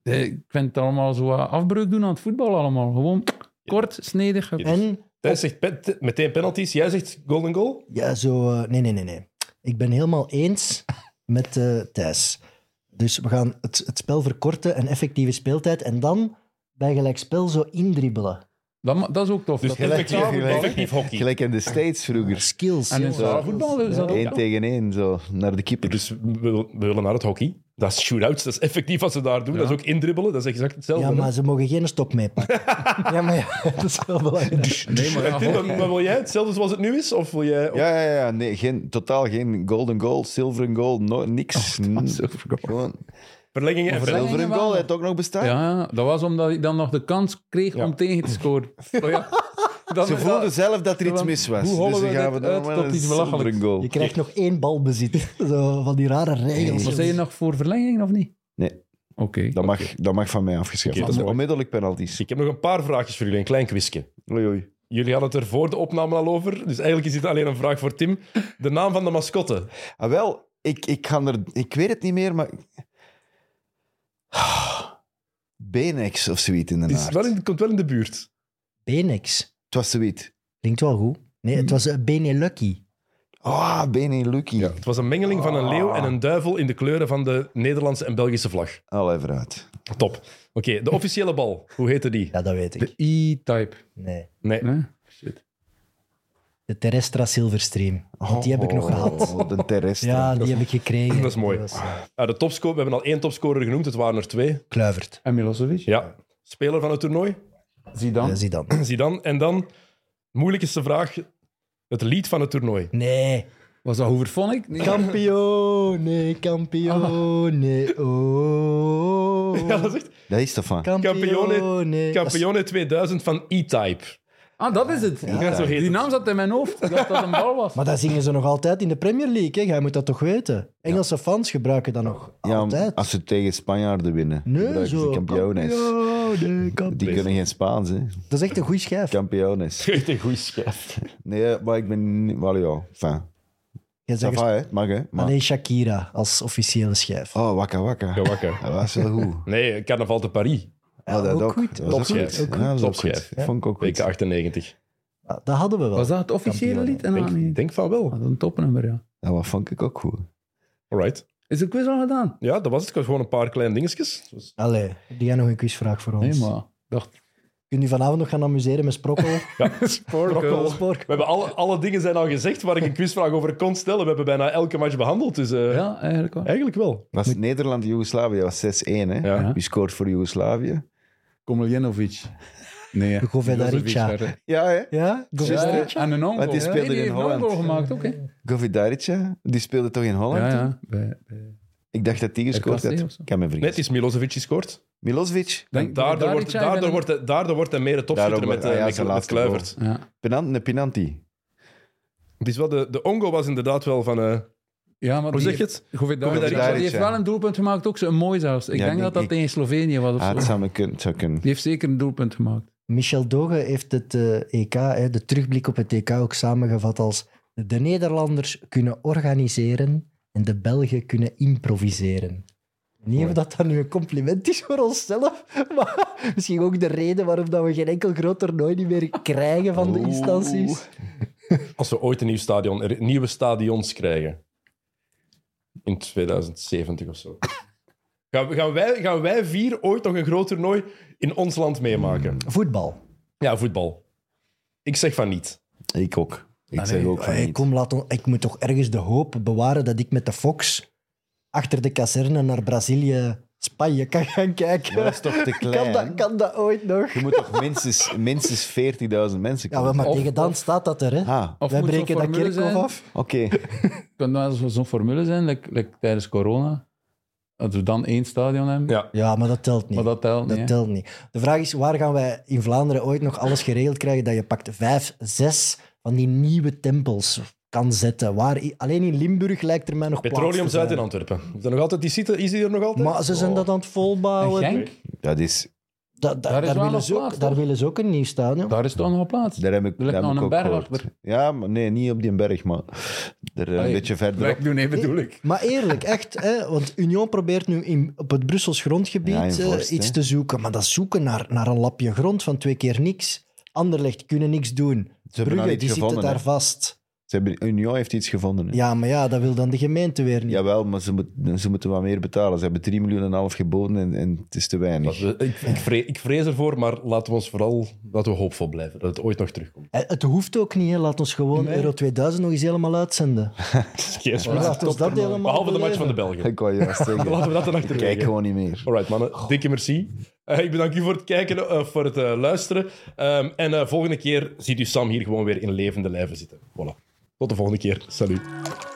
Eh, Ik vind het allemaal zo wat afbreuk doen aan het voetbal allemaal. Gewoon kort, snedig.
En
Thijs zegt pe- te- meteen penalties. Jij zegt golden goal. Dus
Ja, zo... eh, nee, nee, nee, nee. Ik ben helemaal eens met eh, Thijs. Dus we gaan het, het spel verkorten en effectieve speeltijd. En dan bij gelijkspel zo indribbelen.
Dat, ma- dat is ook tof.
Dus
dat
gelijk-
effectief,
gelijk-
effectief hockey.
Gelijk in de States vroeger.
Skills.
En in
jongens.
zwaar voetbal is dat ook.
Eén
ja.
tegen één, zo, naar de
Ja,
keeper.
Dus we, wil- we willen naar het hockey. Dat is shootouts. Dat is effectief wat ze daar doen. Dat is ook indribbelen. Dat is exact hetzelfde.
Ja,
hè?
maar ze mogen geen stok meepakken. ja, maar ja, dat is wel
Dus
belangrijk.
Nee, maar ja,
Tim,
hockey-
<laughs> maar maar wil jij hetzelfde zoals het nu is? Of wil jij...
Ja, ja, ja. Nee, geen, totaal geen golden goal, silver goal, no, niks.
Oh,
Gewoon
Verlengingen en
Verlengingen.
silver goal, het ook nog bestaan.
Ja, dat was omdat ik dan nog de kans kreeg om tegen te scoren. Oh ja. Dan
Ze
is
voelden
dat-
zelf dat er iets
Hoe
mis was.
hollen
dus dan
we
gaan we
dit
dan
uit
maar
tot
een
iets
silver
belachelijks?
goal.
Je krijgt nog één balbezit. Zo, van die rare regels.
Wat zei je nou? nog voor verlenging of niet?
Nee.
Oké.
Dat mag, dat mag van mij afgeschaft
Oké, dat is
worden.
mooi.
Onmiddellijk penalties.
Ik heb nog een paar vraagjes voor jullie. Een klein quizje.
Oei, oei.
Jullie hadden het er voor de opname al over. Dus eigenlijk is dit alleen een vraag voor Tim. De naam van de mascotte.
Ah, wel, ik, ik, ga er, ik weet het niet meer, maar... Ah, Benex of zoiets in de
Het is
naart.
wel in, het komt wel in de buurt.
Benex.
Het was zoiets.
Klinkt wel goed. Nee,
Mhm.
het was eh, Benelucky.
Ah, Bene Lucky.
Het was een mengeling van een leeuw en een duivel in de kleuren van de Nederlandse en Belgische vlag.
Al even uit.
Top. Oké, de officiële bal. Hoe heette die?
Ja, dat weet ik.
De E-type.
Nee.
Nee.
hè?
De Terrestra Silverstream. Want die heb ik nog gehad.
Oh, de terrestre.
Ja, die heb ik gekregen.
Dat is mooi.
Die was, eh,
Ja, de topscorer, we hebben al één topscorer genoemd, het waren er twee.
Kluivert.
En Milosevic.
Ja. Eh, Speler van het toernooi,
Eh,
Zidane.
Zie dan.
Zidane. En dan, moeilijkste vraag, het lied van het toernooi.
Nee.
Was dat Hooverphonic? Nee.
Campione, campione, oh.
Ja, dat is echt
Dat is toch van.
Campione,
Dat is-
Campione 2000 van E-Type.
Ah, dat is het.
Ja, zo heet
Die
het.
naam zat in mijn hoofd. Ik dacht dat een bal was.
Maar dat zingen ze nog altijd in de Premier League, hè? Jij moet dat toch weten? Engelse fans gebruiken dat nog
Ja,
altijd.
als ze tegen Spanjaarden winnen,
Nee,
gebruiken
zo.
ze kampiones.
Campione, camp-
Die kunnen geen Spaans, hè.
Dat is echt een goede schijf.
<laughs>
Kampiones.
Echt een goeie schijf.
Nee, maar ik ben niet... Wel ja, enfin.
Jij
Ça
zegt
va, hè. Het mag, hè. Maar...
alleen Shakira als officiële schijf.
Ah.
Oh, wakka wakka.
Ja, wakker.
Dat was wel goed.
Nee, Carnaval de Paris,
Ja, dat
ook
ook.
goed.
Dat was ook
Topschijf.
goed. Ja, dat was ook
Topschijf.
goed. Vond ik ook
WK
goed.
98.
Ah, Dat hadden we wel.
Was dat het officiële
Campione.
lied? En
Ik denk,
niet.
denk van wel.
Ah, dat is een topnummer, ja.
Ja, wat vond ik ook goed.
Alright.
Is de quiz al gedaan?
Ja, dat was het. Ik had gewoon een paar kleine dingetjes. Dus-
Allee, heb jij nog een quizvraag voor ons?
Nee, maar... ik dacht,
Kunt u vanavond nog gaan amuseren met
<laughs>
sprokkel?
Ja. Sprokkel. We
Sporkel.
hebben alle, alle dingen zijn al gezegd waar ik een quizvraag over kon stellen. We hebben bijna elke match behandeld. Dus eh,
ja, eigenlijk wel.
eigenlijk wel.
Was Nederland Joegoslavië was 6-1, hè?
Ja.
Wie scoort voor Joegoslavië?
Komeljenovic. Nee, hè.
Govedarica.
Milosevic, hè.
Ja, hè?
Ja? Go-
Ja, ja. En een ongoal.
Want die
Ja,
speelde in
heeft een
Holland.
ongoal gemaakt ook, hè.
Govidarica, die speelde toch in Holland?
Ja,
toen?
ja. Bij- bij-
Ik dacht dat die gescoord
RKC
had.
of zo.
Ik kan me vergissen.
Net is Milosevic gescoord.
Milosevic,
Denk-
Daardoor wordt,
Govedarica, ik
daardoor,
ben-
wordt, hij- daardoor wordt hij meer een topschutter
Daardoor
met,
wordt-
eh,
ah ja,
met,
zijn
met
laatste
Kluivert.
Ja.
Penan- een penanti.
Het is wel de, de Ongo was inderdaad wel van... eh,
Ja, maar
Hoe
die
zeg je
heeft-
het?
Govedarica,
Govedarica.
Die heeft wel een doelpunt gemaakt, ook zo een mooi zelfs. Ik
Ja,
denk
ik-
dat dat
ik-
tegen Slovenië was of
Ah, het
zo.
zou me kunnen- het zou kunnen.
Die heeft zeker een doelpunt gemaakt.
Michel Doge heeft het eh, EK, hè, de terugblik op het EK, ook samengevat als de Nederlanders kunnen organiseren en de Belgen kunnen improviseren. Niet of dat dan nu een compliment is voor onszelf, <laughs> maar misschien ook de reden waarom dat we geen enkel groot toernooi niet meer krijgen van de instanties.
als we ooit een nieuw stadion, er- nieuwe stadions krijgen. In 2070 of zo. Gaan, we- gaan, wij, gaan wij vier ooit nog een groot toernooi in ons land
Hmm.
meemaken?
Voetbal.
Ja, voetbal. Ik zeg van niet.
Ik ook. Ik
Ah,
zeg
nee.
ook van
Hey,
niet.
kom, laat on- ik moet toch ergens de hoop bewaren dat ik met de Fox achter de kazerne naar Brazilië, Spanje kan gaan kijken.
Maar dat is toch te
<laughs> kan,
klein?
dat, kan dat ooit nog?
Je moet toch minstens, minstens 40.000 mensen
Ja,
komen?
wel, maar
Of-
tegen dan staat dat er, hè?
Ah,
Of
Wij
moet zo'n
breken dat
formule
kerkhof
zijn?
af.
oké.
Het kan wel zo- zo'n formule zijn, like, like tijdens corona. Als we dan één stadion hebben,
Ja.
Ja, maar dat telt niet.
maar dat telt
Dat
niet. hè.
telt niet. De vraag is, waar gaan wij in Vlaanderen ooit nog alles geregeld krijgen dat je pakt vijf, zes van die nieuwe tempels kan zetten? Waar, i- alleen in Limburg lijkt er mij nog plaats
Petroleum
te
Zuid in
zijn.
Antwerpen. Is, dat nog altijd die site, is die er nog altijd? Oh.
Maar ze zijn dat aan het
Oh,
En
volbouwen.
Genk,
Dat is,
Da- da-
Daar is wel
daar, willen
nog
ze ook,
plaats,
daar
toch?
willen ze ook een nieuw stadion.
daar is toch nog plaats.
daar heb ik,
Er ligt
daar heb
nog
ik
een
ook
berg
gehoord.
achter.
Ja, maar nee, niet op die berg, maar er eh, een
Allee,
beetje verderop.
Werk doen, nee, bedoel ik.
Maar eerlijk, echt, hè, want Union probeert nu in, op het Brussels grondgebied
Ja, in
eh,
Vorst,
iets
hè.
te zoeken. Maar dat is zoeken naar, naar een lapje grond van twee keer niks. Anderlecht kunnen niks doen.
Ze hebben al
Brugge,
iets
die
gevonden.
zitten daar
hè.
vast.
Ze hebben, Union heeft iets gevonden. hè.
Ja, maar ja, dat wil dan de gemeente weer niet.
Jawel, maar ze, moet, ze moeten wat meer betalen. Ze hebben 3 miljoen en een half geboden en, en het is te
Wat
weinig.
we- ik, ik, vrees, ik vrees ervoor, maar laten we ons vooral laten we hoopvol blijven. Dat het ooit nog terugkomt.
Eh, Het hoeft ook niet, hè. laat ons gewoon Euro 2000 nog eens helemaal uitzenden. Laat ons dat helemaal
Behalve de match van de
beleven.
Belgen.
<laughs> Ik wou juist zeggen.
Laten we dat dan
Ik kijk
achterwege.
gewoon niet meer.
Alright, mannen. Dikke merci. Eh, ik bedank u voor het kijken, eh, voor het eh, luisteren. Ehm, en eh, volgende keer ziet u Sam hier gewoon weer in levende lijven zitten. Voilà. Tot de volgende keer. Salut.